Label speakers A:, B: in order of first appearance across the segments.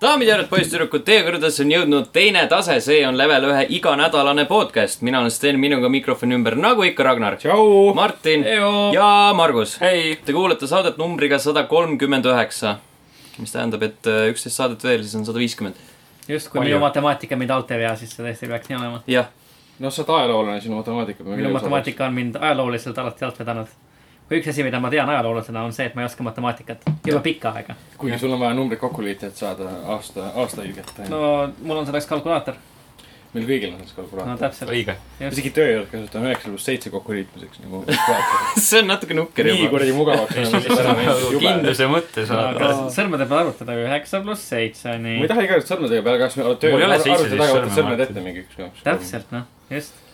A: daamid ja härrad , poisssüdrukud , teie kõrvadesse on jõudnud teine tase , see on level ühe iganädalane podcast . mina olen Sten , minuga mikrofoni ümber , nagu ikka , Ragnar .
B: tšau .
A: Martin
B: Heyo.
A: ja Margus .
B: hei .
A: Te kuulate saadet numbriga sada kolmkümmend üheksa , mis tähendab , et äh, üksteist saadet veel , siis on sada viiskümmend .
C: just , kui
B: Palju.
C: minu matemaatika mind alt ei vea , siis see tõesti peaks nii olema .
A: jah ,
B: noh , sa oled ajaloolane , sinu matemaatika .
C: minu matemaatika on mind ajalooliselt alati alt vedanud . kui üks asi , mida ma tean ajaloolasena , on see , et ma ei oska matemaatikat juba pikka aega .
B: kuigi sul on vaja numbrid kokku liita , et saada aasta , aastaõiget no. .
C: no mul on selleks kalkulaator .
B: meil kõigil on see
C: no
B: kalkulaator no, .
C: täpselt .
D: õige .
B: isegi tööjõud kasutame üheksa pluss seitse kokkuliitmiseks nagu . nii
A: see on natuke nukker juba .
B: kuradi mugavaks .
D: kindluse mõttes
C: aga
D: vaata .
C: sõrmede peal arvutada ju üheksa pluss seitse ,
B: ma ei
C: nii .
B: taha iga kord sõrmedega peale , kas me oleme
D: Mul ei ole seitseteist
B: taga , võtad
D: sõrme,
B: sõrmed
D: Martin.
B: ette mingi üks-kaks .
C: täpselt , noh , just .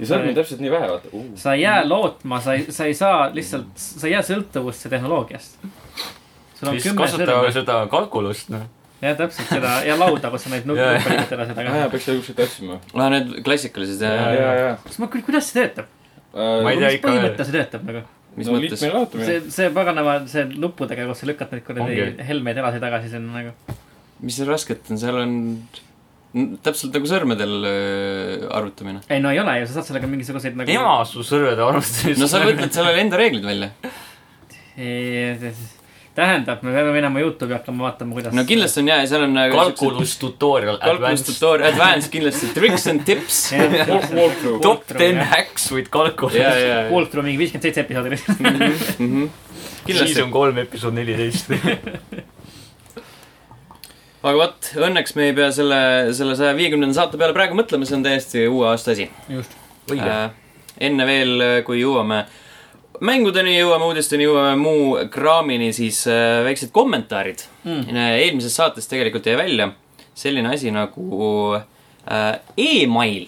B: ja sõrmi on täpselt nii vähe , vaata uh. .
C: sa ei jää lootma , sa ei , sa ei saa lihtsalt , sa ei jää sõltuvusse tehnoloogiast . sul on
D: siis
C: kümme
D: kasutame
C: sõrme .
D: seda kalkulust , noh .
C: jah , täpselt seda ja lauda , kus sa neid nuppe
D: Jaa.
C: panid edasi
B: jah
C: taga .,
B: peaks seda kuskilt otsima .
A: aa , need klassikalised , äh,
B: ja ,
A: jah ,
B: ja ,
A: jah ,
B: ja .
C: kas ma küll , kuidas see töötab ?
D: Ma ei tea
C: mis
D: ikka veel.
C: põhimõttel see töötab nagu ?
A: mis
B: Äh, no,
A: mõttes ?
B: liitmine laotamine
C: see , see paganama , see nuppudega , kus sa lükkad neid kuradi
D: Ongi.
C: helmeid edasi-tagasi sinna nagu .
A: mis seal rasket on , seal on n- täpselt nagu sõrmedel öö, arvutamine .
C: ei no ei ole ju , sa saad sellega mingisuguseid nagu .
D: ema su sõrmede
A: no sa
D: arvutuses .
A: võtad sellele enda reeglid välja .
C: tähendab , me peame minema Youtube'i hakkama vaatama , kuidas .
A: no . kindlasti on jaa , ja seal on nagu
D: kalkulus tutorial
A: kalkulus
D: advanced .
A: tutorial , advanced kindlasti , tricks and tips .
B: Walk- walkthrough.
D: top ten
C: jah.
D: hacks with kalkulus .
A: ja , ja , ja .
C: Kuultru mingi viiskümmend seitse episoodi oli .
D: siis
A: kindlasti
D: on . kolm episood neliteist .
A: aga vot , õnneks me ei pea selle , selle saja viiekümnenda saate peale praegu mõtlema , see on täiesti uue aasta asi .
C: just .
D: õige .
A: Äh, enne veel , kui jõuame mängudeni , jõuame uudisteni , jõuame muu kraamini , siis äh, väiksed kommentaarid
C: Mm.
A: mm. . eelmises saates tegelikult jäi välja selline asi nagu äh, email ,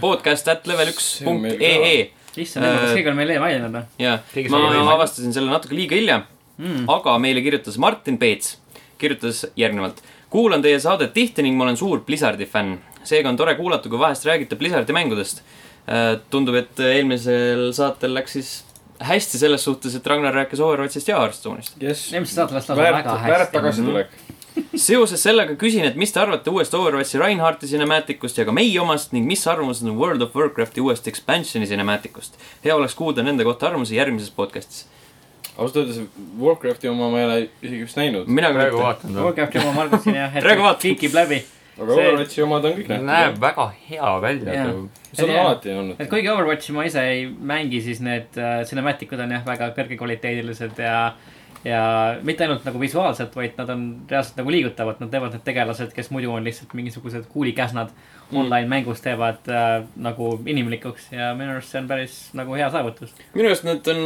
A: podcast at level üks
B: See on meil
A: punkt E ee .
C: Hmm, issand jumal , kas keegi on meil e-mail olnud või ?
A: ja
D: Keegi sai Hmm.
A: ma
D: emaili.
A: avastasin selle natuke liiga hilja mm. , aga meile kirjutas Martin Peets , kirjutas järgnevalt . kuulan teie saadet tihti ning ma olen suur Blizzardi fänn . seega on tore kuulata , kui vahest räägite Blizzardi mängudest . tundub , et eelmisel saatel läks siis hästi selles suhtes , et Ragnar rääkis Overwatchist ja Hearthstone'ist .
B: jess .
C: eelmises saates läks lausa
B: väärt
C: väga , hästi.
B: väärt tagasitulek .
A: seoses sellega küsin , et mis te arvate uuest Overwatchi Reinhardti sinemaatikust ja ka meie omast ning mis arvamused on World of Warcrafti uuest expansion'i sinemaatikust . hea oleks kuulda nende kohta arvamusi järgmises podcast'is .
B: ausalt öeldes Warcrafti oma ma ei ole isegi vist näinud .
A: mina ka
D: praegu
A: mitte .
D: vaatan seda .
C: olge aktiivne , Margus siin jah .
A: Praegu vaatan.
C: kikib läbi .
B: aga
C: See-
B: Overwatchi omad on kõik
D: näeb
B: nähtud .
D: väga hea välja nagu
C: Jaa. .
B: seda on
C: Jaa.
B: alati olnud
C: et . kuigi Overwatchi ma ise ei mängi , siis need äh, cinematic ud on jah , väga kõrgekvaliteedilised ja , ja mitte ainult nagu visuaalselt , vaid nad on reaalselt nagu liigutavad , nad teevad need tegelased , kes muidu on lihtsalt mingisugused kuulikäsnad mm. online mängus teevad äh, nagu inimlikuks ja minu arust see on päris nagu hea saavutus .
A: minu arust nad on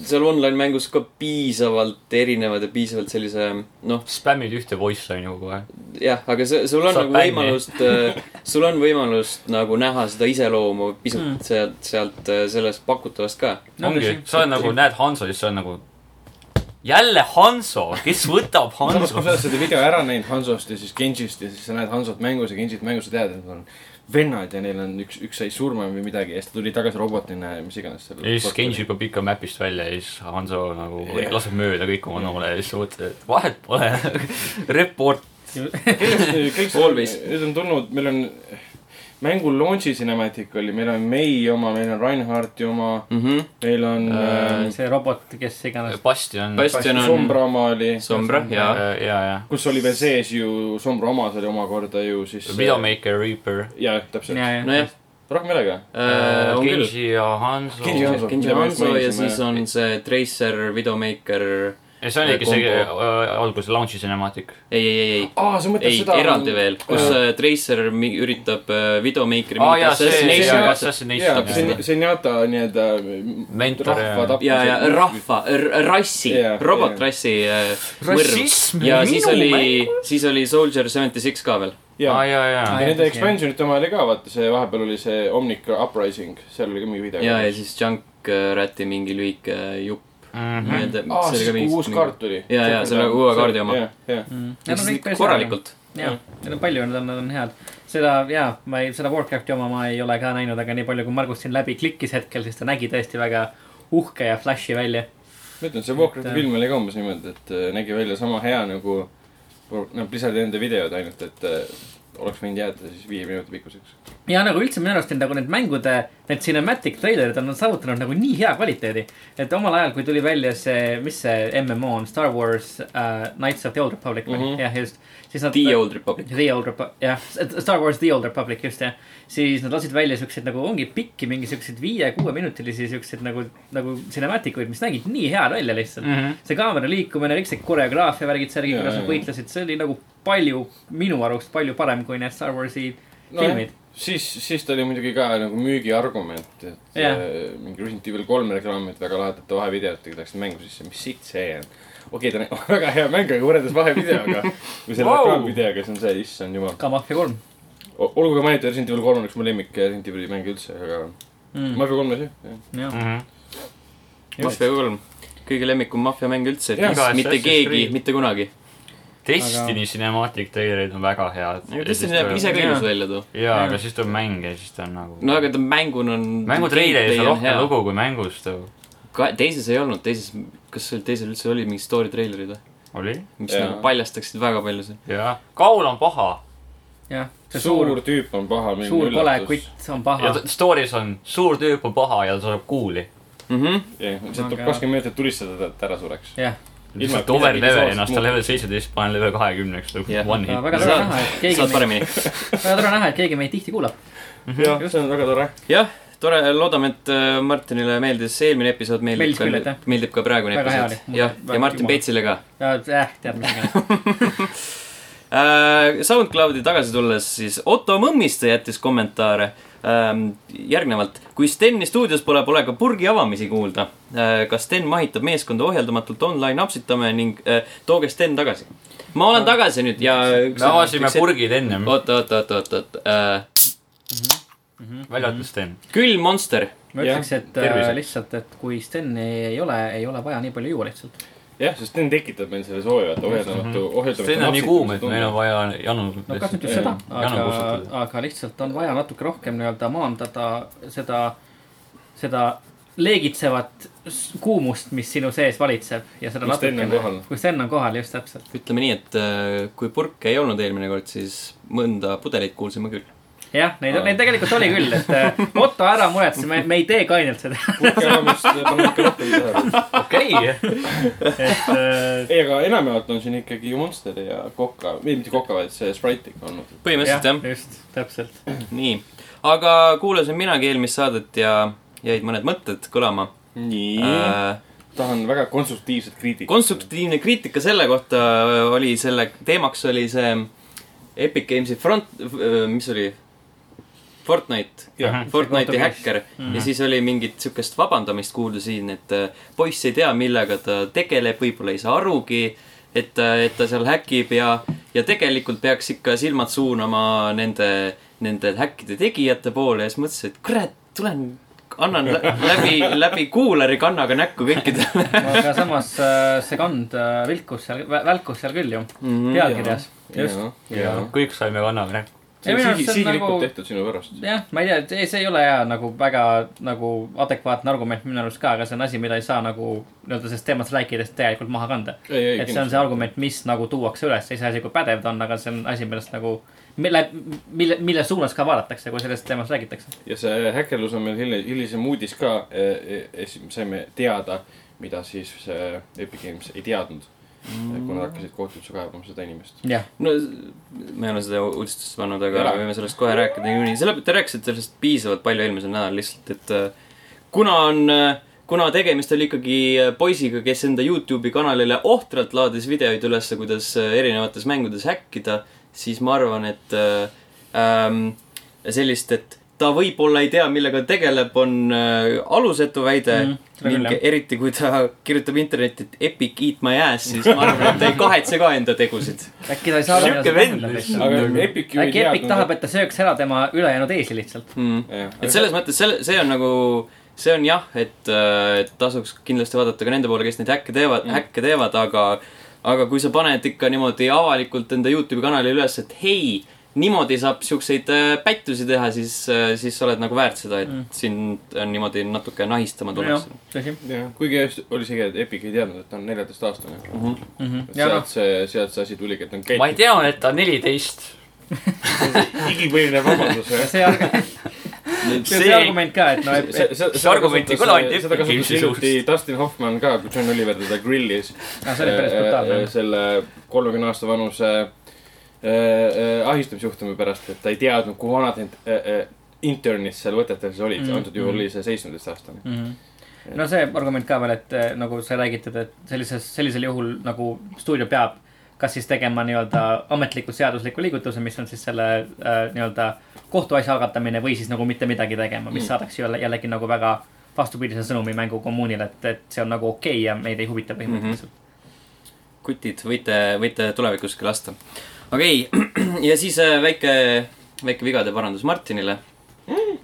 A: seal online mängus ka piisavalt erinevad ja piisavalt sellise noh ,
D: spämmid ühte voice line'i kogu aeg .
A: jah , aga see , sul on
D: Saab
A: nagu
D: bänni.
A: võimalust , sul on võimalust nagu näha seda iseloomu pisut mm. sealt , sealt äh, sellest pakutavast ka .
D: ongi , sa oled nagu , näed Hanso , siis sa oled nagu jälle Hanso , kes võtab
B: samas , kui sa
D: Hanso
B: oled ? seda video ära näinud Hansost ja siis Genšist ja siis sa näed Hansot mängus ja Genšit mängus , sa tead , et nad on vennad ja neil on üks , üks sai surma või midagi ja siis ta tuli tagasi robotina ja mis iganes .
D: ja siis Genji . hüppab ikka mapist välja ja siis Hanso nagu
B: Jah.
D: laseb mööda kõik oma noole ja siis sa mõtled , et vahet pole . Report .
B: Äh, kõik see on ,
A: Always.
B: nüüd on tulnud , meil on mängu launch'i cinematic oli , meil on May oma , meil on Reinhardti oma ,
A: mm .
D: Mhm.
A: -hmm.
B: meil on
D: Äh,
B: äh,
C: see robot , kes iganes .
A: Bastion
D: Bastion .
B: Bastion
A: on-
B: Sombra oma oli ,
A: Sombra , jaa .
D: ja , ja .
B: kus oli veel sees ju Sombra oma , see oli omakorda ju siis .
D: Videomaker , Reaper .
B: jaa , täpselt .
C: ja , ja ,
A: nojah ,
B: rohkem ei ole ka ?
A: Äh,
D: Äh,
A: on küll .
D: Genji ja Hanso .
B: Genji ja
D: ja
B: Hanso.
A: Genji
B: mida me
A: Hanso ja
B: mainisime.
A: siis on see Tracer , Videomaker ,
D: see oligi see
A: Combo.
D: äh, alguse launch'i cinematic .
A: ei , ei , ei , ei
B: aa , sa mõtled
A: ei
B: seda ,?
A: eraldi veel , kus äh, Tracer mi- üritab äh, Videomakeri
D: aa Ah, jaa , see , see ,
A: assassination'i
B: jaa,
D: see ,
A: kaasa-
D: see ,
B: jaa ,
D: see ,
B: sen- ,
D: see .
B: senjata nii-öelda
D: Mentor
B: rahva tapmise .
A: ja , ja . rahva , rassi
B: Jaa, ,
A: robotrassi äh,
D: Rassism
A: mõrv. ja
D: minu
A: siis oli
D: mängus? ,
A: siis oli Soldier seventy six ka veel .
B: ja
D: aa , Ah, jaa , jaa .
B: ja nende
C: jah.
B: expansionite oma oli ka , vaata see vahepeal oli see Omnica Uprising , seal oli ka mingi video .
A: ja , ja siis Junk äh, Räti mingi lühike äh, jupp .
D: Mhm.
B: aa , siis kui uus kaart . tuli .
A: Jaa, jaa, selle uue kaardi oma.
B: jah , jah .
C: Mm. ja .
A: korralikult .
C: jah , neid on palju , nad on , nad on head . seda jaa , ma ei , seda Warcrafti oma ma ei ole ka näinud , aga nii palju , kui Margus siin läbi klikkis hetkel , siis ta nägi tõesti väga uhke ja flash'i välja .
B: ma ütlen , see Warcrafti film oli ka umbes niimoodi , et äh, nägi välja sama hea nagu noh , Blizzardi enda videod ainult , et äh, oleks võinud jääda siis viie minuti pikkuseks .
C: ja nagu üldse minu arust on nagu need mängude , need cinematic treilerid on saavutanud nagu nii hea kvaliteedi . et omal ajal , kui tuli välja see , mis see MMO on , Star Wars uh, Knights of the Old Republic või mm
B: Mhm.
C: -hmm. jah , just . siis nad .
A: The Old Republic .
C: The Old Republic , jah , Star Wars The Old Republic , just jah . siis nad lasid välja siukseid nagu ongi pikki , mingi siukseid viie-kuueminutilisi siukseid nagu , nagu cinematic uid , mis nägid nii head välja lihtsalt mm .
D: Mhm.
C: -hmm. see kaamera liikumine , kõik see koreograafia värgid , särgid ,
B: Jaa,
C: kuidas nad
B: jaa.
C: võitlesid , see oli nagu palju , minu arust palju parem kui need Star Warsi filmid .
B: siis , siis ta oli muidugi ka nagu müügiargument , et
C: Jah.
B: äh, mingi Resident Evil kolme reklaamid väga lahedate vahevideotega läksid mängu sisse , mis sitt see on . okei , ta on väga hea mäng , aga võrreldes vahevideoga või selle
D: Vau!
B: wow. reklaamvideoga , siis on see , issand jumal .
C: ka Mafia kolm
B: olgugi mainitud , Resident Evil kolm on üks mu lemmik eh, Resident Evili mänge üldse , aga
C: mm. .
B: Mafia kolmes jah .
C: jah ,
D: mhm.
A: Mafia kolm , kõige lemmikum maffiamäng üldse ,
B: Jah.
D: Iga
A: mitte
D: Assassin's
A: keegi
D: Creed. ,
A: mitte kunagi .
D: Destiny aga... cinematic trailerid on väga head .
A: tõesti , see näeb ise ka ilus välja too .
D: jaa , aga siis tuleb mäng ja siis ta on nagu .
A: no aga ta mänguna on .
D: mängutreileris on rohkem . lugu kui mängus too .
A: teises ei olnud , teises , kas seal teisel üldse oli mingi story treilerid või ?
D: oli ?
A: mis
B: Jaa.
A: nagu paljastaksid väga palju seal .
D: jaa . kaul on paha
C: jah , see
B: suur
C: suur ,
B: tüüp on paha .
C: suur kole kutt on
D: Aha.
C: paha
D: ja t- . story's on suur tüüp on paha ja ta saab kuuli .
A: Mhm.
B: jah , sealt tuleb
C: Aga-
B: kakskümmend minutit tulistada , et ta ära sureks .
C: jah ,
D: lihtsalt
B: midagi
D: overlevel
B: visuaalset
D: ennast , ta
B: muuta.
D: level seitseteist , panen level kahekümneks , ta
A: Jah.
D: on one hit .
C: väga tore näha , et keegi
A: saad
C: meid ,
A: paremini .
C: väga tore näha , et keegi meid tihti kuulab .
B: jah , see on väga tore .
A: jah , tore , loodame , et äh, Martinile meeldis eelmine episood , meeldib
C: Meeldis küll,
A: ka
C: aitäh. ,
A: meeldib ka praegune
C: Väga hea
A: episood .
C: oli.
A: jah ,
C: Väga-
A: ja Martin
C: jumal.
A: Peitsile ka
C: jah , tead mis iganes .
A: Äh, SoundCloudi tagasi tulles , siis Otto Mõmmiste jättis kommentaare ähm, järgnevalt . kui Steni stuudios pole , pole ka purgi avamisi kuulda äh, . kas Sten mahitab meeskonda ohjeldamatult online apsitame ning äh, tooge Sten tagasi . ma olen tagasi nüüd ja .
D: me avasime . purgid
C: Mm.
D: ennem ,
A: oot , oot , oot , oot , oot äh, .
D: välja arvatud Sten .
C: Mm.
A: külm monster .
C: ma
B: Jah,
C: ütleks , et äh,
D: tervise.
C: lihtsalt , et kui Steni ei ole , ei ole vaja nii palju juua lihtsalt .
B: jah , sest Sten tekitab meil selle sooja , et ohjeldamatu , ohjeldamatu .
D: Sten on nii kuum , et meil on vaja janu .
C: no kas nüüd just seda ,
D: janu
C: aga ,
D: kustutada .
C: aga lihtsalt on vaja natuke rohkem nii-öelda maandada seda , seda leegitsevat s- kuumust , mis sinu sees valitseb ja seda
B: Kui Sten on
C: natukene
B: kohal. .
C: kui Sten on kohal , just täpselt .
A: ütleme nii , et äh, kui purke ei olnud eelmine kord , siis mõnda pudelit kuulsime küll .
C: jah , neid , neid tegelikult oli küll , et äh, Otto , ära muretse , me , me ei tee kainelt seda .
B: ei ,
D: okei ,
C: et äh,
B: aga enamjaolt on siin ikkagi ju Monster ja Coca , või mitte Coca , vaid see Sprite ikka olnud .
A: põhimõtteliselt jah .
C: just , täpselt .
A: nii , aga kuulasin minagi eelmist saadet ja jäid mõned mõtted kõlama
B: nii äh, .
A: äh, .
B: tahan väga konstruktiivset kriitikat .
A: konstruktiivne kriitika selle kohta äh, oli selle , teemaks oli see Epic Games'i front , mis oli ? Fortnite ,
B: Jah.
A: Fortnite'i
C: Fortnite'i
A: häkker ja siis oli mingit siukest vabandamist kuulda siin , et äh, poiss ei tea , millega ta tegeleb , võib-olla ei saa arugi , et , et ta seal häkib ja , ja tegelikult peaks ikka silmad suunama nende , nende häkkide tegijate poole ja siis mõtlesin , et kurat , tulen , annan lä- läbi , läbi kuulari kannaga näkku kõikidele
C: aga samas äh, see kand äh, vilkus seal , välkus seal küll ju ,
A: mm . -hmm.
C: pealkirjas . just .
B: jaa .
D: kõik saime kannaga näkku .
B: see
C: Ja minu
B: on
C: arust see
B: sihi-
C: on
B: sihilikult
C: nagu-
B: tehtud sinu pärast .
C: jah , ma ei tea , see , see ei ole hea nagu väga nagu adekvaatne argument minu arust ka , aga see on asi , mida ei saa nagu nii-öelda sellest teemast rääkides tegelikult maha kanda .
B: ei , ei .
C: et see on see . argument , mis nagu tuuakse üles , iseasi kui pädev ta on , aga see on asi , millest nagu , mille , mille , mille suunas ka vaadatakse , kui sellest teemast räägitakse .
B: ja see häkkerlus on meil hiljem , hilisem uudis ka . saime teada , mida siis see Epic Games ei teadnud mm. , kuna nad hakkasid kohtusse kaebama seda inimest .
C: jah ,
A: no ma ei ole seda uudistesse pannud , aga
B: Ei ole.
A: me võime sellest kohe rääkida niikuinii , sellepärast te rääkisite sellest piisavalt palju eelmisel nädalal lihtsalt , et äh, kuna on , kuna tegemist oli ikkagi äh, poisiga , kes enda Youtube'i kanalile ohtralt laadis videoid üles , kuidas äh, erinevates mängudes häkkida , siis ma arvan , et äh, ähm, sellist , et ta võib-olla ei tea , millega ta tegeleb , on äh, alusetu väide
C: Mm,
A: mm, .
C: seda küll,
A: ning
C: jah.
A: eriti , kui ta kirjutab internetti , et epic eat my ass , siis ma arvan , et ta ei kahetse ka enda tegusid .
C: äkki ta ei saa aru , mida
D: Sihuke
C: see
D: vend
C: tähendab lihtsalt .
D: lihtsalt.
B: aga Epic ju ei
C: Mm. äkki Epic tahab ,
B: teadnud .
C: et ta sööks ära tema ülejäänud eesi lihtsalt .
A: mm. . et selles mõttes selle , see on nagu , see on jah , et äh, et tasuks kindlasti vaadata ka nende poole , kes neid häkke teevad mm. , häkke teevad , aga aga kui sa paned ikka niimoodi avalikult enda Youtube'i kanali üles , et hei , niimoodi saab siukseid äh, pättusi teha , siis , siis sa oled nagu väärt seda , et
C: Mm.
A: mm. sind on niimoodi natuke nahistama tullakse .
C: tõsi .
B: jah , kuigi just oli see , et Epic ei teadnud , et ta on neljateistaastane .
A: Mhm.
C: ja
B: sealt
C: noh ,
B: see , sealt see asi tuligi , et on
D: ma ei
B: käitunud .
D: teadnud , et ta on neliteist .
B: igipõline vabandus .
C: see arg- , see argument ka , et noh ,
B: see , see ,
D: see argument ei kõla ainult
B: seda kasutas
D: Epic Gamesi
B: hiljuti Dustin Hoffman ka , kui John Oliver teda grillis .
C: see oli päris brutaalne .
B: selle kolmekümne aasta vanuse äh, äh, ahistamisjuhtumi pärast , et ta ei teadnud , kui vanad need äh, äh, internid seal võtetes olid
C: Mhm.
B: mm. , antud juhul oli see seitsmeteistaastane .
C: Mhm. no see argument ka veel , et eh, nagu sa räägitud , et sellises , sellisel juhul nagu stuudio peab kas siis tegema nii-öelda ametliku seadusliku liigutuse , mis on siis selle äh, nii-öelda kohtuasja algatamine või siis nagu mitte midagi tegema , mis
B: Mm.
C: mm. saadaks jälle jällegi nagu väga vastupidise sõnumi mängu kommuunile , et , et see on nagu okei okay ja meid ei huvita põhimõtteliselt mm .
A: kutid , võite , võite tulevikuski lasta . okei okay. , ja siis äh, väike , väike vigade parandus Martinile .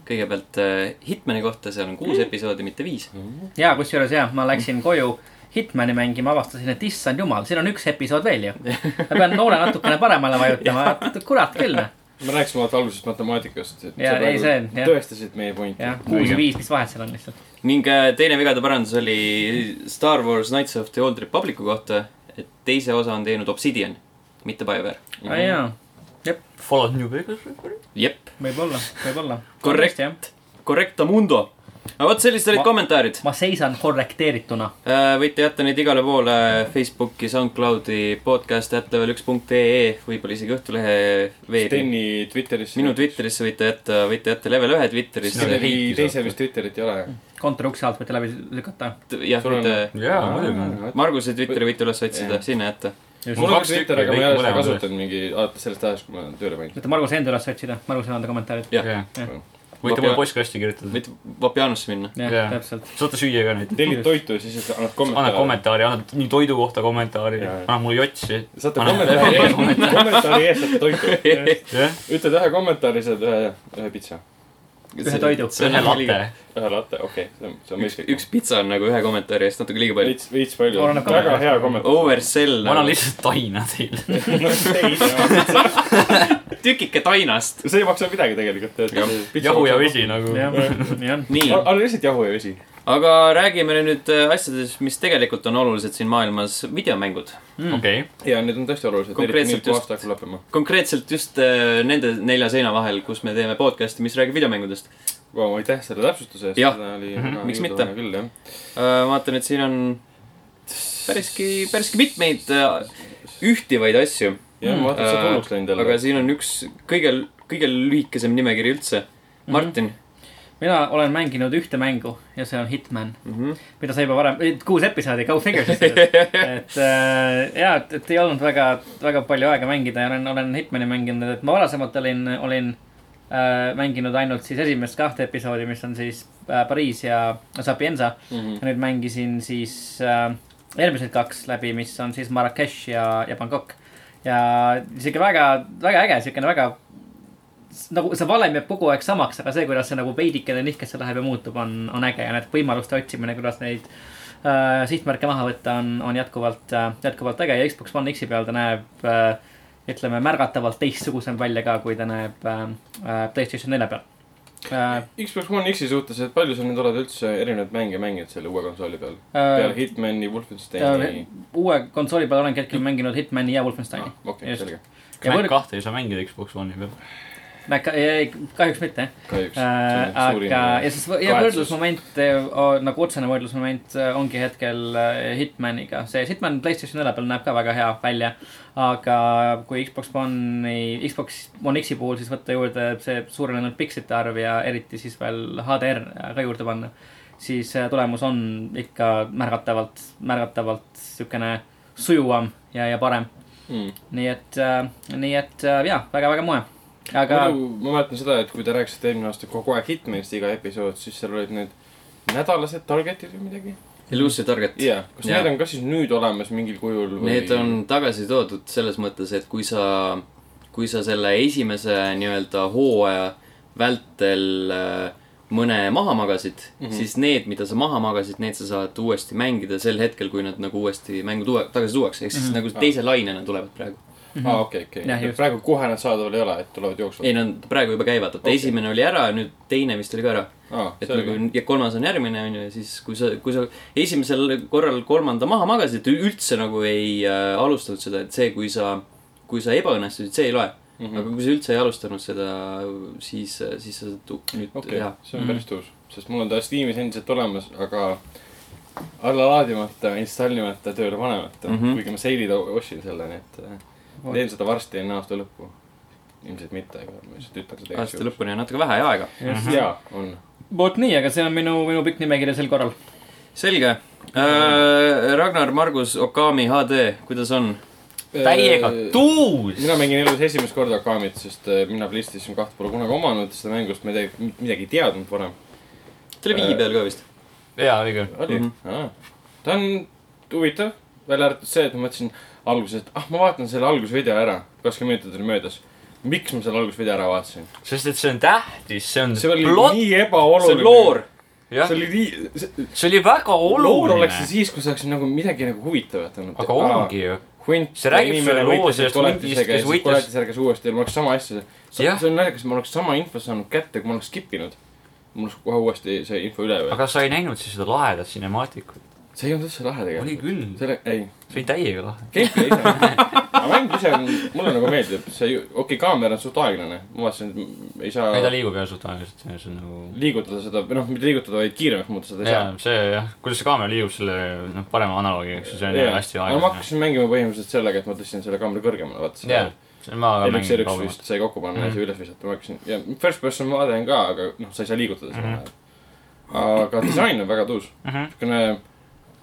A: kõigepealt äh, Hitmani kohta , seal on kuus episoodi , mitte viis .
C: -hmm. ja kusjuures jah , ma läksin koju Hitmani mängima , avastasin , et issand jumal , siin on üks episood veel ju . ma pean noole natukene paremale vajutama , kurat küll noh .
B: me rääkisime alati alguses matemaatikast , et
C: Jaa, ei, see on, jah.
B: tõestasid meie pointi
C: jah , kuus ja . viis , mis vahet seal on lihtsalt .
A: ning äh, teine vigade parandus oli Star Wars Knights of the Old Republicu kohta , et teise osa on teinud Obsidian , mitte BioWare .
C: aa jaa ,
D: Fallout New Vegas .
A: jep ,
C: võib-olla , võib-olla .
A: Korrekt. . correcto mundo . aga vot sellised olid
C: Ma-
A: Ma... kommentaarid .
C: ma seisan korrekteerituna .
A: võite jätta neid igale poole Facebooki , SoundCloudi , podcast'i , ätlevel1.ee , võib-olla isegi Õhtulehe veebi .
B: Steni Twitterisse .
A: minu . Twitterisse võite jätta , võite jätta level ühe Twitterisse .
B: Steni teisel vist Twitterit ei ole .
C: kontori ukse alt võite läbi lükata .
A: jah ,
B: Sul on-
A: võite ,
D: jaa , muidugi .
A: Marguse Twitteri võite üles otsida ,
B: Jah.
A: sinna jätta .
B: mul
D: Mul
B: on
D: kaks
B: kaks Twitter ,
D: tükki,
B: aga ma
D: kõik
B: ei ole seda
D: mõlemad
B: kasutanud mingi , alates sellest ajast , kui ma olen tööle pannud .
C: võite Margus enda üles otsida , Margusel on enda kommentaarid .
D: võite mulle postkasti kirjutada .
A: võite Vapjanusse minna .
C: jah
D: Jaa.
C: yeah. , täpselt .
D: saate süüa ka neid .
B: tellid toitu ja siis annad
D: anna
B: kommentaare .
D: kommentaari , anna nii toidu kohta kommentaari ,
B: Jaa.
D: anna mulle jotsi .
B: saate
D: Anna-
B: kommentaari ees , kommentaari ees saate toitu .
D: jah ,
B: ütled ühe kommentaari , saad ühe , ühe pitsa .
C: ühe toidu .
D: ühe latte .
B: ühe latte , okei okay. , see on , see on
A: üks ,
B: mõistlik .
A: üks pitsa on nagu ühe kommentaari eest natuke liiga palju .
B: veits , veits palju .
C: Oleneb
B: väga
C: kommentaarist.
B: hea kommentaar .
A: Oversell nagu.
D: ma annan lihtsalt taina teile .
A: tükike tainast .
B: see ei maksa midagi tegelikult .
A: Jah.
D: jahu ja . vesi nagu .
C: jah , jah .
A: nii ,
B: anna lihtsalt jahu ja vesi .
A: aga räägime nüüd äh, asjadest , mis tegelikult on olulised siin maailmas , videomängud .
D: Mm.
B: Mm.
D: okei ,
B: ja need on tõesti olulised .
A: Konkreetselt
B: eriti nüüd , kui
A: just-
B: aasta hakkab lõppema .
A: konkreetselt just äh, nende nelja seina vahel , kus me teeme podcast'i , mis räägib videomängudest .
B: Vau , aitäh selle täpsustuse eest .
A: Jah.
B: oli
D: Mhm.
B: väga
A: Miks
B: jõuduhane
A: mitte?
B: küll , jah .
A: Äh, vaatan , et siin on päriski , päriski mitmeid äh, ühtivaid asju ,
B: jah , ma vaatan , et
A: Äh,
B: sa tulnuks läinud jälle
A: aga . siin on üks kõige , kõige lühikesem nimekiri üldse . Martin ,
C: mina olen mänginud ühte mängu ja see on Hitman mm ,
A: Mhm.
C: -hmm. mida sa juba varem , kuus episoodi , go figure siis . et äh, ja , et , et ei olnud väga , väga palju aega mängida ja olen , olen Hitmani mänginud , et ma varasemalt olin , olin äh, mänginud ainult siis esimest kahte episoodi , mis on siis äh, Pariis ja Sapienza mm . -hmm. ja nüüd mängisin siis äh, eelmised kaks läbi , mis on siis Marrakech ja , ja Bangkok . ja sihuke väga , väga äge , siukene väga nagu see valem jääb kogu aeg samaks , aga see , kuidas see nagu veidikene nihkesse läheb ja muutub , on , on äge ja need võimaluste otsimine , kuidas neid äh, sihtmärke maha võtta , on , on jätkuvalt äh, , jätkuvalt äge ja Xbox One X-i peal ta näeb äh, , ütleme märgatavalt teistsugusem välja ka , kui ta näeb äh, äh, Playstation nelja peal äh, .
B: Xbox One X-i suhtes , et palju sa nüüd oled üldse erinevaid mänge mänginud selle uue konsooli peal ?
C: Äh,
B: peale Hitmani , Wolfensteini .
C: uue konsooli peal olengi hetkel mänginud Hitmani ja Wolfensteini .
B: Ah, okei ,
C: just.
B: selge .
C: ja
D: Mac
C: võrd- ,
D: kahte ei saa mängida Xbox One'i peal .
B: Äh,
C: näe , ei , kahjuks mitte
B: kahjuks .
C: äh, . aga , ja siis võ- ja
B: kahetsus.
C: võrdlusmoment , nagu otsene võrdlusmoment äh, ongi hetkel äh, Hitmaniga . see Hitman Playstation nelja peal näeb ka väga hea välja . aga kui Xbox One'i , Xbox One X-i puhul siis võtta juurde see suurenenud pikslite arv ja eriti siis veel HDR ka juurde panna . siis äh, tulemus on ikka märgatavalt , märgatavalt siukene sujuvam ja , ja parem .
B: Hmm.
C: nii et , nii et äh, jaa , väga-väga moe . aga
B: aga . ma mäletan seda , et kui te rääkisite eelmine aasta kogu aeg Hitmanist iga episood , siis seal olid need nädalased targetid või midagi .
A: Illusion Target .
B: jaa , kas
A: Jaa.
B: need on ka siis nüüd olemas mingil kujul või ?
A: Need on tagasi toodud selles mõttes , et kui sa , kui sa selle esimese nii-öelda hooaja vältel äh, mõne maha magasid mm ,
B: Mhm.
A: -hmm. siis need , mida sa maha magasid , need sa saad
B: Mhm. Ah.
A: uuesti mängida sel hetkel , kui nad nagu uuesti mängu tuua- , tagasi tuuakse , ehk siis mm -hmm. nagu teise lainena tulevad praegu .
B: aa , Ah, okei ,
C: Mhm. Jah,
B: okei
C: just. .
B: praegu kohe nad saadaval ei ole , et tulevad
A: ei ,
B: jooksvalt .
A: nad praegu juba käivad , et
B: Okei.
A: okay. esimene oli ära ja nüüd teine vist oli ka ära .
B: aa ,
A: et
B: Ah, selge
A: nagu . ja kolmas on järgmine , on ju , ja siis kui sa , kui sa esimesel korral kolmanda maha magasid , üldse nagu ei äh, alustanud seda , et see , kui sa , kui sa ebaõnnestusid , see ei loe .
B: Mhm.
A: aga kui sa üldse ei alustanud seda , siis , siis sa saad tu- nüüd
B: okei
A: jah , Mhm.
B: see on päris tõus , sest mul on ta Steamis endiselt olemas , aga alla laadimata , installimata , tööle panemata mm .
A: Mhm.
B: -hmm. kuigi ma seilid ostsin selle , nii et äh, teen seda varsti enne aasta lõppu . ilmselt mitte , aga ma lihtsalt ütlen seda
A: aasta . Mhm. lõpuni on natuke vähe aega .
B: jaa , on .
C: vot nii , aga see on minu , minu pikk nimekiri sel korral .
A: selge äh, . Ragnar , Margus , Okami HD , kuidas on ?
D: täiega tuus .
B: Eh, mina mängin elus esimest korda Akamit , sest äh, mina PlayStation kahte pole kunagi omanud , seda mängust ma ei tea , midagi ei teadnud varem .
A: ta oli
B: Äh,
A: viie peal ka vist .
D: jaa , õige .
B: oli mm ,
A: Mhm.
B: -hmm. ta on huvitav , välja arvatud see , et ma mõtlesin alguses , et ah , ma vaatan selle algusvideo ära , kakskümmend minutit oli möödas . miks ma selle algusvideo ära vaatasin ?
D: sest et see on tähtis , see on
B: see oli Plot.
D: plott ,
B: nii
A: see on
B: ebaoluline .
A: loor .
D: jah
B: see . oli nii , see ,
D: see oli väga
B: loor oleks see
D: oluline .
B: siis , kui see oleks nagu midagi nagu huvitavat olnud .
D: aga ongi ju .
B: hunt .
D: See räägib sulle loo sellest hundist, kes võitles-
B: koletisärgas uuesti , ma oleks sama asja , see
D: Jah.
B: on naljakas , ma oleks sama info saanud kätte , kui ma oleks skip inud . mul oleks kohe uuesti see info üle või .
D: aga sa ei näinud siis seda lahedat cinemaatikut ?
B: see ei olnud üldse lahe
D: oli
B: tegelikult .
D: küll , see
B: selle , ei ,
D: oli täiega lahe .
B: gameplay ise . aga mäng ise on , mulle nagu meeldib , see ju , okei okay, , kaamera on suht aeglane , ma vaatasin , et ei saa
D: ei , ta liigub jah suht aeglaselt , see on nagu .
B: liigutada seda , või noh , mitte liigutada , vaid kiiremaks muuta seda ei saa
D: jaa , see jah , kuidas see kaamera liigub selle , noh , parema analoogiga , eks ju , see on
B: Jaa.
D: yeah. hästi
B: aga ma
D: aeglane .
B: hakkasin mängima põhimõtteliselt sellega , et ma tõstsin selle kaamera kõrgemale , vaata .
D: jah , see on ma ka
B: Elix
D: mängin
B: Elix vist
D: kaugemalt .
B: sai kokku panna mm -hmm. ja
D: Mhm.
B: see üles visata , ma hakkasin ja first person vaade on ka , aga noh , sa ei saa liigutada
D: Mhm.
B: seda mm . -hmm. aga disain on väga tuus , niisugune ,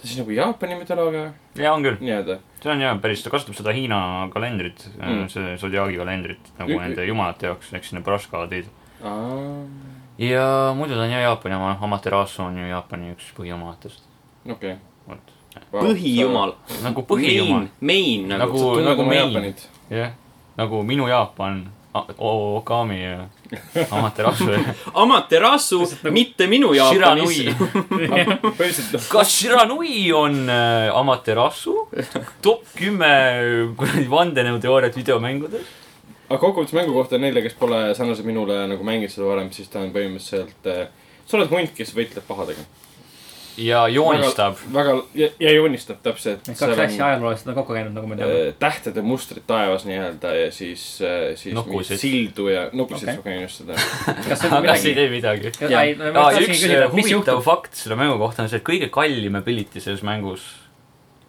B: ta siis nagu Jaapani mütoloogia
D: jaa , on küll ,
B: nii-öelda .
D: see on jah päris , ta kasutab seda Hiina kalendrit
B: Mm.
D: mm. , see Zodiaagi kalendrit
B: Ü-
D: nagu
B: ü-
D: nende jumalate jaoks , eks need paraskaadid .
B: okei
D: ja muidu ta on jah Jaapani oma , Amaterasu on ju Jaapani üks põhiomadest .
B: okay. .
D: vot ,
A: põhijumal .
D: nagu põhijumal ,.
A: Main nagu, nagu... .
D: Nagu-
B: tunned
D: nagu
B: oma
D: meil.
B: Jaapanit .
D: jah , nagu minu Jaapan , Okami ja Amaterasu ja
A: Amaterasu ,
B: nagu
A: mitte minu Jaapanis .
D: Shiranui .
B: põhiliselt noh ,
D: kas Shiranui on äh, Amaterasu top kümme äh, kuradi vandenõuteooriat videomängudes ?
B: aga kokkuvõttes mängu kohta neile , kes pole sarnaselt minule nagu mänginud seda varem , siis ta on põhimõtteliselt eh, sa oled hunt , kes võitleb pahadega .
D: ja joonistab .
B: väga ja, ja joonistab täpselt .
C: kaks asja ajalooliselt on kokku käinud , nagu me teame .
B: Äh, tähtede mustrid taevas nii-öelda ja siis , siis
D: Nukusid.
B: mingeid sildu ja nukusid
C: Okei.
B: okay. saab kindlustada .
D: Äh,
C: kas see on
D: kas ei
C: midagi ?
D: tee midagi ?
A: Jaa.
D: Ah, üks äh, huvitav fakt selle mängu kohta on see , et kõige kallim ability selles mängus ,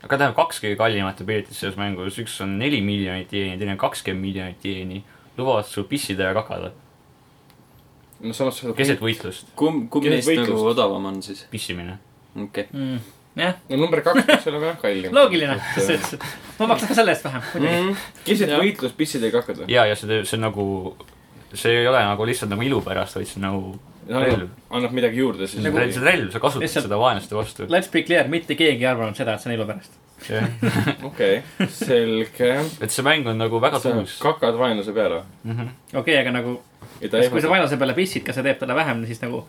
D: aga tähendab kaks kõige kallimat ability't selles mängus , üks on neli miljonit jeeni , teine on kakskümmend miljonit jeeni , lubavad sul pissida ja kakada
B: no samas sa
D: keset võitlust ,
A: kumb , kumb
B: Kes
A: neist
B: võitlust?
A: nagu odavam on siis ?
D: pissimine .
A: okei okay.
C: Mm, jah ,
B: no number kaks peaks olema jah kallim .
C: loogiline , ma maksan ka selle eest vähem muidugi .
A: mm. .
B: keset
A: Jah.
B: võitlust pissid ei kakata .
D: ja , ja see , see on nagu , see ei ole nagu lihtsalt nagu ilu pärast , vaid see on nagu relv
B: annab , annab midagi juurde siis
D: nagu... . see on relv , sa kasutad
C: Lihtsalt-
D: Lihtsalt... seda vaenlaste vastu .
C: Let's be clear , mitte keegi ei arvanud seda , et see on ilu pärast .
B: okei , selge .
D: et see mäng on nagu väga
B: sa
D: tuus .
B: kakad vaenlase peale .
C: okei , aga nagu ,
B: ja ta
C: kui sa
B: ehmatab .
C: vaenlase peale pissid , kas see teeb talle vähem , siis nagu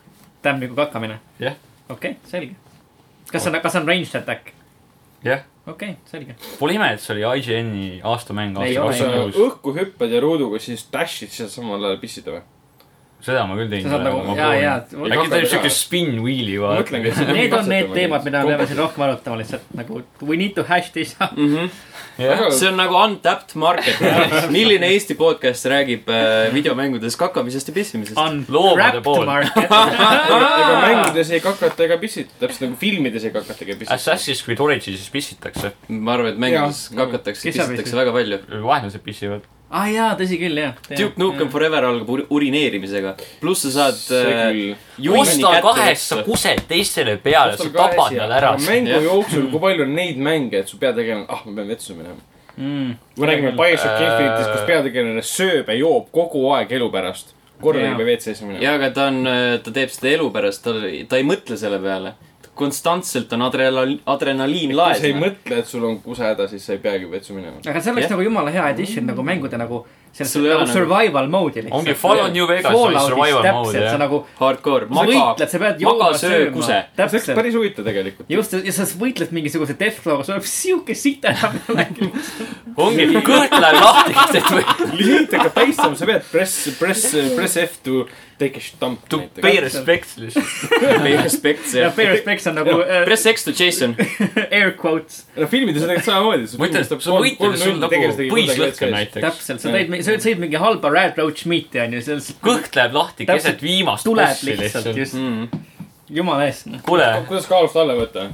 C: tämm nagu kakkamine .
D: jah ,
C: okei , selge . kas see on , kas see on ranged attack ?
D: jah .
C: okei , selge .
D: Pole ime , et see oli IGN-i aastamäng
C: Ei
D: aastal
C: ole
B: sa
D: kakskümmend kuus .
B: õhku hüppad ja ruuduga siis dash'id seal samal ajal pissida või ?
D: seda ma küll teinud
C: Sa saad nagu- jaa, jaa, et-
D: äkki ta teeb siukest spin wheel'i vaata .
B: mõtlengi , et see
C: Need on need teemad , mida me peame
B: Kompetents.
C: siin rohkem arutama lihtsalt nagu we need to hash this out .
A: Mm -hmm. see on nagu untapped market . milline Eesti podcast räägib äh, videomängudes kakamisest ja pissimisest ?
D: Loomade pool.
B: ega ega mängudes ei kakata ega pissita , täpselt nagu filmides ei kakata ega pissita .
D: Assassin's Creed Origins'is pissitakse ,
A: ma arvan , et mängudes
B: Jah.
A: kakatakse ,
C: Kes seal
A: pissitakse
C: pissis?
A: väga palju .
D: vaenlased pissivad .
C: aa Ah, jaa , tõsi küll , jah .
A: Duke Nukem . Forever algab ur- urineerimisega , pluss sa saad äh, juhini
D: osta
A: kätte
D: kahest sa
A: võtta.
D: kused teistele peale , sa tapad nad ära .
B: mängu
A: Jah.
B: jooksul , kui palju on neid mänge , et su peategelane , ah , ma pean vetsu minema . kui me räägime
C: Äh,
B: BioShock Infinite'ist , kus peategelane sööb ja joob kogu aeg elu pärast . korra
C: Jaa.
B: ei pea WC-sse minema .
A: ja , aga ta on , ta teeb seda elu pärast , ta , ta ei mõtle selle peale . konstantselt on adrenaliin , adrenaliin
B: kui sa ei
A: laes .
B: mõtle , et sul on kusehäda , siis sa ei peagi WC-sse minema .
C: aga see oleks
A: Jah.
C: nagu jumala hea edition nagu mängude nagu selles
A: Sul ei ole
C: nagu
A: nagu-
C: survival mode'i lihtsalt .
D: ongi Fallout New Vegas oli survival mode, jah.
C: sa nagu ,
A: hardcore ,
C: sa
A: maga
C: võitled , sa pead ,
A: maga
C: jooma ,
A: söö , kuse
C: sööma .,
B: see oleks
C: täpselt .
B: päris huvitav tegelikult .
C: just , ja sa võitled mingisuguse Deathlaw'ga , sul on siuke sita nagu- peal .
D: ongi , kõht läheb lahti , et või
B: lihtsalt hakkab täistama , sa pead press , press , press F to take a stump
D: to pay . respect lihtsalt .
A: Pay respect see .
C: ja Fair Respects on nagu äh,
A: Press X to Jason .
C: air quotes .
B: no filmides on tegelikult samamoodi .
D: ma ütlen , et sa võitled , sul nagu põis lõhkeb . näiteks .
C: täpselt , sa tõid , sa sõid mingi halba Rad Roach meat'i onju , see on
D: kõht läheb lahti
C: Täpselt,
D: keset viimast
C: tuled
D: bossi
C: lihtsalt
D: lihtsalt .
C: just , jumala noh. eest .
D: kuule ,
B: kuidas kaalust alla võtta ?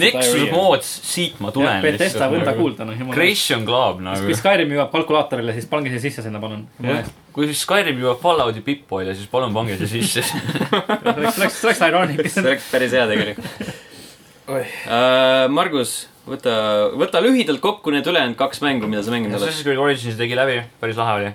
D: Nexus Mods , siit ma tulen
C: Bethesda , võta
D: lihtsalt . nagu-
C: kuulda noh , jumala eest .
D: Creation Club
C: kui
D: nagu .
C: Skyrim jõuab kalkulaatorile , siis pange see sisse sinna , palun . see
D: kui siis Skyrim jõuab Fallouti pipphoidja , siis palun pange see sisse .
C: oleks , see oleks , see oleks
A: see
C: ironic .
A: oleks päris hea tegelikult .
B: Oih.
A: Äh, Margus , võta , võta lühidalt kokku need ülejäänud kaks mängu , mida sa mänginud oled .
D: Assassin's Creed Origins'i tegi läbi , päris lahe oli .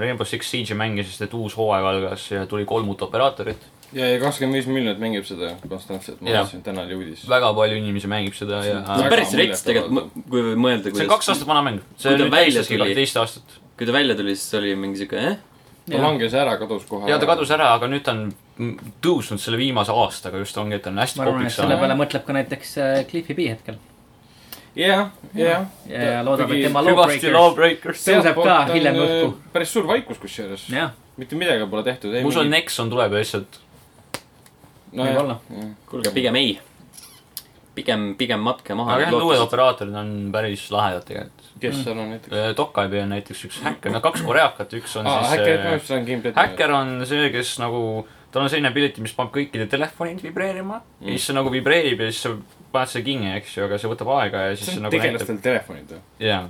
D: Rainbow Six Siege'i mängis , sest et uus hooaeg algas ja tuli kolm uut operaatorit .
B: ja , ja kakskümmend viis miljonit mängib seda konstantselt , ma
D: Jah.
B: vaatasin , täna oli uudis .
D: väga palju inimesi mängib seda ja
A: see on
B: Väga
A: päris rets
B: muljetavaldavalt.
A: tegelikult , kui mõelda ,
D: see on kaks
A: kuidas ,
D: aastat vana mäng .
A: Kui
D: see
A: ta
D: on nüüd
A: välja
D: täistaski
A: tuli-
D: kaksteist aastat .
A: kui ta välja tuli , siis oli mingi siuke , eh ?
B: ta langes ära , kadus kohe .
D: ja ta kadus ära , aga nüüd ta on m- tõusnud selle viimase aastaga just ongi , et ta on hästi
C: ma arvan , et
D: popiks
C: selle
D: saanud .
C: peale mõtleb ka näiteks äh, Cliffi B hetkel .
B: jah , jah .
C: ja ja loodame , et tema
D: hüvasti
C: lawbreaker
D: Lawbreakers .
C: tõuseb ka hiljem õhku .
B: äh, päris suur vaikus kusjuures .
C: jah ,
B: mitte midagi pole tehtud .
D: ma usun , Nexon tuleb ja lihtsalt
C: võib-olla. .
A: kuulge , pigem ei . pigem , pigem matke maha .
D: aga jah , need uued operaatorid on päris lahedad tegelikult .
C: Mm.
B: kes seal on näiteks ?
D: Dokaibi on näiteks üks häkker , no kaks koreakat , üks on
B: aa ,
D: siis
B: häkker ,
D: äh,
B: ma ütlesin , kindlalt .
D: häkker on see , kes nagu , tal on selline ability , mis paneb kõikide telefonid vibreerima mm. ja siis see nagu vibreerib ja siis sa paned selle kinni , eks ju , aga see võtab aega ja siis
B: see
D: see
B: on
D: nagu näitab ,
B: tegelastel telefonid või ?
D: jaa .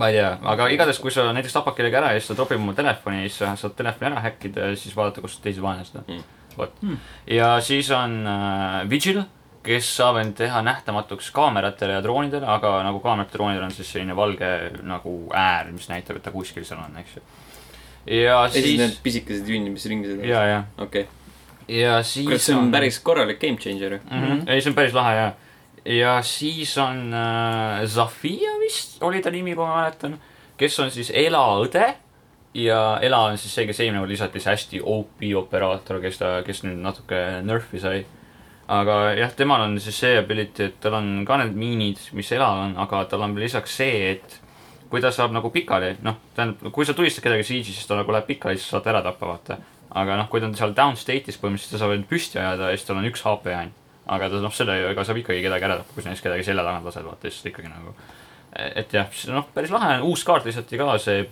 D: ma ei tea , aga igatahes , kui sa näiteks tapad kellegi ära ja siis ta tropib oma telefoni ja siis sa saad telefoni ära häkkida ja siis vaadata , kus teised vaenlased on
B: Mm.
D: mm. . vot mm. . ja siis on äh, Vigil , kes saab end teha nähtamatuks kaameratele ja droonidele , aga nagu kaamerate droonidel on siis selline valge nagu äär , mis näitab , et ta kuskil seal on , eks ju . ja
A: ja siis need
D: siis ,
A: pisikesed junnid , mis ringi sõidavad .
D: ja , ja
A: okei ,
D: ja siis
A: kuule , see on päris korralik game changer ju .
D: mm . -hmm. ei , see on päris lahe jaa . ja siis on äh, Zafia vist oli ta nimi , kui ma mäletan , kes on siis Ela õde . ja Ela on siis see , kes eelmine kord lisati , see hästi OP operaator , kes ta , kes nüüd natuke nörfi sai . aga jah , temal on siis see ability , et tal on ka need miinid , mis Elal on , aga tal on veel lisaks see , et kui ta saab nagu pikali , noh , tähendab , kui sa tulistad kedagi siege'is , siis ta nagu läheb pikali , siis saad ära tappa , vaata . aga noh , kui ta on seal down state'is põhimõtteliselt , ta saab end püsti ajada ja siis tal on üks HP ainult . aga ta noh , selle , ega saab ikkagi kedagi ära tappa , kui sa näiteks kedagi selja tagant lased , vaata siis ikkagi nagu . et jah , noh , päris lahe on , uus kaart lisati ka , see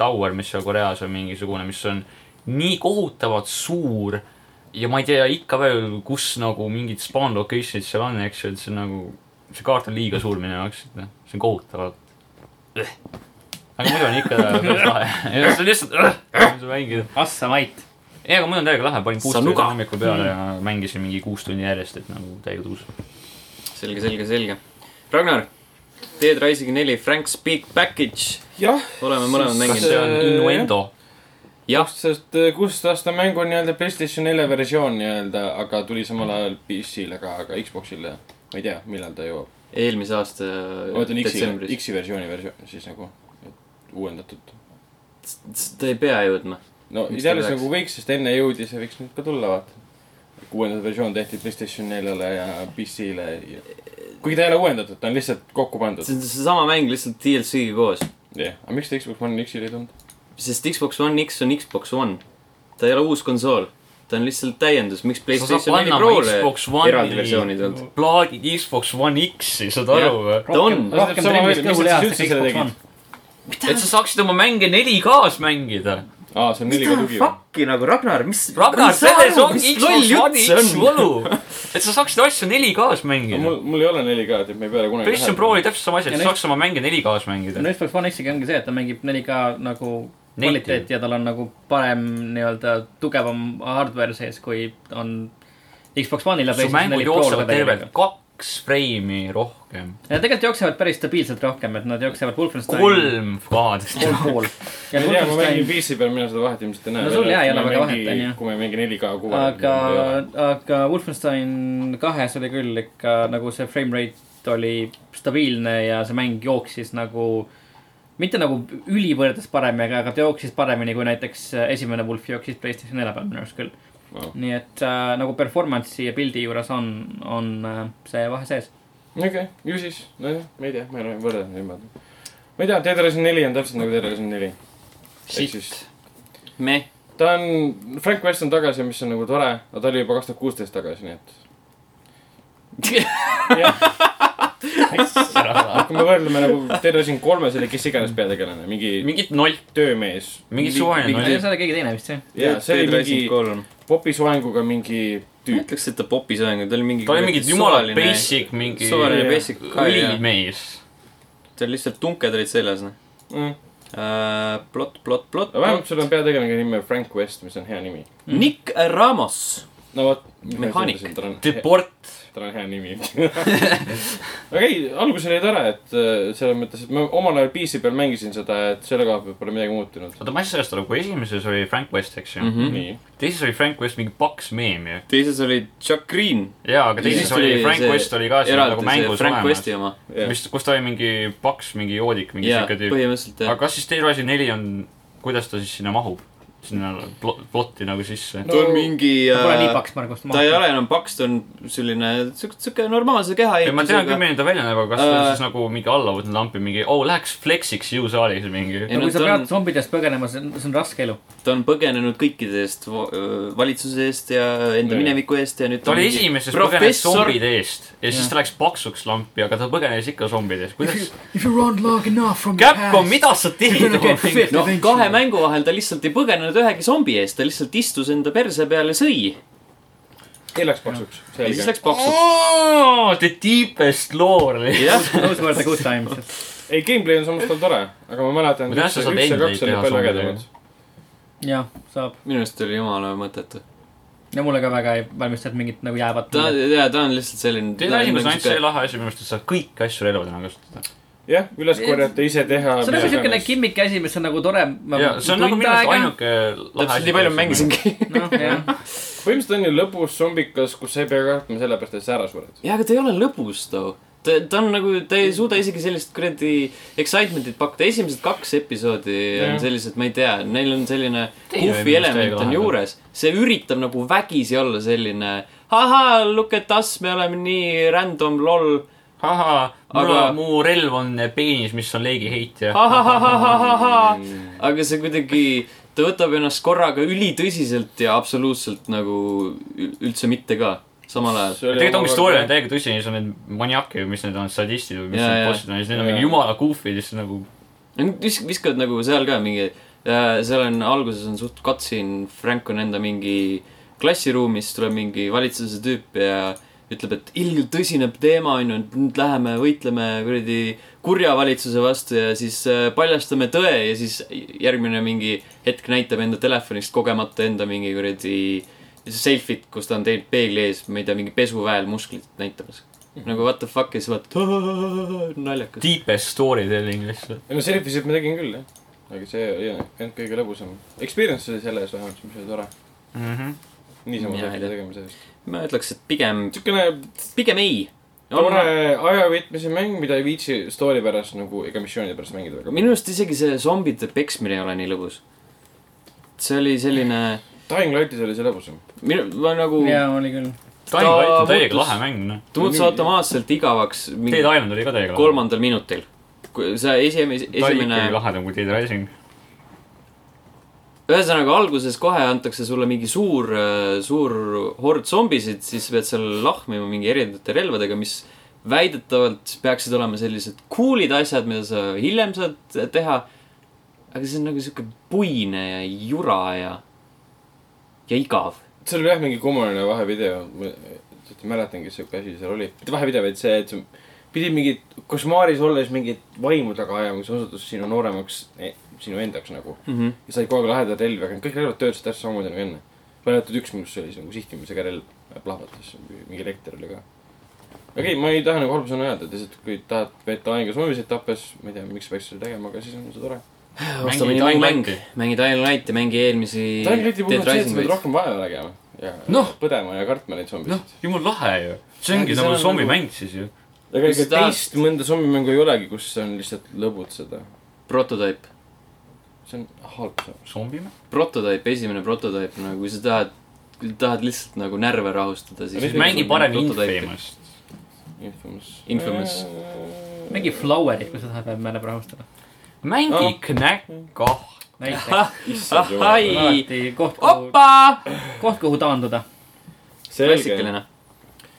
D: tower , mis seal Koreas on mingisugune , mis on nii kohutavalt suur ja ma ei tea ikka veel , kus nagu mingid spawn location'id seal on , eks ju , et see on nagu , see kaart on liiga suur minu jaoks , et noh , see on kohutavalt . aga muidu on ikka päris lahe , see on lihtsalt , sa mängid .
C: Assa Mait .
D: ei , aga mul on täiega lahe , panin kuus tundi
A: Sanuga.
D: hommikul peale ja mängisin mingi kuus tundi järjest , et nagu täiega tuus .
A: selge , selge , selge . Ragnar , Dead Rising neli , Frank's Big Package ,
B: jah ,
A: oleme mõlemad mänginud .
D: see on
B: Äh,
D: Innuendo .
A: jah ,
B: sest äh, kuusteist aasta mäng on nii-öelda Playstation nelja versioon nii-öelda , aga tuli samal ajal PC-le ka , aga Xbox'ile . ma ei tea , millal ta jõuab .
A: eelmise aasta
B: ma mõtlen X-i ,
A: detsembris .
B: X-i versiooni versioon siis nagu , et uuendatud .
A: ta ei pea jõudma .
B: no
A: Miks ta
B: ideaalis
A: peaks?
B: nagu võiks , sest enne jõudis ja võiks nüüd ka tulla , vaata . uuendatud versioon tehti Playstation neljale ja PC-le ja... . kuigi ta ei ole uuendatud , ta on lihtsalt kokku pandud .
A: see on seesama mäng lihtsalt DLC-ga koos ,
B: jah , aga miks ta Xbox One X-il ei tulnud ?
A: sest Xbox One X on Xbox One . ta ei ole uus konsool , ta on lihtsalt täiendus , miks
D: sa saad
A: PlayStation neli
D: panna
A: Pro-le
D: oma Xbox One'i
A: eraldi versioonid olnud .
D: plaadid Xbox One X-i , saad aru või ?
A: ta on ,
B: Rohkem trennis kõhule ajast, et Xbox One.
D: et sa saaksid oma mänge 4K-s mängida .
B: aa , see on neli ka
A: mida
B: tugi .
A: fuck'i nagu Ragnar , mis .
D: Ragnar , selles ongi Xbox One X võlu . et sa saaksid asju 4K-s mängida .
B: mul , mul ei ole 4K-d , et me ei pea kunagi .
D: PlayStation Pro oli täpselt sama asi , et
C: Ja
D: sa saaksid oma mänge 4K-s mängida .
C: no Xbox One X-iga ongi see , et ta mängib 4K nagu
D: Native.
C: kvaliteeti ja tal on nagu parem nii-öelda tugevam hardware sees , kui on Xbox One'il ja
D: su
C: PlayStation
D: mängud
C: 4 Pro'l
D: jooksevad
C: ka
D: tervelt
C: tegelikult .
D: kaks freimi rohkem .
C: ja tegelikult jooksevad päris stabiilselt rohkem , et nad jooksevad Wolfenstein .
D: kolm kaadrist .
C: kolm pool .
B: ma ei tea , ma mängin PC peal , mina seda vahet ilmselt ei näe .
C: No sul jaa, ei ole väga vahet, on ju.
B: kui ma ei mängi 4K kuue .
C: aga , aga Wolfenstein kahes oli küll ikka nagu see frame rate oli stabiilne ja see mäng jooksis nagu mitte nagu ülivõrdes paremini , aga ta jooksis paremini kui näiteks äh, esimene Wolf jooksis Playstation 4 peal minu arust küll .
B: no
C: nii et äh, nagu performance'i ja pildi juures on , on äh, see vahe sees .
B: okei okay, , ju siis , nojah , ma ei tea , ma ei ole võrrelnud niimoodi . ma ei tea , Tetris neli on täpselt nagu Tetris neli .
A: Shit. meh .
B: ta on , Frank West on tagasi , mis on nagu tore , aga ta oli juba kaks tuhat kuusteist tagasi , nii et . jah , kui me võrdleme nagu Tetris kolmes oli kes iganes peategelane , mingi
D: mingit nolt ,
B: töömees .
D: mingi suvaline
C: see
D: nolt .
C: oli keegi teine vist jah ?
B: ja see oli mingi
A: kolm .
B: popisoenguga mingi
A: ma
B: tüüp .
A: ütleks , et ta popis on , aga ta oli mingi .
D: ta oli mingi jumala basic , mingi
A: suvaline
B: Jaa.
A: basic ka ja
D: ülimees .
A: tal lihtsalt tunked olid seljas , noh . Äh,
B: aga
A: plott , plott , plott ,
B: mm, vähemalt
A: plott .
B: sul on peategelane nimi Frank West , mis on hea nimi .
D: Mhm.
A: Nick Ramos .
B: no vot .
A: Mehaanik. .
D: deport .
B: tal on hea nimi . aga ei , algus oli tore , et äh, selles mõttes , et ma omal ajal PC peal mängisin seda , et selle koha pealt pole midagi muutunud .
D: oota , ma ei saa sellest aru , kui esimeses oli Frank West , eks ju mm . -hmm.
A: nii .
B: nii .
D: teises oli Frank West mingi paks meem ju .
A: Mhm. teises oli Chuck Green .
D: jaa , aga teises oli Frank West oli ka seal nagu mängus
A: Frank
D: olemas
A: Westi . oma .
D: mis , kus ta oli mingi paks , mingi joodik , mingi
A: jaa ,
D: siuke tüüp .
A: põhimõtteliselt
D: aga
A: jah .
D: kas siis Terrasi neli on , kuidas ta siis sinna mahub ? sinna plo- , plotti nagu sisse
B: No,
D: no. .
A: ta on mingi .
C: ta pole nii paks , Margus .
A: ta ei ole enam paks , ta on selline , siuke , siuke normaalse keha .
D: ei , ma tean küll , milline ta välja näeb , aga kas ta on
A: Äh.
D: siis nagu mingi allavõtnud lampi mingi , oo , läheks flexiks jõusaalis mingi .
A: ei
C: no
A: no
C: kui sa
A: ta on
C: pead , zombidest põgenema , see on , see on raske elu .
A: ta on põgenenud kõikide eest , valitsuse eest ja enda
B: Jah.
A: mineviku eest ja nüüd
D: ta oli
A: on mingi
D: esimeses põgenes
A: professor
D: zombide eest ja siis ta läks paksuks lampi , aga ta põgenes ikka zombide eest . kuidas ?
E: If you run long enough from your
D: Capcom ,
E: past,
D: mida sa
E: you're gonna get
D: tegid ?
E: fit
A: noh , kahe
E: eventually.
A: mängu vahel ta lihtsalt ei põgenenud ühegi zombi eest , ta lihtsalt istus enda perse peal ja sõi .
B: ei läks paksuks .
A: ja siis
B: selge .
A: läks paksuks .
D: The deepest lore .
A: jah ,
C: Those were the good times .
B: ei , gameplay on samas tal tore , aga ma mäletan .
D: Ma tean, sa saad endid teha sellega.
C: jah , saab .
A: minu arust oli jumala mõttetu .
C: ja mulle ka väga ei valmistanud mingit nagu jäävat .
A: ta , jaa , ta on nagu lihtsalt selline .
D: Teine asi , mis on ainult see lahe asi minu meelest , et sa kõiki asju relvadena kasutada .
B: jah , üles korjata , ise teha .
C: see on nagu siukene . kimmik asi , mis on nagu tore .
D: ja see on nagu minu arust . ainuke lahe
A: täpselt nii palju ma . mängisingi .
C: noh , jah .
B: põhimõtteliselt on ju lõbus zombikas , kus sa ei pea kartma selle pärast , et sa ära sured .
A: jaa , aga ta ei ole lõbus too . ta , ta on nagu , ta ei suuda isegi sellist kuradi excitement'it pakkuda , esimesed kaks episoodi yeah. on
B: Jah.
A: sellised , ma ei tea , neil on selline
D: Teine oli
A: goofy
D: minu arust
A: element
D: täiega
A: on
D: lahe.
A: juures . see üritab nagu vägisi olla selline ahaa , look at us , me oleme nii random lol .
D: ahah , mul
A: Aga-
D: on , mu relv on peenis , mis on leegiheitja .
A: aga see kuidagi , ta võtab ennast korraga ülitõsiselt ja absoluutselt nagu ü- üldse mitte ka , samal ajal .
D: tegelikult ongi story on . täiega tõsine , siis on need maniakid või mis need on , sadistid või mis
A: Jaa,
D: need
A: jaa.
D: bossid on ja siis need on
B: Jaa.
D: mingi jumala goofy'd ja siis nagu
A: Nad vis- , viskavad nagu seal ka mingi , seal on alguses on suht katsin , Frank on enda mingi klassiruumis , tuleb mingi valitsuse tüüp ja ütleb , et ilgelt tõsine teema on ju , et nüüd läheme võitleme kuradi kurja valitsuse vastu ja siis äh, paljastame tõe ja siis järgmine mingi hetk näitab enda telefonist kogemata enda mingi kuradi selfit , kus ta on teinud peegli ees , ma ei tea , mingi pesuväel musklit näitamas . nagu what the fuck ja siis vaatad , naljakas .
D: deepest story telling lihtsalt .
B: ei no selfisid ma tegin küll , jah . aga see ei ole ainult kõige lõbusam . Experience oli selles vähemalt , mis oli tore .
D: Mhm.
B: niisama
A: Mina ei
B: selfide
A: tea.
B: tegemise eest .
A: ma ütleks , et pigem ,
B: siukene
A: pigem ei .
B: tore ajaveetmise mäng , mida ei viitsi story pärast nagu ega missioonide pärast mängida väga .
A: minu arust isegi see zombide peksmine ei ole nii lõbus . see oli selline ,
B: Dying Lightis oli see lõbusam .
A: minu , ma nagu ,
C: ja oli küll .
D: Time Light on
A: muutus-
D: täiega lahe mäng , noh .
A: ta muutus automaatselt igavaks mingi
D: Dead Island oli ka täiega lahe .
A: kolmandal minutil . kui see esimene ,
D: ta oli ikkagi
A: esimene ,
D: lahedam kui Dead Rising .
A: ühesõnaga alguses kohe antakse sulle mingi suur , suur hord zombisid , siis sa pead seal lahmima mingi erinevate relvadega , mis väidetavalt peaksid olema sellised cool'id asjad , mida sa hiljem saad teha . aga see on nagu sihuke puine ja jura ja , ja igav
B: seal oli jah mingi kummaline vahevideo . ma lihtsalt ei mäletangi , kes siuke asi seal oli . mitte vahevideo , vaid see , et sa pidid mingit košmaaris olles mingit vaimu taga ajama , mis osutus sinu nooremaks , sinu endaks nagu .
A: mm . -hmm.
B: ja said kogu aeg lahedaid relvi , aga kõik relvad töötasid täpselt samamoodi nagu enne . mäletad üks minust oli see nagu sihtimisega relv , plahvatas , mingi elekter oli ka . okei okay, , ma ei taha nagu halba sõna öelda , et lihtsalt kui tahad veeta aega zombisid tappes , ma ei tea , miks peaks seda tegema , aga siis on see tore .
A: osta
D: Mängi
A: mõni
D: Dying
A: mäng , mäng
D: Lighti. ,
A: mängi Dying Lighti , mängi eelmisi .
B: Dying Lighti puhul on see , et sa pead rohkem vaeva nägema ja
D: Noh.
B: põdema ja kartma neid
D: noh
B: zombisid .,
D: jumal lahe ju . see ongi
B: Jaa,
D: nagu
B: see on
D: zombimäng
B: nagu-
D: siis ju .
B: ega
A: Kas sa
B: ega
A: tahad-
B: teist mõnda zombimängu ei olegi , kus on lihtsalt lõbutseda .
A: Prototype ,
B: see on halb samm .
D: zombime ?
A: Prototype , esimene Prototype , nagu kui sa tahad , kui tahad lihtsalt nagu närve rahustada , siis
B: Mis
D: siis mängi
B: mängu
D: parem
A: Prototype'i.
D: Infamust .
B: Infamous . Äh,
A: Infamous. .
C: mängi Flowerit , kui sa tahad veel meelde rahustada .
D: mängi
B: Oh.
D: Knack kah .
C: näiteks ,
B: issand
A: Ahai!
B: jumal .
C: alati koht , kuhu ,
A: opa ,
C: koht , kuhu taanduda .
B: selge .
A: klassikaline .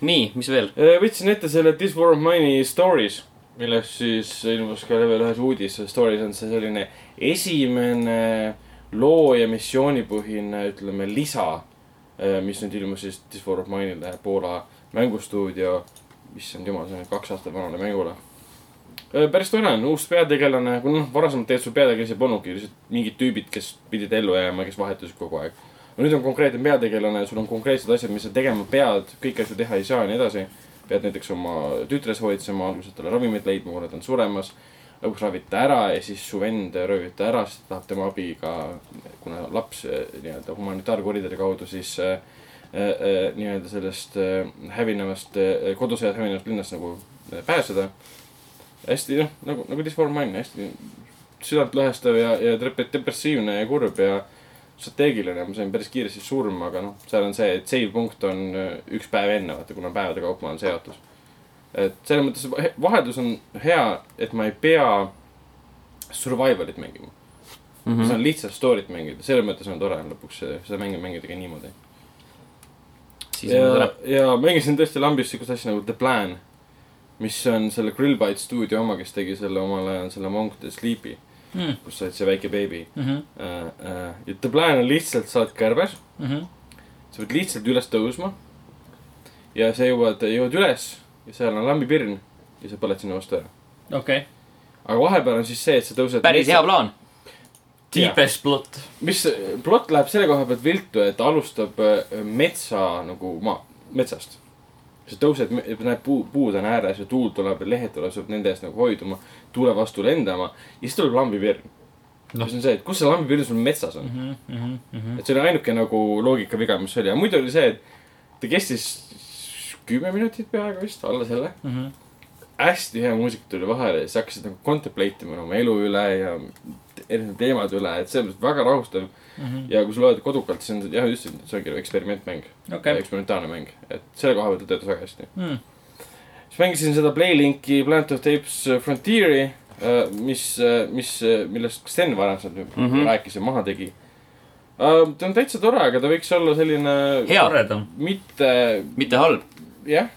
A: nii , mis veel ?
B: Äh, võtsin ette selle This War of Mine'i Stories , millest siis ilmus ka level ühes uudis . Stories on see selline esimene loo- ja missioonipõhine , ütleme , lisa , mis nüüd ilmus siis This War of Mine'ile , Poola mängustuudio . issand jumal , see on kaks aastat vanale mängule . päris tore on , uus peategelane , kuna noh , varasemalt tegelikult sul peategelasi polnudki , lihtsalt mingid tüübid , kes pidid ellu jääma , kes vahetusid kogu aeg . no nüüd on konkreetne peategelane , sul on konkreetsed asjad , mis sa tegema pead , kõiki asju teha ei saa ja nii edasi . pead näiteks oma tütres hoidsema , alguses talle ravimeid leidma , kuna ta on suremas . lõpuks ravib ta ära ja siis su vend röövib ta ära , sest ta tahab tema abi ka , kuna laps eh, nii-öelda humanitaarkoridori kaudu siis äh, äh, nii-öelda sellest äh, hävinevast äh, , kodusõjas hävinevast linnast nagu äh, pääseda . hästi noh , nagu , nagu disformaalne , hästi südantlõhestav ja , ja dep- depressiivne ja kurb ja strateegiline , ma sain päris kiiresti surma , aga noh , seal on see , et save punkt on äh, üks päev enne , vaata , kuna päevade kaupa on seotus . et selles mõttes vahe- vaheldus on hea , et ma ei pea survival'it mängima mm .
A: Mhm.
B: -hmm. ma saan lihtsalt story't mängida , selles mõttes on tore lõpuks see- seda mängu mängida ka niimoodi .
A: siis on
B: ja
A: tore .,
B: ja mängisin tõesti lambist siukest asja nagu The Plan , mis on selle Grillbite stuudio oma , kes tegi selle omal ajal selle Monk the Sleepy
C: Mm.
B: mm. , kus sa oled see väike beebi
C: Mhm,
B: uh, . Uh, ja The Plan on lihtsalt , sa oled kärbes ,
C: mhm.
B: sa pead lihtsalt üles tõusma . ja sa jõuad , jõuad üles ja seal on lambipirn ja sa põled sinna vastu ära .
C: okei ,
B: aga vahepeal on siis see , et sa tõused .
A: päris hea plaan .
D: Deepest plot .
B: mis plott läheb selle koha pealt viltu , et alustab äh, metsa nagu maa , metsast . sa tõused , näed puu , puud on ääres ja tuul tuleb ja lehed tulevad , sa pead nende eest nagu hoiduma , tuule vastu lendama ja siis tuleb lambipirn no. . mis on see , et kus see lambipirn sul metsas on
C: Mhm,
B: mm . -hmm. et see oli ainuke nagu loogikaviga , mis oli , aga muidu oli see , et ta kestis kümme minutit peaaegu vist , alla selle mm .
C: mhm,
B: -hmm. hästi hea muusika tuli vahele ja siis hakkasid nagu contemplate ima oma elu üle ja erinevate teemade üle , et selles mõttes väga rahustav mm . -hmm.
C: mhm.
B: ja kui sa loed kodukalt , siis on see- jah , just , see ongi nagu eksperimentmäng
C: okei .
B: eksperimentaalne mäng , et selle koha pealt ta töötas väga hästi
C: Hmm.
B: siis mängisin seda Playlinki Planet of the Apes Frontieri , mis , mis , millest Sten varem seal
A: Mhm.
B: -hmm. rääkis ja maha tegi . ta on täitsa tore , aga ta võiks olla selline
A: Hea.
D: toredam .
B: mitte ,
A: mitte halb .
B: jah ,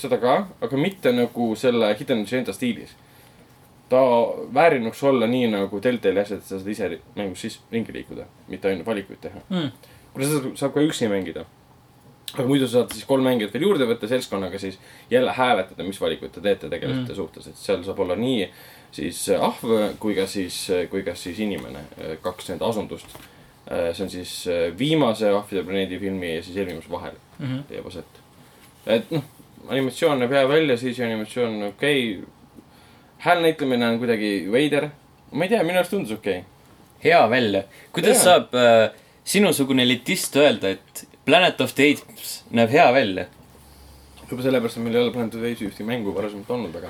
B: seda ka , aga mitte nagu selle Hidden Agenda stiilis . ta väärinuks olla nii nagu Deltali asjad , et sa saad ise mängus siis ringi liikuda , mitte ainult valikuid teha
C: Mm.
B: kuna seda saab ka üksi mängida . aga muidu sa saad siis kolm mängijat veel juurde võtta seltskonnaga , siis jälle hääletada , mis valikuid te teete tegelaste mm. suhtes , et seal saab olla nii siis äh, ahv kui ka siis , kui ka siis inimene , kaks nende asundust . see on siis äh, viimase Ahvide planeedi filmi ja siis eelviimase vahel mm
C: Mhm.
B: -hmm. teeb aset . et noh , animatsioon näeb hea välja , siis animatsioon okei okay. . hääl näitlemine on kuidagi veider . ma ei tea , minu arust tundus okei okay. .
A: hea välja . kuidas
B: Jaa.
A: saab äh, sinusugune elitist öelda , et Planet of the Apes näeb hea välja ?
B: juba sellepärast , et meil ei ole planeeritud veidi ühtegi mängu varasemalt olnud , aga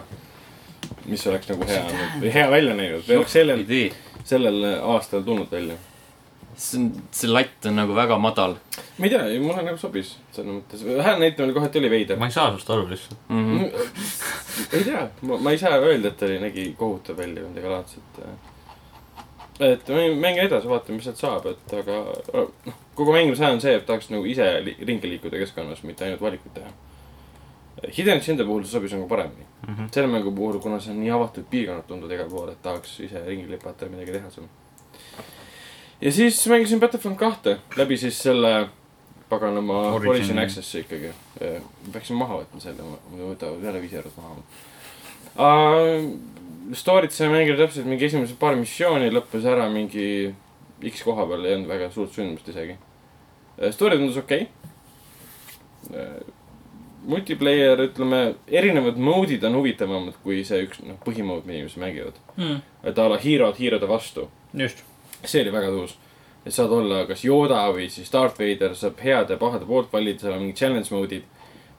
B: mis oleks nagu hea olnud või hea välja näinud või oleks sellel ,
A: idee .
B: sellel aastal tulnud välja .
A: see on , see latt on nagu väga madal
B: ma ei tea , mulle nagu sobis selles mõttes , hääl näitamine kohati oli veider .
D: ma ei saa sinust aru lihtsalt .
A: mm . -hmm.
B: ei tea , ma , ma ei saa öelda , et ta oli , nägi kohutav välja või midagi laadset . et mäng- mängi edasi , vaatame , mis sealt saab , et aga noh , kogu mängu see on see , et tahaks nagu ise li ringi liikuda keskkonnas , mitte ainult valikuid teha . Hidden Agenda puhul see sobis nagu paremini mm
D: Mhm.
B: -hmm. . selle mängu puhul , kuna see on nii avatud piirkonnad , tundub igal pool , et tahaks ise ringi lipata ja midagi teha seal . ja siis mängisin Battlefront kahte läbi siis selle paganama
D: Origini.
B: Origin Access'i ikkagi . peaksin maha võtma selle , muidu võtavad jälle viis eurot maha uh, . Story't sai mängida täpselt mingi esimesed paar missiooni , lõppes ära mingi X koha peal , ei olnud väga suurt sündmust isegi . Story tundus okei okay. . multiplayer , ütleme , erinevad mode'id on huvitavamad kui see üks , noh , põhimood , mida inimesed mängivad .
C: Mm.
B: et a la hiirad hiirade vastu .
C: just ,
B: see oli väga tõus . et saad olla kas Yoda või siis Darth Vader , saab head ja pahade poolt valida , seal on mingid challenge mode'id .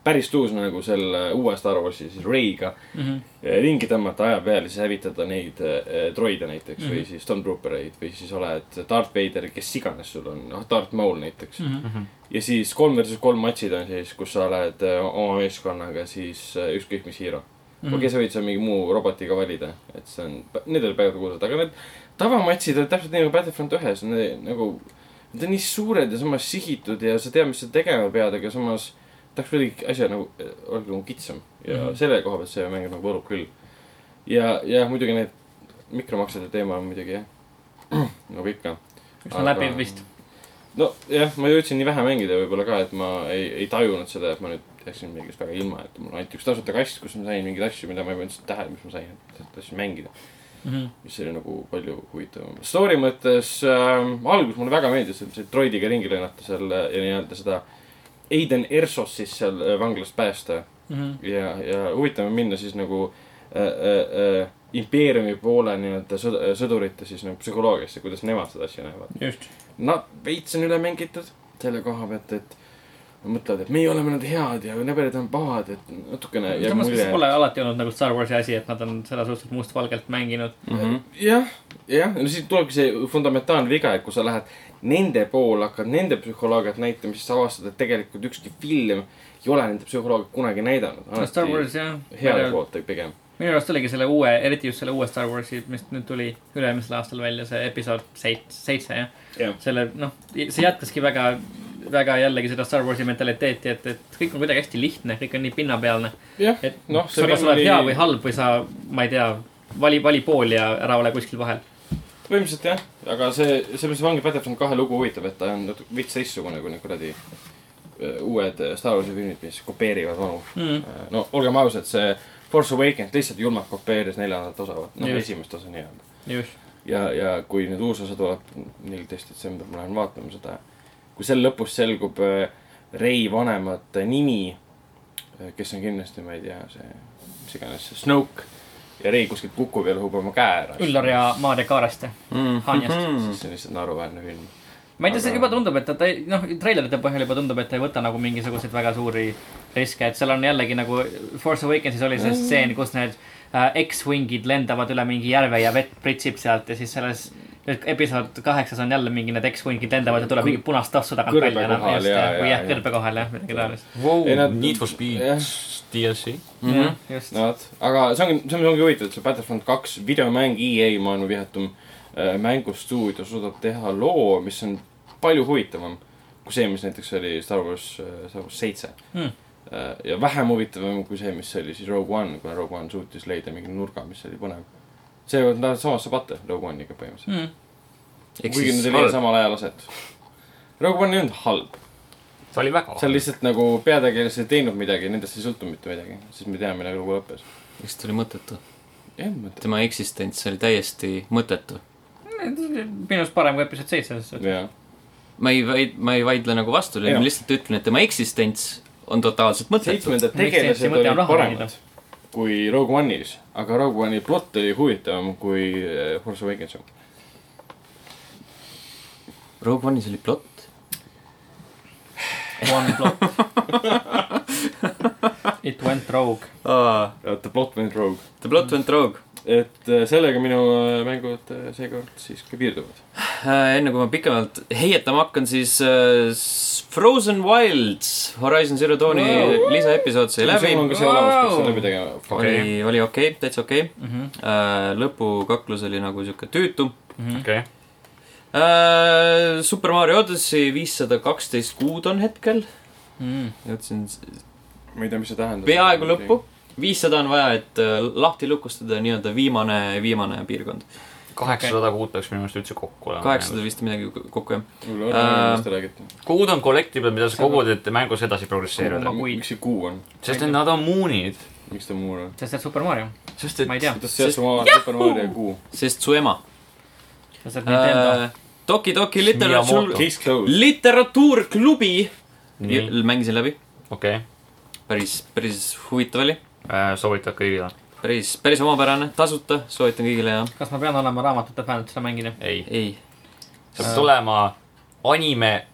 B: päris tuus nagu selle uue Star Warsi siis Ray'ga äh,
C: mm . -hmm.
B: ringi tõmmata aja peal ja siis hävitada neid äh, troide näiteks mm -hmm. või
C: Mhm.
B: siis Stormtroopereid või siis oled Darth Vader , kes iganes sul on , noh Darth Maul näiteks mm .
C: Mm -hmm.
B: -hmm. ja siis kolm versus kolm matšid on siis , kus sa oled äh, oma meeskonnaga siis äh, ükskõik mis hiiro mm -hmm. . okei , sa võid seal mingi muu robotiga valida , et see on , need olid väga kuulsad , aga need tavamatšid on täpselt nii nagu Battlefront ühes , nagu Nad on nii suured ja samas sihitud ja sa tead , mis sa tegema pead , aga samas tahaks kuidagi asja nagu , olgu nagu kitsam ja mm
C: Mhm.
B: -hmm. selle koha pealt see mäng nagu võlub küll . ja , ja muidugi need mikromaksete teema on muidugi jah , nagu ikka .
C: üks on läbi vist .
B: nojah , ma jõudsin nii vähe mängida võib-olla ka , et ma ei , ei tajunud seda , et ma nüüd jäksin mingist väga ilma , et mul anti üks tasuta kast , kus ma sain mingeid asju , mida ma ei pannud üldse tähele , mis ma sain , tahtsin mängida .
C: Mhm,
B: mis oli nagu palju huvitavam . story mõttes äh, , algus mulle väga meeldis , et see droidiga ringi lennata seal äh, ja nii-öelda seda Aiden Ersos siis seal äh, vanglast päästa
C: mhm.
B: ja , ja huvitav on minna siis nagu äh, äh, äh, impeeriumi poole nii-öelda sõd- äh, sõdurite siis nagu psühholoogiasse , kuidas nemad seda asja näevad .
C: just .
B: Nad veits on üle mängitud selle koha pealt , et nad mõtlevad , et meie oleme nad head ja neberid on pahad , et natukene jääb
C: samas , kas
B: mulje, et-
C: pole alati olnud nagu Star Warsi asi , et nad on seda suhteliselt mustvalgelt mänginud
A: mm . -hmm.
B: jah , jah , no siis tulebki see fundamentaalne viga , et kui sa lähed nende poole , hakkad nende psühholoogiat näitama , siis sa avastad , et tegelikult ükski film ei ole nende psühholoogiat kunagi näidanud .
C: no, ? Star Wars jah .
B: heade poolt pigem .
C: minu arust oligi selle uue , eriti just selle uue Star Warsi , mis nüüd tuli üle-eelmisel aastal välja , see episood seit- , seitse jah .
B: jah ,
C: selle noh , see jätkaski väga , väga jällegi seda Star Warsi mentaliteeti , et , et kõik on kuidagi hästi lihtne , kõik on nii pinnapealne .
B: jah ,
C: et
B: noh ,
C: sa kas oled hea või halb või sa , ma ei tea , vali , vali pool ja ära ole kuskil vahel .
B: põhimõtteliselt jah , aga see , selles ongi Battlefront kahe lugu huvitav , et ta on natuke veits teistsugune kui need kuradi öö, uued äh, Star Warsi filmid , mis kopeerivad vanu Äh,
C: Mm.
B: no olgem ausad , see Force Awakens lihtsalt julmalt kopeeris neljandat osa , noh
C: Just.
B: esimest osa nii-öelda .
C: just ,
B: ja , ja kui nüüd uus osa tuleb , neliteist detsember , ma lähen vaatama seda . kui selle lõpus selgub äh, Rey vanemate nimi , kes on kindlasti , ma ei tea , see , mis iganes , see Snoke ja Rey kuskilt kukub ja lõhub oma käe ära .
C: Üllar ja Maarja Kaaraste .
B: Mhm.
A: Mm
C: Hanjast.
A: -hmm.
B: see on lihtsalt naeruväärne film .
C: ma ei tea , see
B: Aga-
C: juba tundub , et ta , ta ei- noh , treilerite põhjal juba tundub , et ta ei võta nagu mingisuguseid väga suuri riske , et seal on jällegi nagu Force Awakensis oli
B: Mm.
C: see stseen , kus need äh, X-wingid lendavad üle mingi järve ja vett pritsib sealt ja siis selles nüüd episood kaheksas on jälle mingi need X-wingid lendavad ja tuleb mingi punast tassu tagant
B: Kõrbe
C: välja enam
B: kohal,
C: just
B: jaa,
C: ja , või
B: jaa,
C: jah ,
B: jaa.
C: kõrbe kohal jah , midagi taolist .
D: Wow,
B: Ei, nad-
D: Need for Speed
B: jah.
D: DLC .
C: jah , just
B: Mhm. no vot , aga see ongi , see ongi huvitav , et see Battlefront kaks videomäng , EA maailma vihatum äh, mängustuudio suudab teha loo , mis on palju huvitavam kui see , mis näiteks oli Star Wars , Star Wars seitse Äh,
C: Hmm.
B: ja vähem huvitavam kui see , mis oli siis Rogue One , kuna Rogue One suutis leida mingi nurga , mis oli põnev . see on ta samasse patta Rogue One'iga põhimõtteliselt ,
C: mm. .
A: ehk
B: kuigi
A: siis
B: nad ei leia
A: halb ,
B: samal ajal aset . Rogue One ei olnud halb ,
D: ta oli väga
B: seal . lihtsalt nagu peategelased ei teinud midagi , nendest ei sõltunud mitte midagi , siis me teame , millega lugu lõppes .
A: eks ta oli mõttetu .
B: jah , ma ütlen ,
A: tema eksistents oli täiesti mõttetu .
C: minu arust parem kui episood seitse , selles suhtes .
B: jah
A: ma ei vaid- , ma ei vaidle nagu vastu ,
B: Jaa.
A: ma lihtsalt ütlen , et tema eksistents on totaalselt mõttetu .
B: seitsmendad
C: Miks
B: tegelased
C: see mõte on
B: olid
C: raha
B: paremad
C: teenida?
B: kui Rogue One'is , aga Rogue One'i plott oli huvitavam kui äh, Force Awakens .
A: Rogue One'is oli plott .
C: One plot . It went rogue .
A: The
B: Äh, The plot went rogue .
A: plot went rogue .
B: et äh, sellega minu äh, mängud äh, seekord siis ka piirduvad .
A: Äh, enne kui ma pikemalt heietama hakkan , siis äh, s- Frozen Wilds , Horizon Zero Dawni wow.
B: Wow.
A: lisaepisood sai läbi .
B: sul on ka see olemas , peaks
C: Wow.
B: selle läbi tegema .
A: oli
D: Okei. ,
A: oli okei okay, , täitsa okei okay.
C: mm .
B: Mhm.
C: -hmm.
A: äh, . lõpukaklus oli nagu sihuke tüütu
C: Mhm.
D: okei ,
A: äh, . Super Mario Odyssey viissada kaksteist kuud on hetkel ,
C: Mm.
A: jõudsin s-
B: ma ei tea , mis see tähendab .
A: peaaegu lõppu . viissada on vaja , et äh, lahti lukustada nii-öelda viimane , viimane piirkond .
D: kaheksasada kuud peaks minu meelest üldse kokku olema .
A: kaheksasada vist midagi ko- kokku jah .
B: mul ei ole aimu ,
A: Äh,
B: mis te räägite .
D: kuud on collectible , mida sa kogud , et mängus edasi progresseeruda .
C: Koguma kuid.
B: miks see kuu on ?
D: sest et nad on muunid .
B: miks ta muu on ?
C: sest , et Super Mario ,
D: sest et
C: ma ei tea .
B: kuidas
A: Sest-
B: see asja oma Super Mario kuu ?
A: sest su ema .
C: sest , et
B: Äh,
C: Nintendo .
A: Toki Toki
D: Miyamoto.
A: literatuur ,
B: Case closed .
A: literatuurklubi .
D: nii ,
A: mängisin läbi ,
D: okei ,
A: päris , päris huvitav oli ,
D: soovitab kõigile .
A: päris , päris omapärane , tasuta , soovitan kõigile ja
C: kas ma pean olema raamatute fänn , et seda mängida ?
D: ei ,
A: ei ,
D: sa pead olema anime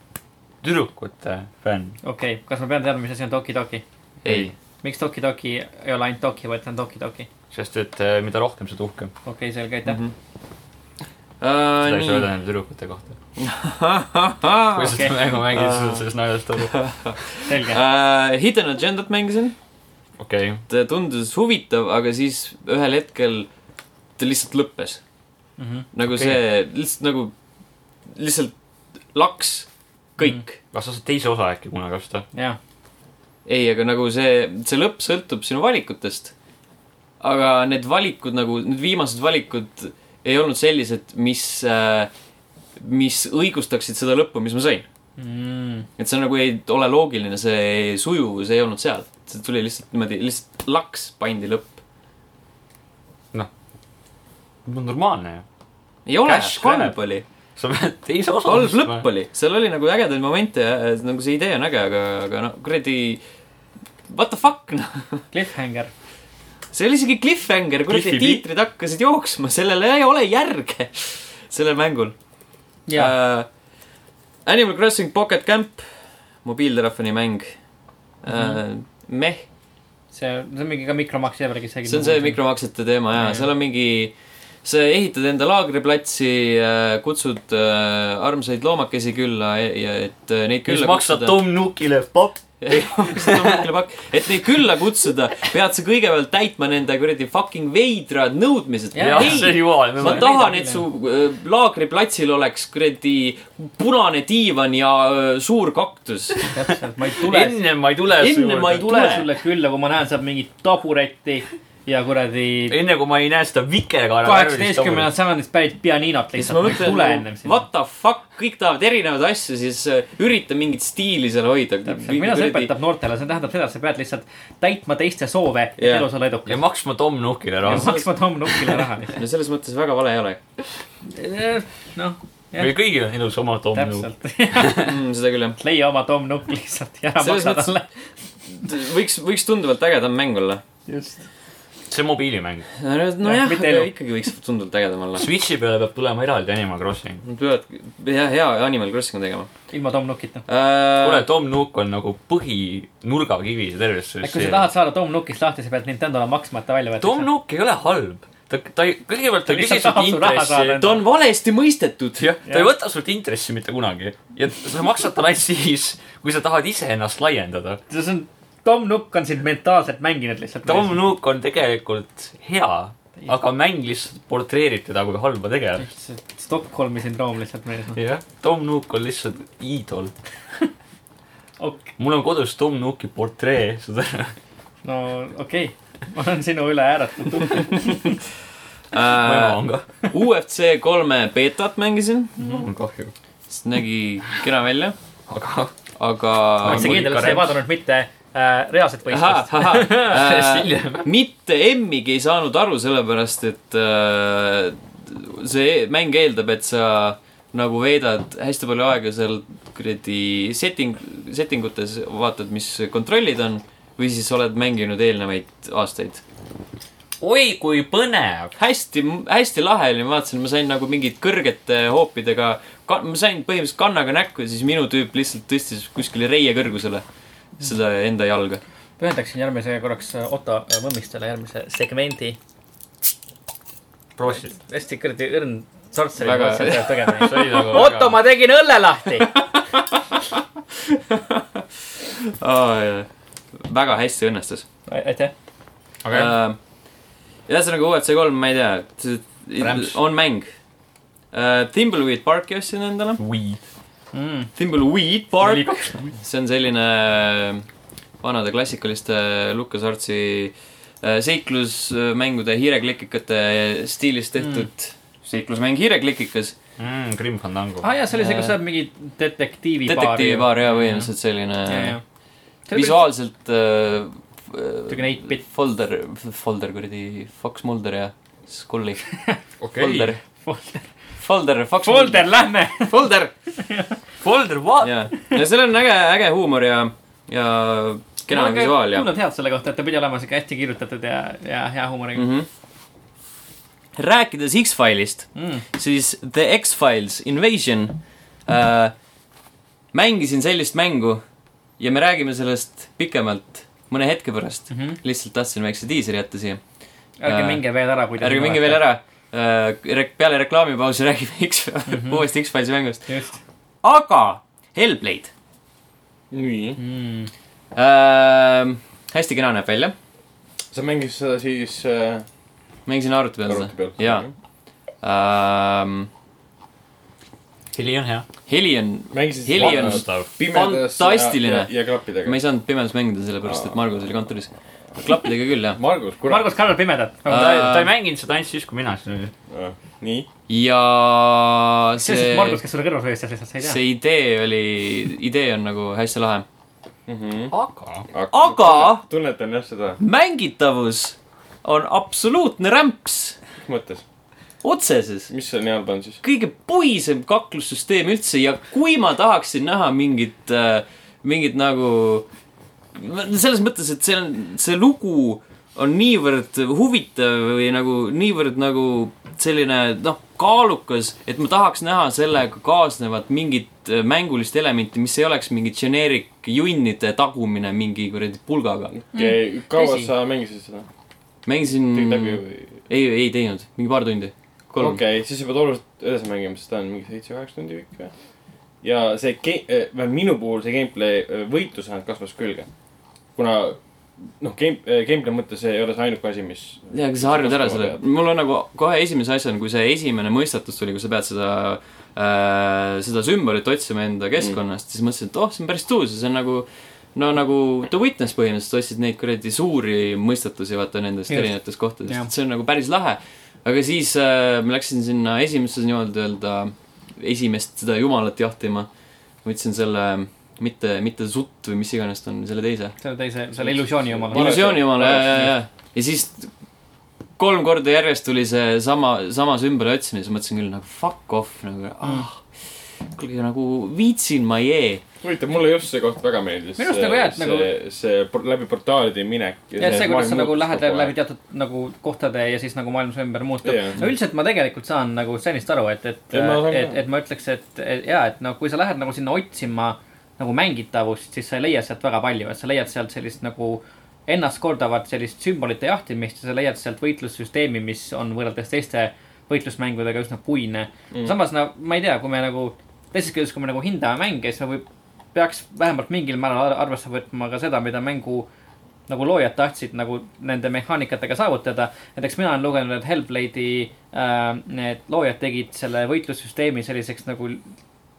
D: tüdrukute fänn .
C: okei okay. , kas ma pean teadma , mis asi on Toki Toki ?
A: ei ,
C: miks Toki Toki ei ole ainult Toki , vaid ta on Toki Toki ?
D: sest et äh, mida rohkem , seda uhkem .
C: okei okay, , selge , aitäh
A: Mhm.
C: mm .
D: Mhm. seda ei saa
A: Äh, nii Ah,
D: öelda , nende tüdrukute kohta . kui sa seda mängu mängid , siis saad sellest naljast aru .
C: -hmm. selge uh, .
A: Äh, Hidden Agendat mängisin ,
D: okei ,
A: ta tundus huvitav , aga siis ühel hetkel ta lihtsalt lõppes .
C: Mm -hmm.
A: nagu
D: Okei.
A: okay. see , lihtsalt nagu , lihtsalt laks kõik mm. .
D: kas sa saad teise osa äkki kunagi osta ?
C: jah ,
A: ei , aga nagu see , see lõpp sõltub sinu valikutest . aga need valikud nagu , need viimased valikud ei olnud sellised , mis äh, , mis õigustaksid seda lõppu , mis ma sain .
C: Mm.
A: et see nagu ei ole loogiline , see sujuvus ei olnud seal . see tuli lihtsalt niimoodi , lihtsalt laks pandi lõpp .
D: normaalne ju .
A: ei ole ,
D: Cash grab.
A: halb oli .
D: sa pead teise osa
A: halb lõpp . oli , seal oli nagu ägedaid momente ja ja nagu see idee on äge , aga , aga noh , kuradi . What the fuck , noh ,
C: cliffhanger .
A: see oli isegi cliffhanger , kuradi
D: Cliffi pi-
A: tiitrid hakkasid jooksma , sellel ei ole järge , sellel mängul . Äh.
C: jaa ,
A: Animal Crossing Pocket Camp , mobiiltelefoni mäng mm . -hmm.
D: Mhm.
A: meh ,
C: see , see on mingi ka mikromaks jällegi .
A: see on see . mikromaksete teema jaa ,
C: Jaa.
A: seal on mingi , sa ehitad enda laagriplatsi , kutsud äh, armsaid loomakesi külla ja- ja et äh, neid
D: kes
A: külla
D: maksab Tom Nookile papp .
A: pakk , et neid külla kutsuda , pead sa kõigepealt täitma nende kuradi fucking veidrad nõudmised .
C: Jah,
D: jah , see on
A: ei ,
D: jumala
A: ma
C: ei
D: nõme .
A: tahan ,
C: näida
A: et su äh, laagriplatsil oleks kuradi punane diivan ja äh, suur kaktus .
C: täpselt , ma ei tule
D: enne ma ei tule .
A: Enne ma ei
C: tule
A: tule.
C: sulle külla , kui ma näen seal mingit taburetti ja kuradi
D: enne kui ma ei näe seda vikerkaare .
C: kaheksateistkümnendast sajandist pärit pianinot
A: siis
C: lihtsalt ,
A: ma
C: ma ei tule
A: mõtlen
C: ennem , sinna .
A: what the fuck , kõik tahavad erinevaid asju , siis äh, ürita mingit stiili seal hoida .
C: mida see õpetab noortele , see tähendab seda , et sa pead lihtsalt täitma teiste soove , et
A: Jah.
C: elus olla
D: ja
C: edukas .
D: maksma Tom Nookile
C: ja
D: raha .
C: maksma Tom Nookile raha lihtsalt .
A: no selles mõttes väga vale ei ole
C: noh , jah.
D: meil kõigil on elus oma Tom Nook .
C: täpselt .
A: mm, , seda küll jah .
C: leia oma Tom Nook lihtsalt ja ära
A: Selles
C: maksa
A: mõttes-
C: talle .
A: võiks , võiks tunduvalt ägedam mäng olla .
C: just .
D: see on mobiilimäng .
A: nojah ,
C: mitte elu.
A: ikkagi võiks tunduvalt ägedam olla .
D: Switchi peale peab tulema eraldi Animal Crossing .
A: Nad peavad hea , hea Animal Crossing'u tegema
C: ilma Tom Nookita .
D: kuule ,
A: uh, .
D: Tom Nook on nagu põhinurgakivi terves
C: et
D: selles
C: kui sa tahad saada Tom Nookist lahti , sa pead Nintendole maksmata välja võtma .
D: Tom Nook ei ole halb . ta , ta ei , kõigepealt ta
C: Ta
D: ei
C: lihtsalt
D: küsi sult
C: tahab su raha saada.
D: intressi .
A: ta on valesti mõistetud .
D: jah , ta ei
C: Jah.
D: võta sult intressi mitte kunagi . ja sa maksad talle ainult siis , kui sa tahad iseennast laiendada .
C: see on , Tom Nook on sind mentaalselt mänginud lihtsalt .
D: Tom Nook on tegelikult hea , aga mäng lihtsalt portreerib teda kui halba tegelast .
C: Stockholmi sündroom lihtsalt meeles .
D: jah , Tom Nook on lihtsalt iidol .
C: Ok-
D: mul on kodus Tom Nooki portree , saad aru .
C: no okei okay. , ma olen sinu üle ääretult uhke .
D: mu ema on
A: Uh,
D: ka .
A: UFC kolme beetat mängisin ,
D: Äh, mul on kahju .
A: sest nägi kena välja ,
D: aga
A: aga .
C: oled sa kindel , et sa ei vaadanud mitte äh, reaalset võistlust ?
D: hiljem.
A: Äh, mitte emmigi ei saanud aru , sellepärast et äh, see e-, mäng eeldab , et sa nagu veedad hästi palju aega seal kuradi setting , setting utes , vaatad , mis kontrollid on või siis oled mänginud eelnevaid aastaid .
D: oi kui põnev .
A: hästi , hästi lahe oli , ma vaatasin , ma sain nagu mingid kõrgete hoopidega , ma sain põhimõtteliselt kannaga näkku ja siis minu tüüp lihtsalt tõstis kuskile reie kõrgusele seda enda jalga .
C: pühendaksin järgmise korraks äh, Otto äh, Mõmmistele järgmise segmendi .
D: prosit .
C: hästi kuradi õrn sortseri
A: Väga-
C: poolt sealt tegema .
D: see oli nagu
C: Otto , ma tegin õlle lahti .
A: väga hästi õnnestus .
C: aitäh .
D: aga jah ,
A: Äh, ühesõnaga UFC kolm , ma ei tea ,
C: Rämps.
A: on mäng . Thimbleweed Parki ostsin endale .
D: weed .
A: Mm. Thimbleweed Park , see on selline äh, vanade klassikaliste äh, Lucas Artsi seiklusmängude hiireklikikate äh, stiilis tehtud mm. seiklusmäng hiireklikikas .
D: mm, . Grim Fandango
C: aa . Ah, jaa , see oli see , kus sa oled mingi detektiivi .
A: detektiivipaar ja põhimõtteliselt selline
C: jaa. See oli
A: visuaalselt äh,
C: Siuke neit bit.
A: Folder , Folder kuradi , Fox Mulder ja Scully .
D: okei
A: Folder . Folder , Fox
C: Folder , lähme .
A: Folder .
D: Folder What ?
A: ja , ja seal on äge , äge huumor ja , ja kena visuaal ja
C: kuulnud head selle kohta , et ta pidi olema siuke hästi kirjutatud ja , ja hea huumoriga
A: mm . -hmm. Mhm. rääkides X-File'ist ,
C: mm. .
A: siis The X-Files Invasion äh, . mängisin sellist mängu ja me räägime sellest pikemalt mõne hetke pärast mm .
C: Mhm.
A: -hmm. lihtsalt tahtsin väikse diiseri jätta siia .
C: ärge
A: Äh,
C: minge veel ära , kui te .
A: ärge minge veel . ära . peale reklaamipausi räägime X mm , -hmm. uuesti X-Filesi mängust .
C: just
A: aga Hellblade
B: nii .
C: mm. .
A: äh, . hästi kena näeb välja .
B: sa mängisid seda siis äh,
A: mängisin arvuti peal
B: arvuti
A: seda
B: peal ?.
A: jaa äh, .
D: heli on hea .
A: heli on ,
B: mängisid
A: Heli on
B: pimedas ja-
A: fantastiline.
B: ja, ja klappidega
A: ma ei saanud pimedas mängida , sellepärast et Margus oli kontoris . klappidega küll , jah .
B: Margus , kurat
C: Margus Kallar Pimedat .
D: ta
A: Äh,
D: ta ei mänginud seda ainult siis , kui mina siin olin .
B: Margus. Ah, nii ,
A: ja
C: see on siis
A: see
C: Margus ,, kes sulle kõrvas hoiustas lihtsalt , sa ei tea .
A: see idee oli , idee on nagu hästi lahe .
D: Hm? aga .
A: Aga-
B: tunnetan jah seda ,
A: mängitavus on absoluutne rämps ,
B: mis mõttes ,
A: otseses .
B: mis seal nii halba on siis ?
A: kõige puisem kaklussüsteem üldse ja kui ma tahaksin näha mingit , mingit nagu , selles mõttes , et see on , see lugu on niivõrd huvitav või nagu niivõrd nagu selline noh , kaalukas , et ma tahaks näha sellega kaasnevat mingit äh, mängulist elementi , mis ei oleks mingi generic junnide tagumine mingi kuradi pulgaga .
B: okei , kaua
C: Mm. tõsi.
B: sa mängisid seda ?
A: mängisin ,
B: tegid läbi
A: ei ,
B: või ?
A: ei teinud , mingi paar tundi ,
B: okei
A: Mm, kolm okay. .
B: okay, , siis sa pead oluliselt edasi mängima , sest ta on mingi seitse-kaheksa tundi pikk või ? ja see ge- , vähemalt minu puhul see gameplay , võitlus ainult kasvas külge . kuna noh , game , gameplay mõttes ei ole see ainuke asi , mis .
A: jaa , aga sa harjud ära selle , mul on nagu kohe esimese asjana , kui see esimene mõistatus tuli , kui sa pead seda äh, , seda sümbolit otsima enda keskkonnast mm. , siis mõtlesin , et oh , see on päris tuus ja see on nagu no nagu The Witness põhimõtteliselt ostsid neid kuradi suuri mõistatusi , vaata nendest
C: Just.
A: Just. erinevatest kohtadest
C: Jah.
A: yeah. , see on nagu päris lahe . aga siis äh, ma läksin sinna esimesse nii-öelda öelda esimest seda jumalat jahtima . võtsin selle mitte , mitte sutt või mis iganes ta on , selle teise .
C: selle teise , selle illusiooni omale .
B: Margus-
A: illusiooni omale , ja ,
B: Margus-
A: ja , ja , ja siis kolm korda järjest tuli see sama , sama sümboli otsimine , siis mõtlesin küll nagu fuck off nagu ah , kuulge nagu viitsin ma jee .
B: huvitav , mulle just see koht väga meeldis .
C: Minu arust nagu jah, et nagu-
B: see, see por- läbi portaalide minek .
C: ja et see , kuidas sa nagu lähed läbi, läbi teatud nagu kohtade ja siis nagu maailmas ümber muutub
B: Jah.
C: yeah. . no üldiselt ma tegelikult saan nagu Stenist aru , et , et ,
B: Ei, ma
C: et,
B: saan ka.
C: et, et ma ütleks , et et jaa , et no kui sa lähed nagu sinna otsima nagu mängitavust , siis sa ei leia sealt väga palju , et sa leiad sealt sellist nagu ennastkordavat sellist sümbolite jahtimist ja sa leiad sealt võitlussüsteemi , mis on võrreldes teiste võitlusmängudega üsna puine mm. . samas no ma ei tea , kui me nagu , teisest küljest , kui me nagu hindame mänge , siis me võib , peaks vähemalt mingil määral ar- arvesse võtma ka seda , mida mängu nagu loojad tahtsid nagu nende mehaanikatega saavutada . näiteks mina olen lugenud , et Hellblade'i äh, need loojad tegid selle võitlussüsteemi selliseks nagu ,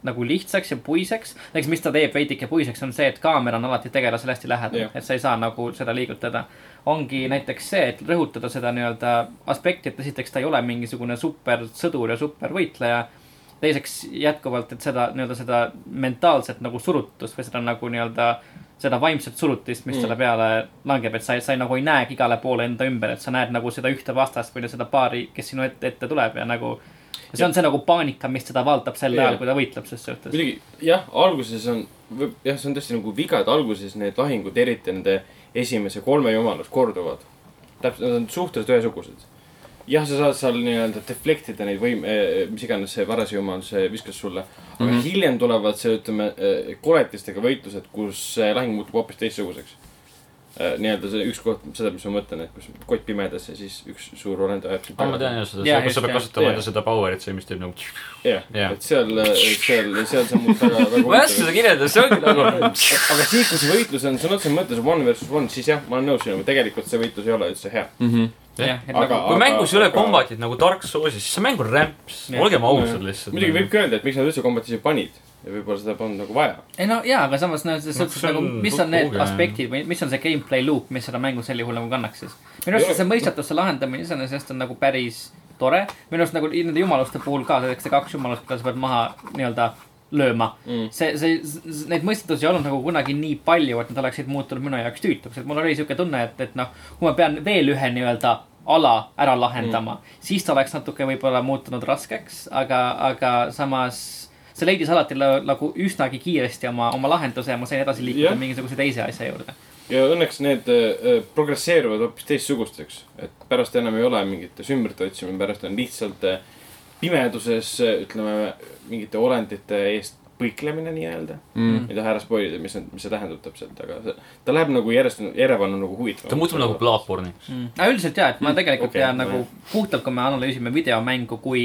C: nagu lihtsaks ja puiseks . näiteks , mis ta teeb veidike puiseks , on see , et kaamera on alati tegelasele hästi lähedal
B: Jah. ,
C: et sa ei saa nagu seda liigutada . ongi näiteks see , et rõhutada seda nii-öelda aspekti , et esiteks ta ei ole mingisugune supersõdur ja supervõitleja teiseks jätkuvalt , et seda nii-öelda seda mentaalset nagu surutust või seda nagu nii-öelda seda vaimset surutist , mis mm. selle peale langeb , et sa , sa ei, nagu ei näegi igale poole enda ümber , et sa näed nagu seda ühte vastast või seda paari , kes sinu ette , ette tuleb ja nagu . ja see on see nagu paanika , mis teda valdab sel
B: Jaa.
C: ajal , kui ta võitleb ses suhtes .
B: muidugi jah , alguses on , jah , see on tõesti nagu viga , et alguses need lahingud , eriti nende esimese kolme jumalus korduvad . täpselt , nad on suhteliselt ühesugused . jah , sa saad seal nii-öelda deflect ida neid võim- , mis iganes see varas jumal , see viskas sulle . aga
D: Mhm.
B: mm -hmm. hiljem tulevad see , ütleme , koletistega võitlused , kus see lahing muutub hoopis teistsuguseks . nii-öelda see üks koht , seda , mis ma mõtlen , et kus kott pimedas ja siis üks suur olend ajab sind
D: aa , Ah, ma tean jah seda ,
C: Jaa,
D: see , kus
C: just,
D: sa pead
C: jah.
D: kasutama
B: Jaa.
D: enda seda power'it , see , mis teeb nagu .
B: jah
D: Jah.
B: yeah. , et seal , seal , seal see muutub väga , väga
D: ma ei oska seda kirjeldada , see ongi nagu .
B: aga siis , kui see võitlus on sõna otseses mõttes one versus one , siis jah , ma olen nõus sinuga , tegelikult see võitlus ei ole üldse hea .
C: jah , et
B: Aga-
C: nagu
D: kui mängus ei ole
B: aga-
D: kombatit nagu Dark Soulsis , siis see mäng on rämps ,
C: Jah.
D: olgem ausad lihtsalt . nagu-
B: muidugi võib ka öelda , et miks nad üldse kombatiisi panid ja võib-olla seda polnud nagu vaja .
C: ei no jaa , aga samas noh , selles
D: No
C: suhtes
D: see
C: nagu ,
D: on
C: mis on need
D: puhkuge.
C: aspektid või mis on see gameplay loop , mis seda mängu sel juhul nagu kannaks siis . minu
B: Ei ole-
C: arust see mõistatuse lahendamine iseenesest on nagu päris tore . minu arust nagu nende jumaluste puhul ka , näiteks see kaks jumalust , keda sa pead maha nii-öelda lööma mm. . see , see , neid mõistatusi ei olnud nagu kunagi nii palju , et nad oleksid muutunud minu jaoks tüütuks , et mul oli siuke tunne , et , et noh , kui ma pean veel ühe nii-öelda ala ära lahendama mm. , siis ta oleks natuke võib-olla muutunud raskeks , aga , aga samas see leidis alati la- nagu üsnagi kiiresti oma , oma lahenduse ja ma sain edasi liikuda
B: Jah.
C: yeah. mingisuguse teise asja juurde .
B: ja õnneks need äh, äh, progresseeruvad hoopis teistsugusteks , et pärast enam ei ole mingite sümbrite otsimine , pärast on lihtsalt äh, pimeduses äh, ütleme mingite olendite eest põiklemine nii-öelda mm. . ei taha ära spoilida , mis , mis see tähendab täpselt , aga see, ta läheb nagu järjest , Erevan on nagu huvitavam .
D: ta muutub nagu . platvormiks .
C: Mm. aga üldiselt jaa , et
A: Mm.
C: ma tegelikult
B: okei,
C: okay, pean
B: no
C: nagu puhtalt , kui me analüüsime videomängu kui ,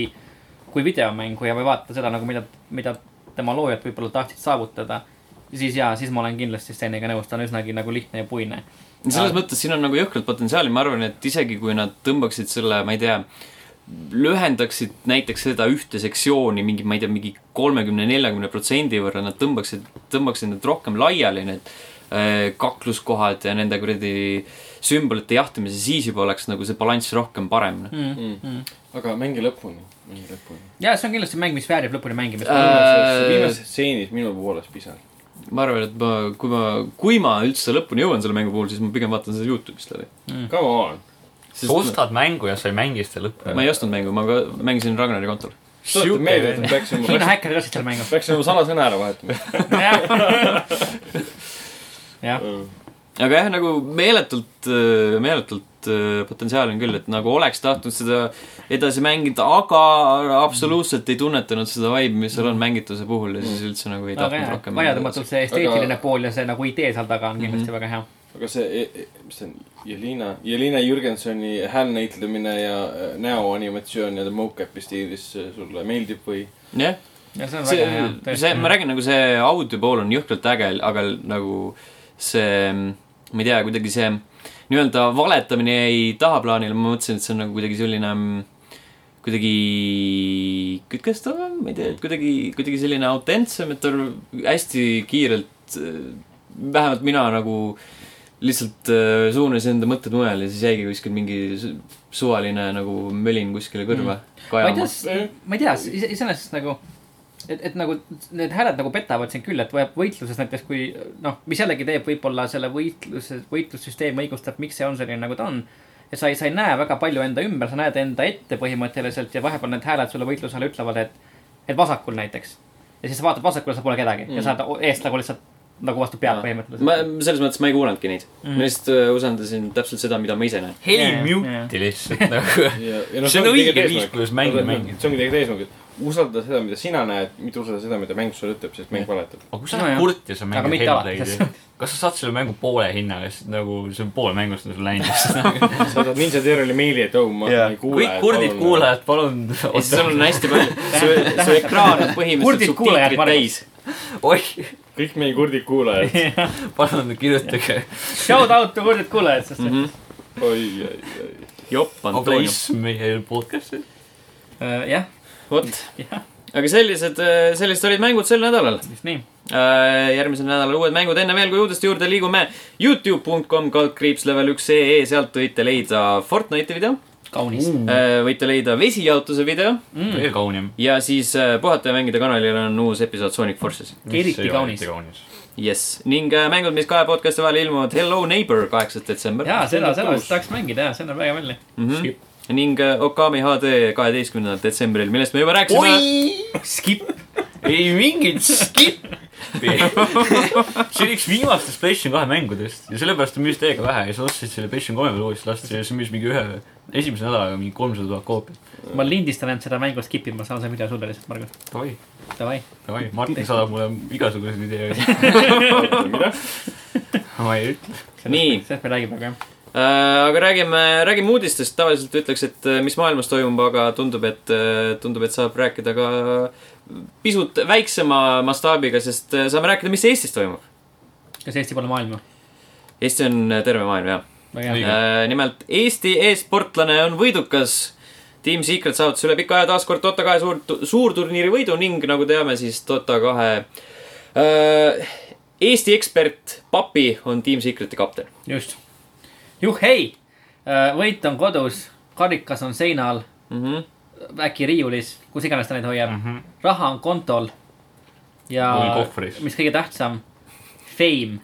C: kui videomängu ja ma ei vaata seda nagu , mida , mida tema loojad võib-olla tahtsid saavutada . siis jaa , siis ma olen kindlasti Steniga nõus , ta on üsnagi nagu lihtne ja puine .
A: selles mõttes siin on nagu jõhkralt potentsiaali , ma arvan , et isegi kui nad tõmbaksid selle , ma ei tea , lühendaksid näiteks seda ühte sektsiooni mingi , ma ei tea , mingi kolmekümne , neljakümne protsendi võrra , nad tõmbaksid , tõmbaksid need rohkem laiali , need äh, kakluskohad ja nende kuradi sümbolite jahtimise , siis juba oleks nagu see balanss rohkem parem .
B: aga mängi lõpuni , mängi lõpuni .
C: jaa , see on kindlasti mäng , mis väärib lõpuni mängimist
A: Äh,
C: äh, .
B: viimases stseenis minu pooles pisar .
A: ma arvan , et ma , kui ma , kui ma üldse lõpuni jõuan selle mängu puhul , siis ma pigem vaatan seda Youtube'ist läbi .
B: Come on .
D: sa ostad mängu ja sa ei mängi seda lõpuni .
A: ma ei ostnud mängu , ma ka mängisin Ragnari kontol .
B: tuletan meelde , et me
C: Hiina
B: peaksime ,
C: häkkerid ostsid selle mängu .
B: peaksime oma salasõna ära vahetama .
C: jah ,
B: Äh,
A: aga jah , nagu meeletult , meeletult äh, potentsiaali on küll , et nagu oleks tahtnud seda edasi mängida , aga absoluutselt ei tunnetanud seda vibe'i , mis seal on mängituse puhul ja siis üldse nagu ei
C: aga
A: tahtnud
C: jah ,
A: rohkem Mhm. mängida .
C: vaieldamatult see esteetiline aga... pool ja see nagu idee seal taga on kindlasti mm -hmm. väga hea .
B: aga see , mis see on , Jelina , Jelina Jürgensoni hääl näitlemine ja äh, näoanimatsioon ja mocap'i stiilis äh, sulle meeldib või ?
A: jah ,
C: ja see on see,
A: see
C: väga hea ,,
A: see ,
C: tõesti .
A: ma räägin nagu see audio pool on jõhkralt äge , aga nagu see , ma ei tea , kuidagi see nii-öelda valetamine jäi tahaplaanile , ma mõtlesin , et see on nagu kuidagi selline mm, kuidagi kütkestav , ma ei tea , et kuidagi , kuidagi selline autentsem , et ta hästi kiirelt , vähemalt mina nagu lihtsalt äh, suunasin enda mõtted mujale ja siis jäigi kuskil mingi su- suvaline nagu mölin kuskile kõrva
C: Mm. ma ei
A: kajama .
C: tea , ma ei tea , iseenesest nagu , et , et nagu need hääled nagu petavad sind küll , et võib- võitluses näiteks kui noh , mis jällegi teeb võib-olla selle võitluse , võitlussüsteem õigustab , miks see on selline , nagu ta on . ja sa ei , sa ei näe väga palju enda ümber , sa näed enda ette põhimõtteliselt ja vahepeal need hääled sulle võitluse ajal ütlevad , et , et vasakul näiteks . ja siis sa vaatad vasakule , seal pole kedagi ja sa oled eest nagu lihtsalt nagu vastu
A: Mm.
C: pead
A: ma
C: põhimõtteliselt .
A: selles mõttes ma ei kuulanudki neid mm. , ma lihtsalt öö, usaldasin täpselt seda , mida ma ise näen .
D: heli
C: Jaa,
D: mute'i lihtsalt nagu .
B: noh,
D: See on õige viis, kuidas mänge mängida.
B: see ongi tegelikult eesmärk , et usalda seda , mida sina näed , mitte usalda seda , mida mäng sulle ütleb , sest mäng valetab .
D: aga kui sa
C: No
D: oled
C: jah.
D: kurt ja sa
C: Aga
D: mängid
C: mitte alati,
D: Hellblaide'i , kas sa saad selle mängu poole hinnaga , sest nagu see on pool mängust on sul läinud .
B: saadad Ninja Terrori meili , et oh , ma ei kuule . oh,
D: kõik kurdid . kuulajad , palun
A: ja siis sul on hästi palju , su , su ekraan on
C: Kurdid
A: põhimõtteliselt
C: kuulajad,
A: subtiitrid
C: Margus.
A: täis .
D: oih ,
B: kõik meie kurdid kuulajad .
D: palun kirjutage .
C: Shout out to kurdid kuulajad , sest
A: Mhm.
C: mm -hmm.
B: oi , oi , oi .
A: jopp ,
C: Oh,
A: Antonio .
D: ableism meie podcast'i .
C: äh, jah ,
A: vot
C: Jah. .
A: aga sellised , sellised olid mängud sel nädalal .
C: just nii .
A: järgmisel nädalal uued mängud , enne veel kui uudiste juurde liigume , Youtube.com kaldkriips level üks ee , sealt võite leida Fortnite'i video ,
C: kaunis .
A: võite leida vesijaotuse video
C: Mm.
D: veel kaunim .
A: ja siis öö, puhata ja mängida kanalil on uus episood Sonic Forces .
C: Eriti kaunis.
A: jess , ning äh, mängud , mis kahe podcast'i vahel ilmuvad , Hello Neighbor , kaheksas detsember .
C: jaa , seda , seda
B: Tundub
C: vist tahaks mängida ja see näeb väga välja .
D: Mhm.
A: mm . -hmm. ning äh, Okami HD kaheteistkümnendal detsembril , millest me juba rääkisime .
C: Skip .
D: ei mingit skippi . see oli üks viimastest PlayStation kahe mängudest ja sellepärast ta müüs täiega vähe ja sa ostsid selle PlayStation kolme peal uuesti lasta ja see müüs mingi ühe , esimese nädalaga mingi kolmsada tuhat koopiat .
C: ma lindistan end seda mängu skip ima , saan selle video sulle lihtsalt , Margus .
D: davai ,
C: Davai .
D: davai , Martin saadab mulle igasuguseid ideid .
B: mida ?
D: ma ei ütle .
A: Nii. äh,
C: sellest me räägime praegu jah .
A: aga räägime , räägime uudistest , tavaliselt ütleks , et äh, mis maailmas toimub , aga tundub , et äh, tundub , et saab rääkida ka pisut väiksema mastaabiga , sest äh, saame rääkida , mis Eestis toimub .
C: kas Eesti pole maailma ?
A: Eesti on äh, terve maailm , jah .
C: väga hea .
A: Äh, nimelt Eesti e-sportlane on võidukas . Team Secret saavutas üle pika aja taas kord Dota kahe suur , suurturniiri võidu ning nagu teame , siis Dota kahe äh, Eesti ekspert Papi on Team Secreti kapten .
C: just . juhhei , võit on kodus , karikas on seinal ,
A: Mm -hmm.
C: äkki riiulis , kus iganes ta neid hoiab mm .
D: Mhm.
C: -hmm. raha on kontol . ja
D: Mul kohvris.
C: mis kõige tähtsam , fame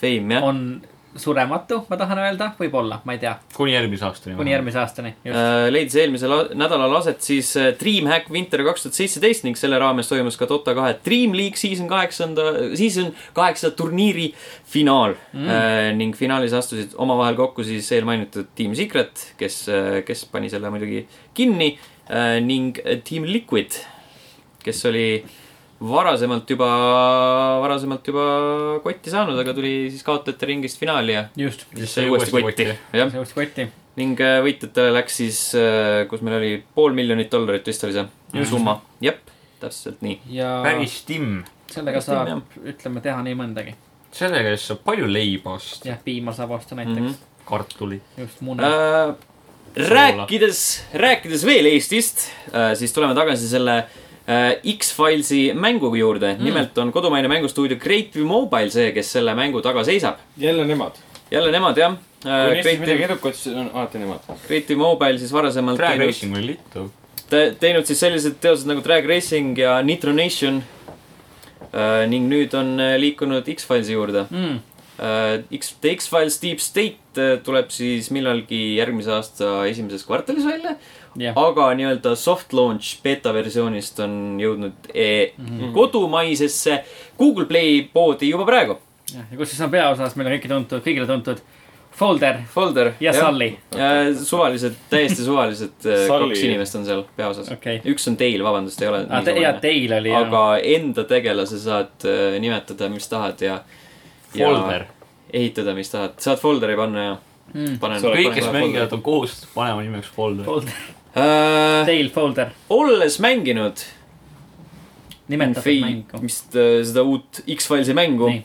A: Fame jah .
C: on surematu , ma tahan öelda , võib-olla , ma ei tea ,
D: kuni järgmise aastani .
C: kuni . järgmise aastani . just ,
A: Äh, leidis eelmisel a- nädalal aset siis äh, Dreamhack Winter kaks tuhat seitseteist ning selle raames toimus ka Dota kahe Dream League season kaheksanda , season kaheksa turniiri finaal mm. . ning finaalis astusid omavahel kokku siis eelmainitud Team Secret , kes , kes pani Äh, selle muidugi kinni äh, ning Team Liquid , kes oli varasemalt juba , varasemalt juba kotti saanud , aga tuli siis kaotajate ringist finaali ja
C: just ,
A: siis sai uuesti kotti . jah ,
C: see uuesti kotti .
A: ning äh, võitjatele läks siis , kus meil oli pool miljonit dollarit vist oli see
D: Just.
A: summa . jep , täpselt nii .
C: ja
D: päris timm .
C: sellega
A: päris
C: saab
A: timm, ,
C: ütleme , teha nii mõndagi .
D: sellega eest saab palju leiba osta .
C: jah , piima saab osta
A: Mhm.
C: näiteks ,
D: kartulit .
C: just mune .
A: Äh, rääkides , rääkides veel Eestist , siis tuleme tagasi selle äh, X-Filesi mängu juurde mm. . nimelt on kodumaine mängustuudio Greatview Mobile see , kes selle mängu taga seisab .
B: jälle nemad .
A: jälle nemad jah .
B: kui on Eestis midagi
A: Greatview
B: edukat , siis on alati nemad .
A: Greatview Mobile siis varasemalt
D: Drag
A: teinud-
D: Racing oli litu .
A: te- teinud siis sellised teosed nagu Drag Racing ja Nitro Nation . ning nüüd on äh, liikunud X-Filesi juurde .
C: Mm.
A: Äh, X , The X-Files Deep State äh, tuleb siis millalgi järgmise aasta esimeses kvartalis välja .
C: jah ,
A: aga nii-öelda soft launch beeta versioonist on jõudnud e
C: Mhm.
A: kodumaisesse Google Play poodi juba praegu .
C: ja kus siis on peaosas meile kõiki tuntud , kõigile tuntud Folder
A: Folder .
C: ja Sully .
A: suvalised , täiesti suvalised äh,
B: Sully.
A: kaks inimest on seal peaosas
C: Okei.
A: üks on teil , vabandust , ei ole
C: aa , Ah, te , jaa , teil oli jah .
A: aga enda tegelase saad äh, nimetada , mis tahad ja .
D: Folder ..
A: ehitada , mis tahad , saad folderi panna ja
C: Mm.
A: panen .
D: kõik , kes mängivad , on kohustatud panema nimeks Folder .
C: Folder ,
A: mängivad .
C: teil Folder ,
A: Äh, olles mänginud
C: nimetatud mängu .
A: vist äh, seda uut X-Filesi mängu
C: nii ,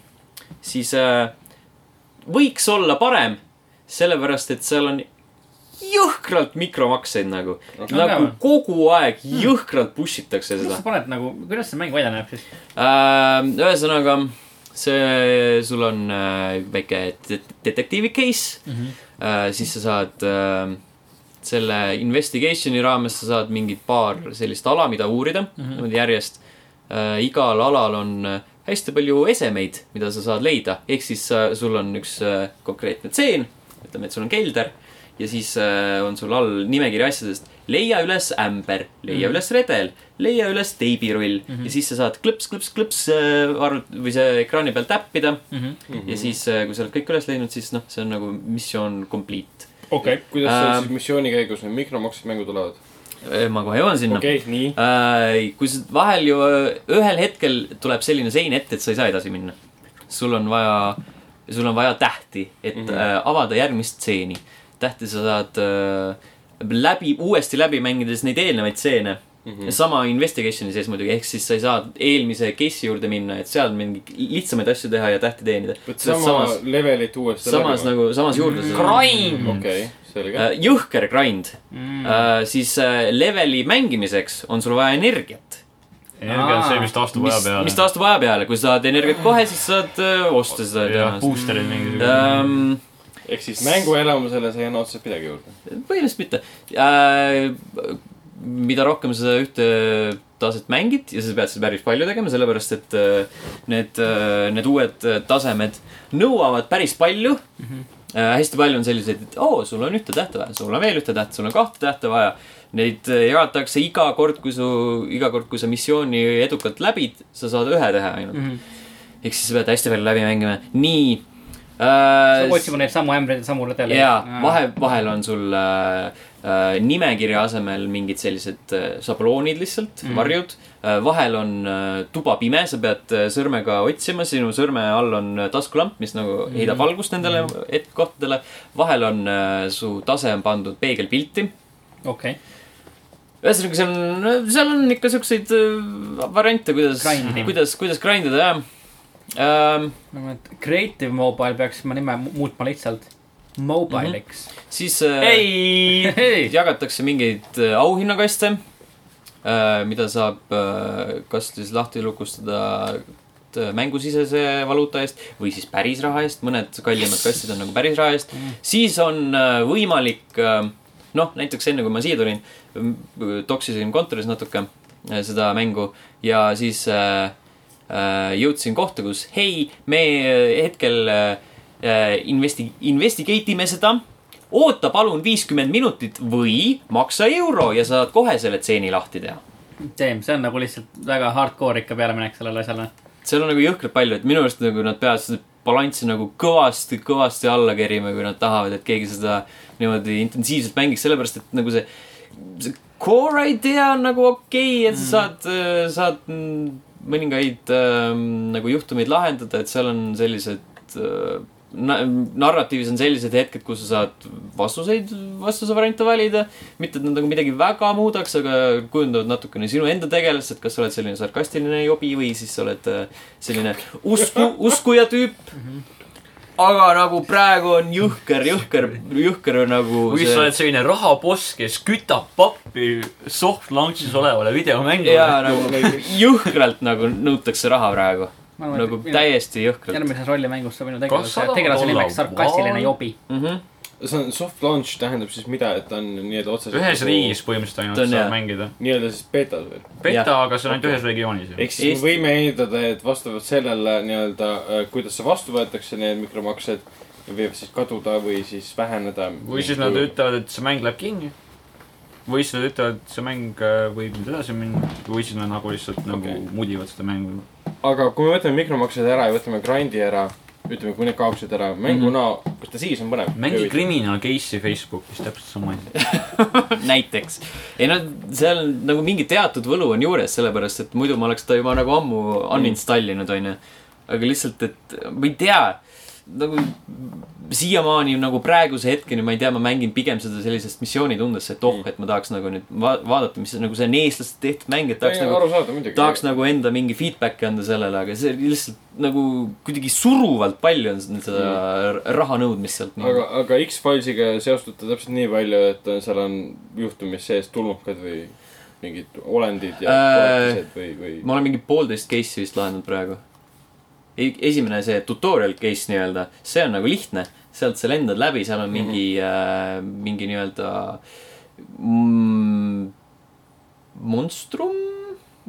A: siis äh, võiks olla parem , sellepärast et seal on jõhkralt mikromakseid nagu
B: Okei.
A: okay. , nagu
C: Aga-
A: kogu aeg
C: Mm.
A: jõhkralt push itakse
C: kuidas
A: seda
C: sa . paned nagu , kuidas see mäng välja näeb siis ?
A: äh, . ühesõnaga , see , sul on äh, väike de- detektiivi case mm ,
C: Mhm.
A: -hmm. äh, siis sa saad äh, selle investigation'i raames sa saad mingi paar sellist ala , mida uurida mm , -hmm. niimoodi järjest äh, . igal alal on äh, hästi palju esemeid , mida sa saad leida , ehk siis äh, sul on üks äh, konkreetne tseen , ütleme , et sul on kelder ja siis äh, on sul all nimekiri asjadest , leia üles ämber , leia mm -hmm. üles redel , leia üles teibirull mm -hmm. ja siis sa saad klõps , klõps , klõps äh, arvut- või see ekraani peal täppida mm . -hmm. ja siis , kui sa oled kõik üles leidnud , siis noh , see on nagu missioon complete .
B: okei , kuidas seal
A: Ähm.
B: siis missiooni käigus need mikromaksed mängud olevad ?
A: Eh, ma kohe jõuan sinna
B: okei , nii .
A: Äh, kui sa vahel ju äh, ühel hetkel tuleb selline sein ette , et sa ei saa edasi minna . sul on vaja , sul on vaja tähti , et mm
B: Mhm.
A: -hmm. äh, avada järgmist stseeni . tähti sa saad äh, läbi , uuesti läbi mängides neid eelnevaid stseene mm .
B: Mhm.
A: -hmm. sama investigation'i sees muidugi , ehk siis sa ei saa eelmise case'i juurde minna , et seal mingeid lihtsamaid asju teha ja tähti teenida .
B: vot sama
A: samas ,
B: levelit uuesti
A: samas . nagu , samas juurde .
D: Grind .
C: nagu-
B: okei , selge .
A: Äh, jõhker grind mm. , siis äh, leveli mängimiseks on sul vaja energiat ,
D: energia on see , mis taastub aja
A: mis ,
D: peale .
A: mis taastub aja peale , kui sa saad energiat kohe , siis saad äh, osta seda
D: jah ,
A: tõenäoliselt .
D: booster'id mingisugused .
A: Ähm,
B: ehk siis mänguelamusele sa ei anna otseselt midagi juurde .
A: põhimõtteliselt mitte äh, . mida rohkem sa ühte taset mängid ja sa pead seda päris palju tegema , sellepärast et äh, need , need uued äh, tasemed nõuavad päris palju mm . -hmm. Äh, hästi palju on selliseid , et oo , sul on ühte tähte vaja , sul on veel ühte tähte , sul on kahte tähte vaja . Neid äh, jagatakse iga kord , kui su , iga kord , kui sa missiooni edukalt läbid , sa saad ühe teha
C: Mhm.
A: ainult mm . -hmm. ehk siis sa pead hästi palju läbi mängima , nii äh, .
C: otsime neid samu ämbreid ja samu redeleid .
A: jaa , vahe , vahel on sul äh, äh, nimekirja asemel mingid sellised äh, šabloonid lihtsalt mm. , varjud äh, . vahel on äh, tuba pime , sa pead äh, sõrmega otsima , sinu sõrme all on äh, taskulamp , mis nagu mm. heidab valgust nendele mm. et- , kohtadele . vahel on äh, su tase on pandud peegelpilti .
C: okei ,
A: ühesõnaga , seal on , seal on ikka siukseid äh, variante , kuidas
C: Grindi. ,
A: kuidas , kuidas grind ida jah ähm, .
C: no Nagu, et Creative Mobile peaks oma nime mu- muutma lihtsalt Mobile'iks .
A: siis Mhm. äh,
D: ei ,
A: Neid jagatakse mingeid äh, auhinnakaste , mida saab äh, kas siis lahti lukustada t- mängusisese valuuta eest või siis päris raha eest , mõned kallimad kastid on nagu päris raha eest . siis on äh, võimalik , noh , näiteks enne kui ma siia tulin , toksisin kontoris natuke äh, seda mängu ja siis äh, äh, jõudsin kohta , kus hei , me äh, hetkel äh, investi- , investigate ime seda . oota palun viiskümmend minutit või maksa euro ja saad kohe selle tseeni lahti teha .
C: Damn , see on nagu lihtsalt väga hardcore ikka pealeminek sellele asjale .
A: seal on nagu jõhkralt palju , et minu arust nagu nad peavad seda balanssi nagu kõvasti , kõvasti alla kerima , kui nad tahavad , et keegi seda niimoodi intensiivselt mängiks , sellepärast et nagu see , see core idea on nagu okei okay, , et sa saad , saad mm, mõningaid äh, nagu juhtumeid lahendada , et seal on sellised äh, na- , narratiivis on sellised hetked , kus sa saad vastuseid , vastusevariante valida . mitte , et nad nagu midagi väga muudaks , aga kujundavad natukene sinu enda tegelast , et kas sa oled selline sarkastiline jobi või siis sa oled äh, selline usku , uskuja tüüp . aga nagu praegu on jõhker , jõhker , jõhker nagu .
D: või sa oled selline rahaboss , kes kütab pappi soft launch'is olevale
A: jaa ,
D: videomängule .
A: nagu jõhkralt nagu nõutakse raha praegu .
C: Ma arvan, et
A: nagu
C: minu-
A: täiesti jõhkralt .
C: järgmises rollimängus saab minu
D: sada
C: tegelase , tegelase
D: dolla
C: nimeks sarkastiline
D: vaan?
C: jobi .
A: Mhm.
B: see on soft launch tähendab siis mida , et ta on nii-öelda otseselt .
D: ühes riigis . põhimõtteliselt ainult
A: Ta on hea.
D: saab mängida .
B: nii-öelda siis betas veel .
D: beta ,
A: Jah.
D: aga see on ainult ühes regioonis ju .
B: ehk siis
A: Eesti-
B: Eesti... me võime eeldada , et vastavalt sellele nii-öelda , kuidas see vastu võetakse , need mikromaksed võivad siis kaduda või siis väheneda .
D: või siis nad . ütlevad , et see mäng läheb kinni . või siis nad ütlevad , et see mäng äh, võib nüüd edasi minna . või siis nad nagu lihtsalt nagu
B: Okei.
D: mudivad seda mängu .
B: aga kui me võtame mikromaksed ära ja võtame grind'i ära , ütleme , kui need kaoksid ära
A: Mhm.
B: mänguna mm , -hmm. kas ta siis on põnev ?
D: mängi . Criminal Case'i Facebookis , täpselt sama asi .
A: näiteks . ei no seal on nagu mingi teatud võlu on juures , sellepärast et muidu ma oleks ta juba nagu ammu uninstall inud , onju . aga lihtsalt , et ma ei tea , nagu siiamaani nagu praeguse hetkeni ma ei tea , ma mängin pigem seda sellisest missioonitundesse , et oh , et ma tahaks nagu nüüd va vaadata , mis nagu see on eestlaste tehtud mäng , et tahaks nagu
B: aru saada muidugi .
A: tahaks nagu enda mingi feedback'i anda sellele , aga see lihtsalt nagu kuidagi suruvalt palju on seda raha nõudmist sealt .
B: aga , aga X-Filesiga seostub ta täpselt nii palju , et seal on juhtumis sees tulnukad või mingid olendid ja
A: Äh,
B: koletised või , või
A: ma olen mingi poolteist case'i vist lahendanud praegu . esimene see tutorial case nii-öelda , see on nagu lihtne , sealt sa lendad läbi , seal on mingi mm ,
B: Mhm.
A: -hmm. äh, mingi nii-öelda mm, monstrum ,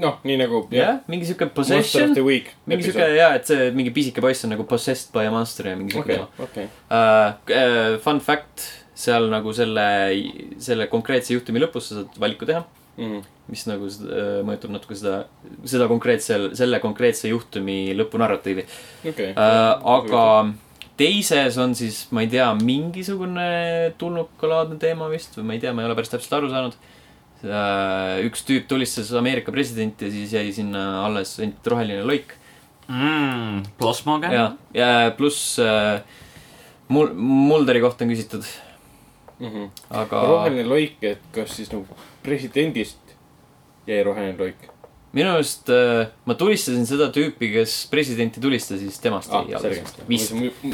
B: noh , nii nagu
A: jah , mingi siuke
B: Monster
A: possession
B: of the , Week .
A: mingi siuke jaa , et see mingi pisike poiss on nagu possessed by a monster ja mingi siuke
B: okei
A: okay. ,
B: okei .
A: uh, . Fun fact , seal nagu selle , selle konkreetse juhtumi lõpus sa saad valiku teha
B: Mhm,
A: mis nagu s- äh, mõjutab natuke seda , seda konkreetsel , selle konkreetse juhtumi lõpunarratiivi äh, .
B: okei .
A: aga teises on siis , ma ei tea , mingisugune tulnukalaadne teema vist või ma ei tea , ma ei ole päris täpselt aru saanud . üks tüüp tulistas Ameerika presidenti ja siis jäi sinna alles ainult roheline loik .
D: Mm. Mmm, plasmaga .
A: ja , ja pluss äh, mul- , Mulderi kohta on küsitud , aga
B: Mhm. roheline loik , et kas siis nagu presidendist jäi roheline loik ?
A: minu arust äh, ma tulistasin seda tüüpi , kes presidenti tulistas , siis temast
B: aa
A: jäi ,
B: Ah, selge
A: alles . vist .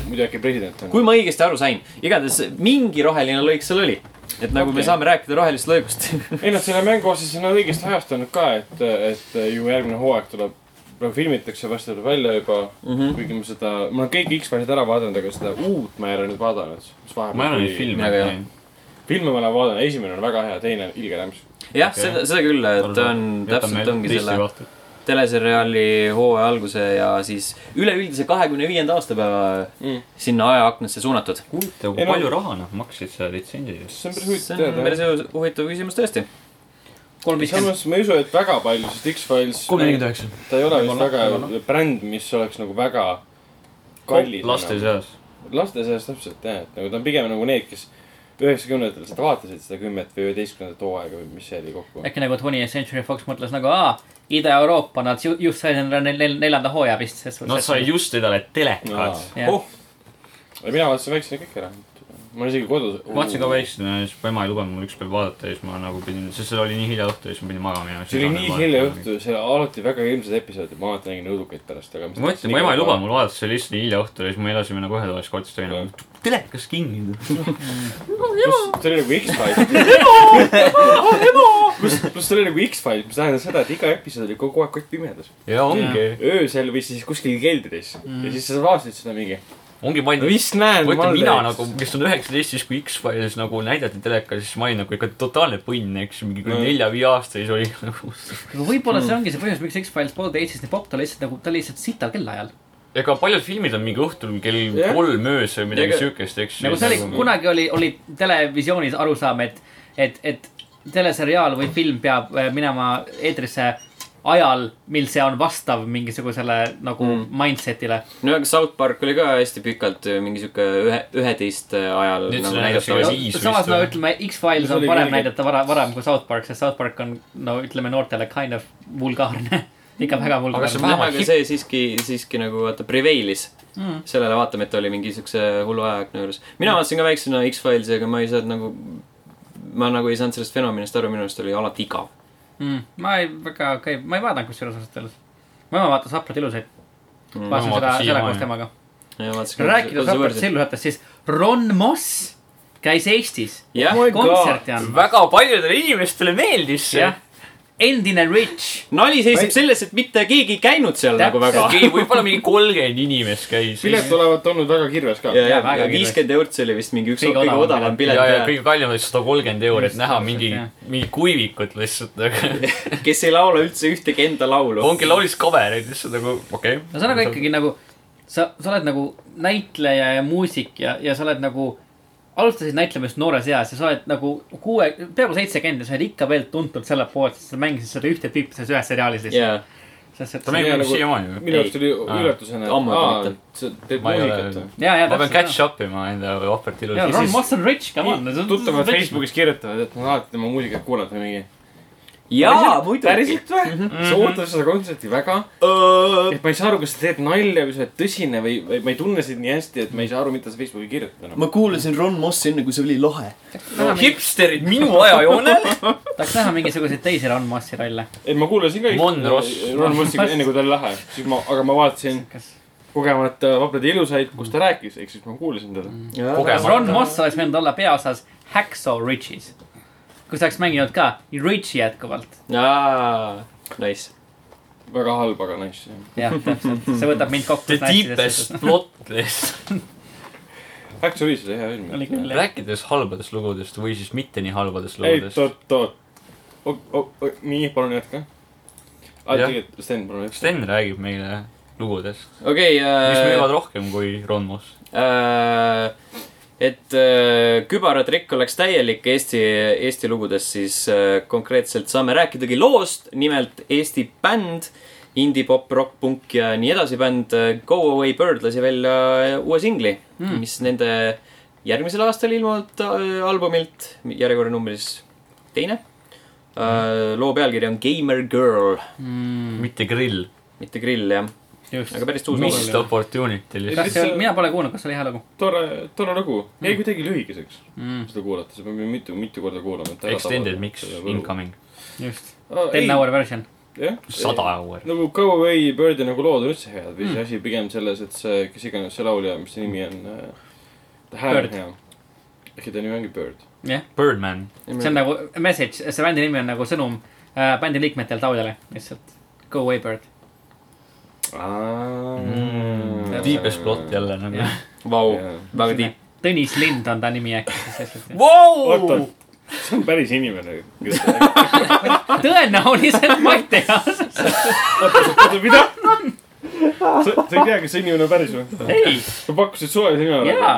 B: muidu äkki president on .
A: kui ma õigesti aru sain , igatahes mingi roheline lõik seal oli . et nagu okay. me
B: Okei.
A: saame rääkida rohelisest lõigust .
B: ei noh , selle mängu osas on nad õigesti ajastanud ka , et , et ju järgmine hooaeg tuleb , praegu filmitakse , varsti tuleb välja juba mm . -hmm. kuigi ma seda , ma olen kõik X-Filed ära vaadanud , aga seda uut ma ei ole nüüd vaadanud .
D: ma ei ole neid . filme
A: Väga hea.
D: näinud.
B: filme ma olen vaadanud , esimene on väga hea , teine on ilge rämps .
A: jah okay. ,
D: Okei.
A: seda , seda küll , et ta on
D: Jätame
A: täpselt ongi
D: teiste
A: selle
D: kohta.
A: teleseriaali hooaja alguse ja siis üleüldise kahekümne viienda aastapäeva
B: Mm.
A: sinna ajaaknasse suunatud .
D: huvitav ,
B: Ei
D: kui
B: no-
D: palju raha nad maksid selle litsentsi eest ?
B: see on päris
A: see on
B: huvitav teada .
A: päris hu- huvitav küsimus tõesti .
C: kolm viiskümmend .
B: samas ma ei usu , et väga palju , sest X-Files .
D: üheksa .
B: ta ei ole vist
C: Võib-olla,
B: väga
C: võib-olla.
B: bränd , mis oleks nagu väga kallis . nagu.
D: laste seas .
B: laste seas täpselt jah , et nagu ta on pigem nagu need , kes üheksakümnendatel seda vaatasid , seda kümmet või üheteistkümnendat hooaega või mis see oli kokku .
C: äkki nagu Twenty Century Fox mõtles nagu , aa , Ida-Euroopa , nad ju- just said endale nel- nel- neljanda hooaja vist .
D: Nad said just endale telekat .
A: oh,
C: jah ,
B: mina vaatasin väiksena kõik ära . ma olen isegi kodus .
D: ma vaatasin ka . väiksena ja siis mu ema ei lubanud mul ükspäev vaadata ja siis ma nagu pidin , sest see oli nii hilja õhtu ja siis ma pidin magama minema .
B: see oli nii hilja . õhtu , see oli alati väga ilmsed episoodid , ma alati nägin õudukaid pärast , aga .
D: ma mõtlesin , mu ema ei lubanud mul vaadata , see oli lihtsalt nii hilja õhtul ja siis me elasime nagu ühes toas kotis toime . telekas kinni .
B: see oli nagu X-Files . pluss , pluss see oli nagu X-Files , mis tähendab seda , et iga episood oli kogu aeg kott pimedas .
D: ja ongi ,
B: öösel või siis kuskil keldris mm. ja siis sa vaatasid seda mingi .
D: ongi palju .
B: vist näen .
D: ma ütlen , mina nagu , kes on üheksateist , siis kui X-Files nagu näidati telekas , siis ma olin nagu ikka totaalne põnn , eks ju , mingi
B: Mm.
D: nelja-viie aasta siis oli nagu
C: võib-olla see ongi see põhjus , miks X-Files poolde Eestis nii popp , ta oli lihtsalt nagu , ta oli lihtsalt sita kellaajal .
D: ega paljud filmid on mingi õhtul kell
B: Jah.
D: kolm öösel või midagi
A: Ega-
D: siukest , eks ju .
C: nagu see oli , kunagi oli , oli televisioonis arusaam , et , et , et teleseriaal või film peab äh, minema eetrisse ajal , mil see on vastav mingisugusele nagu mm. mindset'ile .
A: no aga South Park oli ka hästi pikalt ju mingi siuke ühe , üheteist ajal
D: Nüüd
A: nagu
D: seda näidatakse
A: näidatav
D: ka
A: asi.
D: siis vist
C: samas no
D: või?
C: ütleme , X-Files
B: See
C: on
B: oli
C: parem
B: kuidagi-
C: näidata vara, varem kui South Park , sest South Park on no ütleme noortele kind of vulgaarne . ikka väga
D: Aga see on
C: vulgaarne .
D: vähemalt
A: aga
D: hip-
A: see siiski , siiski nagu vaata prevailis mm. . sellele vaatamata oli mingi siukse hullu ajaaegne juures . mina vaatasin ka väiksena X-Filesi , aga ma ei saanud nagu , ma nagu ei saanud sellest fenomenist aru , minu arust oli alati igav .
C: Mm, ma ei , väga , okei , ma ei vaadanud kusjuures ausalt öeldes . mu ema vaatas haprad ilusaid . vaatasin
D: Mm. Ma
C: seda ,
D: vaatan
C: seda
D: siiamaani.
C: koos temaga . rääkides hapratest illusatest , siis Ron Moss käis Eestis
A: jah ,
D: Oh
C: kontserti andmas .
D: Nagu väga paljudele inimestele meeldis see
C: jah , endine Rich .
A: nali seisneb selles , et mitte keegi ei käinud seal nagu väga .
D: okei , võib-olla mingi kolmkümmend inimest käis .
B: pilet olevat olnud väga kirves ka .
A: ja , ja
C: Jaa, väga kirves.
A: viiskümmend eurot , see oli vist mingi üks
C: Kõige
A: kõige
C: odavam
A: odavam
D: ja , ja
A: pilet ,
D: kõige kallim oli sada kolmkümmend eurot
C: Just,
D: näha
C: täpselt,
D: mingi
C: jah. ,
D: mingi kuivikut lihtsalt nagu .
A: kes ei laula üldse ühtegi enda laulu .
D: ongi laulis kavereid lihtsalt nagu , okei okay. .
C: ühesõnaga ikkagi nagu sa , sa oled nagu näitleja ja muusik ja , ja sa oled nagu , alustasid näitlemist noores eas ja sa oled nagu kuue , peaaegu seitsekümmend ja sa oled ikka veel tuntud selle poolt , sest sa mängisid seda ühte tüüpi selles ühes seriaalis lihtsalt
A: jaa ,
C: yeah. .
D: ta mängib
B: Mina
D: nagu...
B: nagu-
D: siiamaani ju .
B: minu jaoks tuli
D: Aa.
B: üllatusena , et
A: Ammu
B: aa
A: mitte. ,
B: sa teed
D: ma ei
B: muusikat
D: ole
B: või ?,
C: ja , ja
D: ma pean catch up ima enda ohvrit
C: ja ,
D: ilusti
C: Ron . Moss on rich , come on .
B: tuttavad . Facebookis kirjutavad , et nad alati tema muusikat kuulavad või mingi .
A: jaa , muidugi . Äh,
B: päriselt või ?
C: Mhm.
B: sa ootad seda kontserti väga . et ma ei saa aru , kas sa teed nalja või sa oled tõsine või , või ma ei tunne sind nii hästi , et ma ei saa aru , mida sa Facebooki kirjutad enam .
F: ma kuulasin Ron Mossi enne , kui see oli lahe .
D: hipsterid minu ajajoonel .
C: tahaks näha mingisuguseid teisi Ron Mossi rolle .
B: ei , ma kuulasin ka .
D: Mon Ross.
B: Ron Rossi enne kui ta oli lahe , siis ma , aga ma vaatasin
C: kas
B: kogemata Vaprad ja ilusaid , kus ta rääkis , ehk siis ma kuulasin teda .
D: Mhm.
C: kas Ron Moss oleks võinud olla peaosas Hacksaw Riches , kus ta oleks mänginud ka Richi jätkuvalt .
A: aa , nice .
B: väga halb , aga nice .
C: jah , täpselt , see võtab mind kokku .
D: The deepest plot lihtsalt .
B: Action Reese oli hea film .
C: Oli küll, jah.
D: rääkides halbadest lugudest või siis mitte nii halbadest
B: ei ,
D: lugudest .
B: oot , oot . nii , palun jätka . aa ,
D: Jah.
B: tegelikult Sten , palun jätka .
D: Sten räägib meile lugudest ,
A: okei .
D: mis müüvad rohkem kui Ron Moss .
A: äh, et äh, kübaratrikk oleks täielik Eesti , Eesti lugudes , siis äh, konkreetselt saame rääkidagi loost , nimelt Eesti bänd , indie-pop , rock-punk ja nii edasi bänd äh, Go Away Bird lasi välja äh, uue singli
C: Hmm.
A: mm. , mis nende järgmisel aastal ilmunud äh, albumilt , järjekorra number siis teine äh, . loo pealkiri on Gamer Girl ,
D: mitte grill .
A: mitte grill jah ,
C: Mm, just
A: aga . päris tuus
D: Missed
A: lugu .
D: opportunity lihtsalt .
C: kas see oli , mina pole kuulnud , kas see oli hea lugu ?
B: tore , tore lugu .
D: Mm.
B: jäi kuidagi lühikeseks seda kuulata , seda peab ju mitu , mitu korda kuulama .
D: Extended mix incoming .
C: just .
B: Ah, ei
C: Ten , hour version .
B: jah .
D: sada Mm. hour .
B: nagu Go Away Bird'i nagu lood on üldse head või see asi pigem selles , et see , kes iganes see laulja , mis see nimi on , äh, ta hääl
C: Bird.
B: on hea . äkki ta nimi ongi Bird .
C: jah ,
D: Birdman .
C: see on nagu message , see bändi nimi on nagu sõnum äh, bändi liikmetelt laudele , lihtsalt . Go away bird .
D: Mm. Deepest plot . jälle nagu .
A: Vau ,
B: Jaa.
A: väga tiip .
C: Tõnis Lind on ta nimi äkki siis lihtsalt .
B: oota
D: Vau .,
B: see on päris inimene .
C: Ah, tõenäoliselt ma ei tea .
B: oota , mida ? sa , sa ei tea , kas see inimene on päris või ?
C: ei ,
B: sa pakkusid suvalise nime
C: jaa .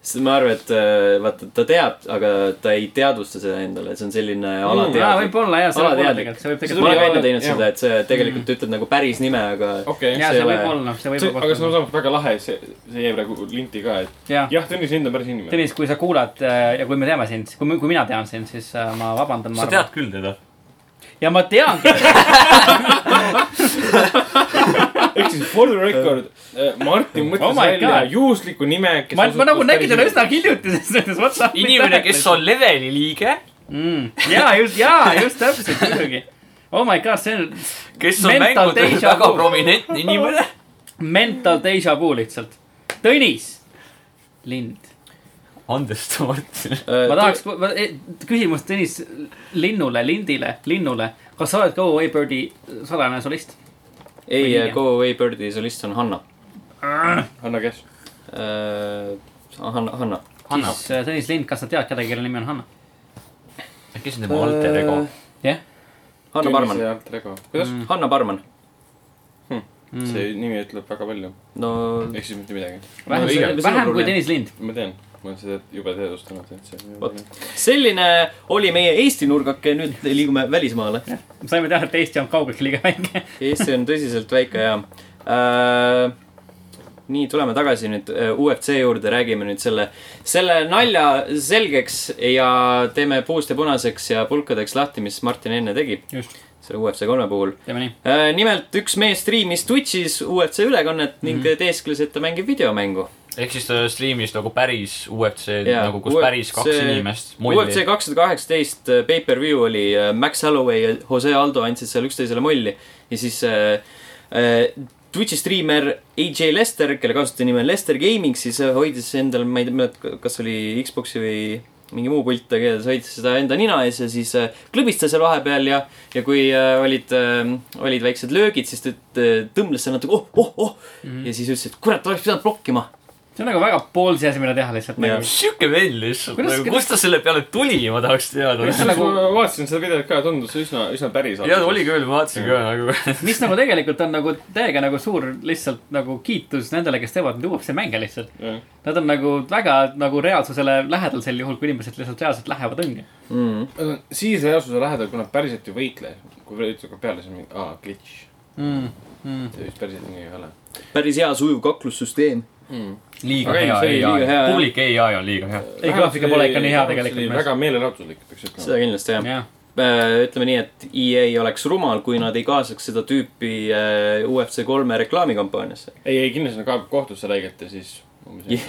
A: sest ma arvan , et äh, vaata , ta teab , aga ta ei teadvusta seda endale , see on selline
C: Mm, aa ,
A: alateadlik .
C: võib-olla jaa , see võib olla
A: Alateadlik.
C: tegelikult , see võib
A: ma olen ka
C: tegelikult
B: tuli välja-
A: enne teinud
B: jah.
A: seda , et see tegelikult mm. ütleb nagu päris nime , aga
B: okei
C: jaa ,
A: see ei
C: see võib
A: ole-
C: olla , see
B: see ,
C: võib
B: aga see on
C: olla .
B: samas väga lahe , see , see jäi praegu linti ka , et
C: jah ,
B: jah , Tõnis Lind on päris inimene .
C: Tõnis , kui sa kuulad äh, ja kui me teame sind , kui , kui mina tean sind , siis äh, ma vabandan , ma
D: sa tead küll teda .
C: arvan . ja ma tean ,
B: ehk siis for the record , Martin mõtles
C: Oh my
B: välja
C: God.
B: juhusliku nime .
C: ma , ma nagu nägin teda üsna hiljuti , selles suhtes , what's up .
D: inimene , kes on leveli liige ,
C: mm. . jaa , just , jaa , just täpselt , muidugi . Oh my god , see on
D: kes on
C: Mental
D: mängudes
C: déjà
D: väga
C: vu.
D: prominentne inimene .
C: mental déjà vu lihtsalt . Tõnis Lind .
D: andestamatu .
A: äh,
C: ma tahaks , küsimus Tõnis Linnule , Lindile , Linnule . kas sa oled Go Away Birdi salajane solist ?
A: ei
C: Või , nii,
A: Go Away Birdi solist on Hanna
B: Hanna Kes .
A: äh, . Hanna , Hanna .
D: Hanna ,
C: siis äh, Tõnis Lind , kas sa tead kedagi , kelle nimi on Hanna ?
D: kes on tema alter ego ?
C: jah ,
A: Äh,
C: Mm.
A: Hanna Parman ,
B: kuidas ?
A: Hanna Parman .
B: see nimi ütleb väga palju ,
A: no
B: ehk siis mitte midagi .
A: No õige.
C: vähem ,
A: See on
C: vähem kui
A: oluline.
C: Tõnis Lind .
B: ma tean , ma olen seda jube teadvustanud , et see .
A: Vot. selline oli meie Eesti nurgake , nüüd liigume välismaale .
C: saime teada , et Eesti on kaugeltki liiga väike .
A: Eesti on tõsiselt väike ja äh, nii , tuleme tagasi nüüd äh, UFC juurde , räägime nüüd selle , selle nalja selgeks ja teeme puust ja punaseks ja pulkadeks lahti , mis Martin enne tegi
C: just ,
A: selle UFC kolme puhul .
C: teeme nii .
A: nimelt üks mees striimis Twitch'is UFC ülekannet ning teeskles , et ta mängib videomängu .
D: ehk siis ta stream'is nagu päris UFC-d
A: Jaa,
D: nagu , kus
A: UFC
D: päris kaks inimest .
A: UFC kakssada kaheksateist pay-per-view oli äh, Max Holloway ja Jose Aldo andsid seal üksteisele molli ja siis äh, äh, Twitch'i striimer AJ Lester , kelle kasutanimi on Lester Gaming , siis äh, hoidis endal , ma ei tea , mäleta , kas oli Xbox'i või mingi muu pult , aga igatahes hoidis seda enda nina ees ja siis äh, klõbistas seal vahepeal ja , ja kui äh, olid äh, , olid väiksed löögid , siis ta äh, tõmbles seal natuke oh , oh , oh
D: Mhm.
A: ja siis ütles , et kurat , oleks pidanud blokkima .
C: see on nagu väga poolsi asi , mida teha lihtsalt
A: Jah.
C: nagu .
D: sihuke vend lihtsalt ,
C: Kuidas-
D: nagu kust ta selle peale tuli , ma tahaks teada .
C: Kuidas- Nagu-
B: ma vaatasin seda videot ka , tundus üsna , üsna päris .
D: ja oli küll , ma vaatasin ka nagu .
C: mis nagu tegelikult on nagu täiega nagu suur lihtsalt nagu kiitus nendele , kes teevad neid UFC mänge lihtsalt .
B: küll .
C: Nad on nagu väga nagu reaalsusele lähedal sel juhul , kui inimesed lihtsalt reaalselt lähevad õnge .
A: Mm.
B: siis reaalsuse lähedal , kui nad päriselt ju võitlesid , kui veel ütleb ka peale , siis on mingi , aa , glitch . Mm. see vist päriselt nii ei ole .
A: päris hea sujuv kaklussüsteem .
D: liiga
B: Okei,
D: hea
B: see oli
D: AI
A: liiga hea, , jah.
D: publik AI on liiga hea .
C: ei , graafika pole ikka nii hea tegelikult .
B: väga meelelahutuslik , peaks ütlema .
A: seda kindlasti jah .
C: jah ,
A: ütleme nii , et EA oleks rumal , kui nad ei kaasaks seda tüüpi äh, UFC kolme reklaamikampaaniasse .
B: ei , ei kindlasti nad kaebavad kohtusse läiget ja siis .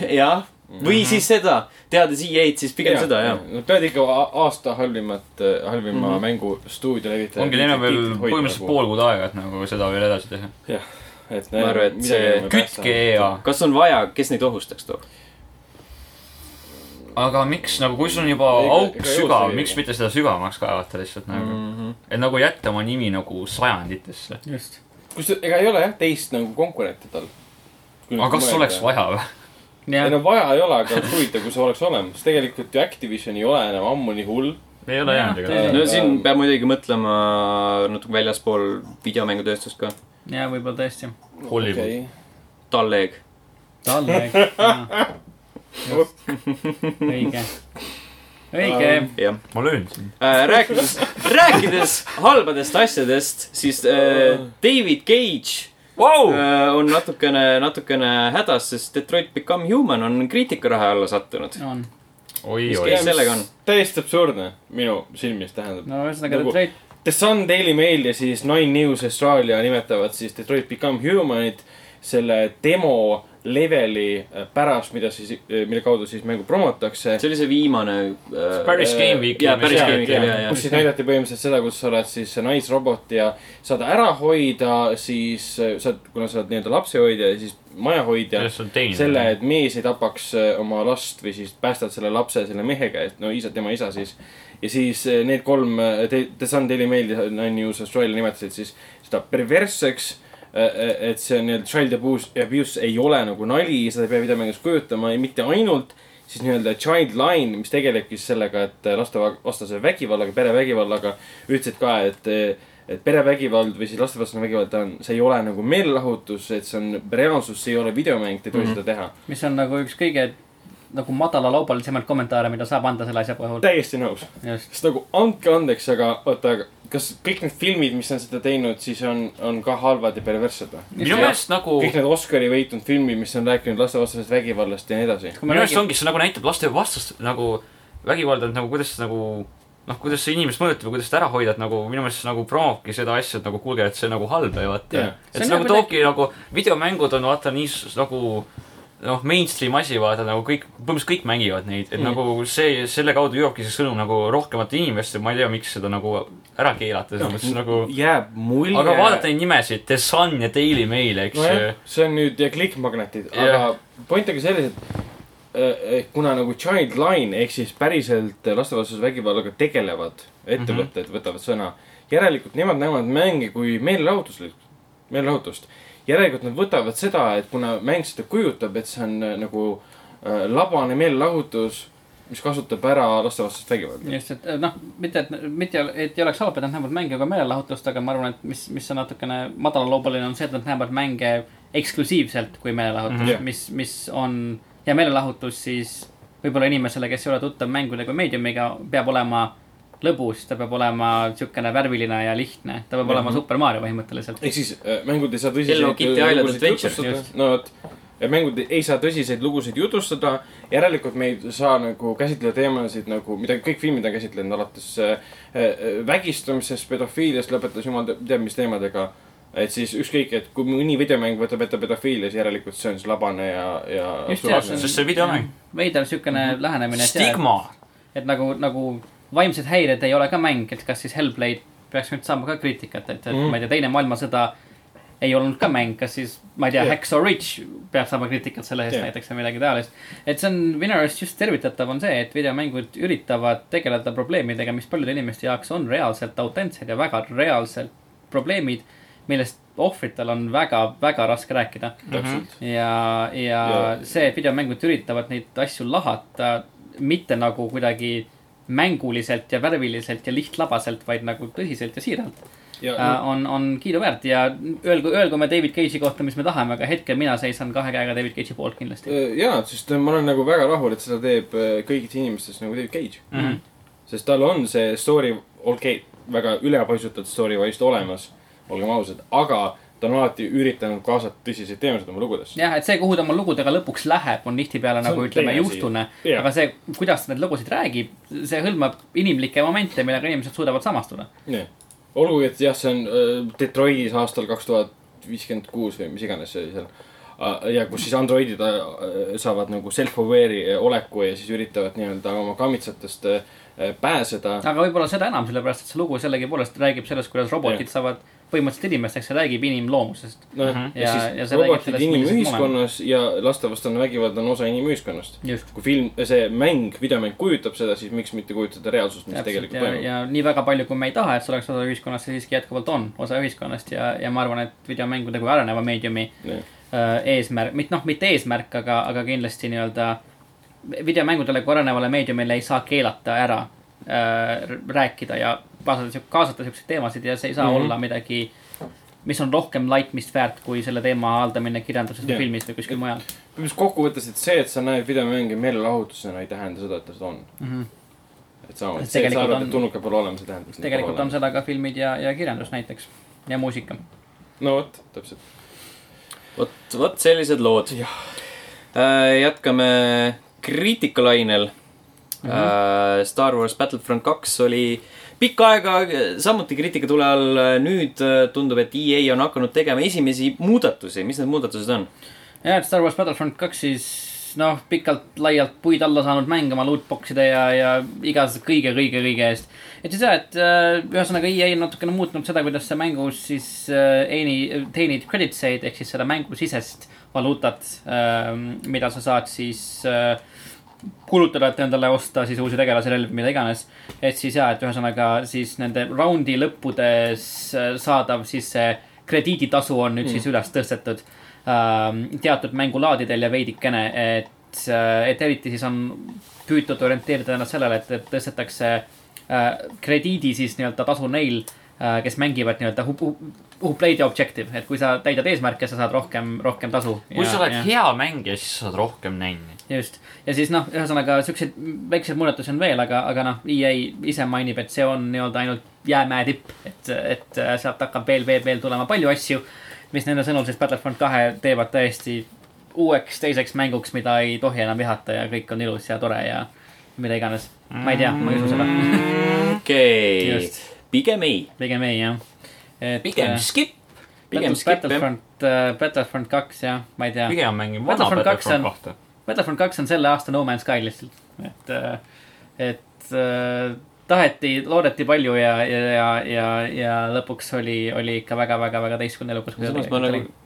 A: jah , või siis seda , teades EA-d , siis pigem ja, seda jah . Mhm.
B: Nad peavad ikka a- aasta halvimat , halvima mm -hmm. mängu stuudio levitaja .
D: ongi neil on veel põhimõtteliselt . pool kuud aega , et nagu seda veel edasi teha .
B: jah , et . nagu
A: Ma arvan, et see-
D: kütke . EA .
A: kas on vaja , kes neid ohustaks too ?
D: aga miks nagu , kui sul on juba
B: Ega-
D: auk
B: ega
D: sügav ,
B: jõudu
D: miks
B: ei-
D: mitte seda sügavamaks kaevata lihtsalt nagu mm . -hmm. et nagu jätta oma nimi nagu sajanditesse .
C: just .
B: kus , ega ei ole jah teist nagu konkurenti tal .
D: aga kas oleks ? vaja või ?
B: ei
C: jah ,
B: no vaja ei ole , aga oleks huvitav , kui see oleks olemas . tegelikult ju Activision ei ole enam ammu nii hull .
D: ei ole jäänud ega .
A: no siin peab muidugi mõtlema natuke väljaspool videomängutööstust ka .
C: jah , võib-olla tõesti .
D: Hollywood okay. .
A: Talleg .
C: talleg . õige , õige .
B: Ähm,
A: jah .
D: ma löön sind .
A: rääkides , rääkides halbadest asjadest , siis äh, David Cage
D: Vau ,
A: Äh, on natukene , natukene hädas , sest Detroit Become Human on kriitikaraha alla sattunud .
B: Äh.
C: on ,
D: oi-oi
A: Mis . sellega on? ?
B: täiesti absurdne minu silmis tähendab .
C: no ühesõnaga
B: Nagu-
C: Detroit ,
B: The Sun , Daily Mail ja siis Nine News Austraalia nimetavad siis Detroit Become Humanit selle demo leveli äh, pärast , mida siis , mille kaudu siis mängu promotakse .
A: see oli see viimane äh,
D: päris Game Weeki
A: jaa , päris
D: mis-
A: Game Weeki
D: jaa,
A: oli ,
D: jaa.
A: jaa ,
B: kus siis
A: jaa .
B: näidati põhimõtteliselt seda , kus sa oled siis see naisrobot ja saad ära hoida , siis äh, sa oled , kuna sa oled nii-öelda lapsehoidja ja siis majahoidja .
D: kuidas sul teine ?
B: selle , et mees ei tapaks äh, oma last või siis päästad selle lapse selle mehe käest , no isa , tema isa siis . ja siis äh, need kolm , The Sun Daily Mail ja Nine News Austraalia nimetasid siis seda perversseks . et see on nii-öelda child abuse , abuse ei ole nagu nali , seda ei pea videomängus kujutama ja mitte ainult siis nii-öelda child line , mis tegelebki siis sellega , et äh, lastevastase vägivallaga , perevägivallaga , ütlesid ka , et , et perevägivald või siis lastevastane vägivald on , see ei ole nagu meelelahutus , et see on reaalsus , see ei ole videomäng , te ei tohi seda teha .
C: mis on nagu üks kõige nagu madalalaubalisemaid kommentaare , mida saab anda selle asja puhul .
B: täiesti nõus .
C: just ,
B: sest nagu andke andeks , aga oota , aga kas kõik need filmid , mis on seda teinud , siis on , on ka halvad ja perverssed või ?
D: minu meelest nagu ,
B: kõik need Oscari võitnud filmid , mis on rääkinud lastevastasest vägivallast ja nii edasi .
C: kui
D: minu
C: me
D: meelest
C: räägime ,
D: ongi , see nagu näitab laste vastast nagu vägivalda , et nagu kuidas nagu noh , kuidas see inimest mõjutab ja kuidas seda ära hoida , et nagu minu meelest see nagu promobki seda asja , et nagu kuulge , et see nagu halb ja vaata
B: Jah.
D: et
C: See
D: see,
C: on
D: see nagu
C: nagu
D: toobki nagu , videomängud on vaata nii s- nagu noh , mainstream asi , vaata nagu kõik , põhimõtteliselt kõik mängivad neid , et mm. nagu see , selle kaudu jõuabki see sõnum nagu rohkemate inimeste , ma ei tea , miks seda nagu ära keelata , selles mõttes nagu
B: jääb mulje .
D: aga vaadata neid nimesid , The Sun ja Daily Mail , eks
B: nojah
D: ju .,
B: see on nüüd ja klikkmagnetid ,
D: Jah.
B: aga point on ka selles , et äh, eh, kuna nagu child line ehk siis päriselt lastevastase vägivallaga tegelevad ettevõtted mm
D: Mhm.
B: -hmm. võtavad sõna , järelikult nemad näevad mänge kui meelelahutuslik , meelelahutust . järelikult nad võtavad seda , et kuna mäng seda kujutab , et see on äh, nagu äh, labane meelelahutus , mis kasutab ära lastevastast vägivalda .
C: just , et noh , mitte , et mitte , et ei oleks halb , et nad näevad mänge ka meelelahutust , aga ma arvan , et mis , mis on natukene madalalaubaline , on see , et nad näevad mänge eksklusiivselt kui meelelahutust mm ,
B: Mhm.
C: -hmm. mis , mis on ja meelelahutus siis võib-olla inimesele , kes ei ole tuttav mängude kui meediumiga , peab olema lõbus , ta peab olema niisugune värviline ja lihtne , ta peab mm -hmm.
D: Mhm.
C: olema Super Mario põhimõtteliselt .
B: ehk siis äh, mängud ei saa
A: Hello Kitty Island Adventure,
B: no vot , ja mängud ei saa tõsiseid lugusid jutustada . järelikult me ei saa nagu käsitleda teemasid nagu , mida kõik filmid on käsitlenud , alates äh, äh, vägistamisest , pedofiiliast , lõpetas jumal te- teab mis teemadega . et siis ükskõik , et kui mõni videomäng võtab ette pedofiilia , siis järelikult see on siis labane ja , ja .
C: Just, jah,
B: suvaline
C: see on-
D: sest see videomäng .
C: veider siukene lähenemine .
D: stigma .
C: et nagu , nagu vaimsed häired ei ole ka mäng , et kas siis Hellblade peaks nüüd saama ka kriitikat , et , et mm.
B: Mhm.
C: ma ei tea , Teine maailmasõda ei olnud ka mäng , kas siis , ma ei tea
B: Jah.
C: yeah. , Hexo Ridge peab saama kriitikat selle eest
B: Jah.
C: yeah. näiteks või midagi taolist . et see on minu arust just tervitatav on see , et videomängud üritavad tegeleda probleemidega , mis paljude inimeste jaoks on reaalselt autentsed ja väga reaalselt probleemid , millest ohvritel on väga , väga raske rääkida .
B: täpselt ,
C: ja , ja
B: Ja-
C: see , et videomängud üritavad neid asju lahata , mitte nagu kuidagi mänguliselt ja värviliselt ja lihtlabaselt , vaid nagu tõsiselt ja siiralt .
B: ja
C: on , on kiiduväärt ja öelgu , öelgu me David Cage'i kohta , mis me tahame , aga hetkel mina seisan kahe käega David Cage'i poolt kindlasti .
B: Äh, jaa , sest ma olen nagu väga rahul , et seda teeb äh, kõigis inimestes nagu David Cage mm .
D: Mhm.
B: sest tal on see story , okei okay, , väga ülepaisutatud story vist olemas , olgem ausad , aga ta on alati üritanud kaasata tõsiseid teemasid oma lugudesse .
C: jah , et see , kuhu ta oma lugudega lõpuks läheb , on tihtipeale
B: See on
C: nagu ütleme
B: teine asi.
C: juustune .
B: Jah.
C: aga see , kuidas ta neid lugusid räägib , see hõlmab inimlikke momente , millega inimesed suudavad samastuda .
B: olgugi , et jah , see on äh, Detroitis aastal kaks tuhat viiskümmend kuus või mis iganes see oli seal . ja kus siis androidid äh, saavad nagu self-aware'i oleku ja siis üritavad nii-öelda oma kammitsatest äh, pääseda .
C: aga võib-olla seda enam , sellepärast et see lugu sellegipoolest räägib sellest , kuidas robotid
B: Jah.
C: saavad põhimõtteliselt inimesteks ja räägib inimloomusest .
B: nojah ,
C: Noh, Ja-
B: ja
C: ja
B: siis
C: see räägib
B: robotid
C: sellest, millised
B: inimühiskonnas ja lastevastane vägivald on osa inimühiskonnast .
C: just .
B: kui film , see mäng , videomäng kujutab seda , siis miks mitte kujutada reaalsust , mis
C: täpselt
B: tegelikult
C: ja ,
B: toimub .
C: ja nii väga palju , kui me ei taha , et see oleks osa ühiskonnast , see siiski jätkuvalt on osa ühiskonnast ja , ja ma arvan , et videomängude kui areneva meediumi
B: Jah.
C: äh, eesmärk , mitte noh , mitte eesmärk , aga , aga kindlasti nii-öelda videomängudele kui arenevale meediumile ei saa keelata ära äh, rääkida ja kaasata , kaasata siukseid teemasid ja see ei saa mm
B: Mhm.
C: -hmm. olla midagi , mis on rohkem laitmist väärt kui selle teema haldamine kirjanduses või
B: Jah.
C: filmis või kuskil mujal .
B: mis kokkuvõttes , et see , et sa näed videomänge meelelahutusena , ei tähenda seda , et ta seda on . et sama ,
C: Et
B: et see , et sa
C: tegelikult
B: arvad ,
C: on-
B: et tulnuka pole olemas , ei tähenda , et neid
C: tegelikult
B: pole
C: on seda ka filmid ja , ja kirjandus näiteks ja muusika .
B: olemas . no vot , täpselt .
A: vot , vot sellised lood . jätkame kriitikalainel mm .
C: Mhm.
A: -hmm. Star wars Battlefront kaks oli pikka aega samuti kriitika tule all . nüüd äh, tundub , et EA on hakanud tegema esimesi muudatusi . mis need muudatused on ?
C: jah , et Star wars Battlefront kaks siis noh , pikalt-laialt puid alla saanud mäng oma lootbox'ide ja , ja igasuguse kõige-kõige-kõige eest . et siis jah , et äh, ühesõnaga EA on natukene muutnud seda , kuidas sa mängus siis äh, eeni- , teenid credits eid ehk siis seda mängusisest valuutat äh, , mida sa saad siis äh, kulutada , et endale osta siis uusi tegelasi , relvi , mida iganes . et siis ja , et ühesõnaga siis nende raundi lõppudes äh, saadav siis see krediiditasu on nüüd mm. siis üles tõstetud ähm, teatud mängulaadidel ja veidikene , et , et eriti siis on püütud orienteerida ennast sellele , et , et tõstetakse äh, krediidi siis nii-öelda tasu neil , kes mängivad nii-öelda who, who, who play the objective , et kui sa täidad eesmärke , sa saad rohkem , rohkem tasu .
D: kui sa oled hea mängija , siis sa saad rohkem nänni .
C: just , ja siis noh , ühesõnaga siukseid väikseid muudatusi on veel , aga , aga noh , EA ise mainib , et see on nii-öelda ainult jäämäe tipp , et , et äh, sealt hakkab veel , veel , veel tulema palju asju , mis nende sõnul siis Battlefront kahe teevad täiesti uueks teiseks mänguks , mida ei tohi enam vihata ja kõik on ilus ja tore ja mida iganes . ma ei tea , ma ei usu seda ,
A: okei okay.
C: Just. ,
A: pigem ei .
C: pigem ei jah .
A: pigem skip . pigem skip jah .
C: Battlefront , Battlefront kaks jah , ma ei tea .
D: pigem mängin vana
C: Battlefront kaks
D: Battlefront
C: on-
D: kahte .
C: Battlefront kaks on selle aasta No Man's Sky lihtsalt , et , et äh, taheti , loodeti palju ja , ja , ja , ja , ja lõpuks oli , oli ikka väga-väga-väga teistsugune lugu .
A: samas ma nagu
C: no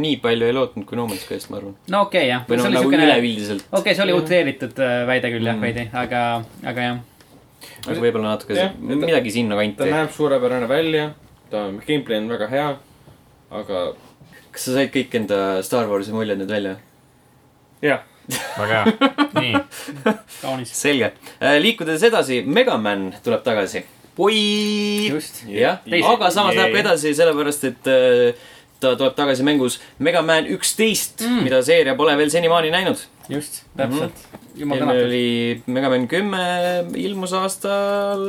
A: nii palju ei lootnud kui No Man's Skyst , ma arvan .
C: okei okay, jah ,
A: või
C: see
A: noh ,
C: oli
A: nagu
C: siukene , okei
A: üleüldiselt ,
C: okay, , see oli utreeritud äh, väide küll jah
A: Mm.
C: veidi , aga , aga jah .
A: aga võib-olla natuke
B: Jah,
A: see-
B: et ta-
A: midagi
B: ta
A: sinnakanti .
B: näeb suurepärane välja , ta , gameplay on väga hea , aga
A: kas sa said kõik enda Star Warsi muljed nüüd välja ?
B: jah ,
D: väga hea , nii .
C: kaunis .
A: selge , liikudes edasi , Megaman tuleb tagasi . oi ,
C: just ,
A: jah ,
B: Teise-
A: aga samas
B: Jee.
A: läheb ka edasi , sellepärast et äh, ta tuleb tagasi mängus Megaman üksteist mm. , mida seeria pole veel senimaani näinud .
C: just , täpselt .
A: Mhm.
C: jumal
A: eelmine
C: tänatud .
A: oli Megaman kümme , ilmus aastal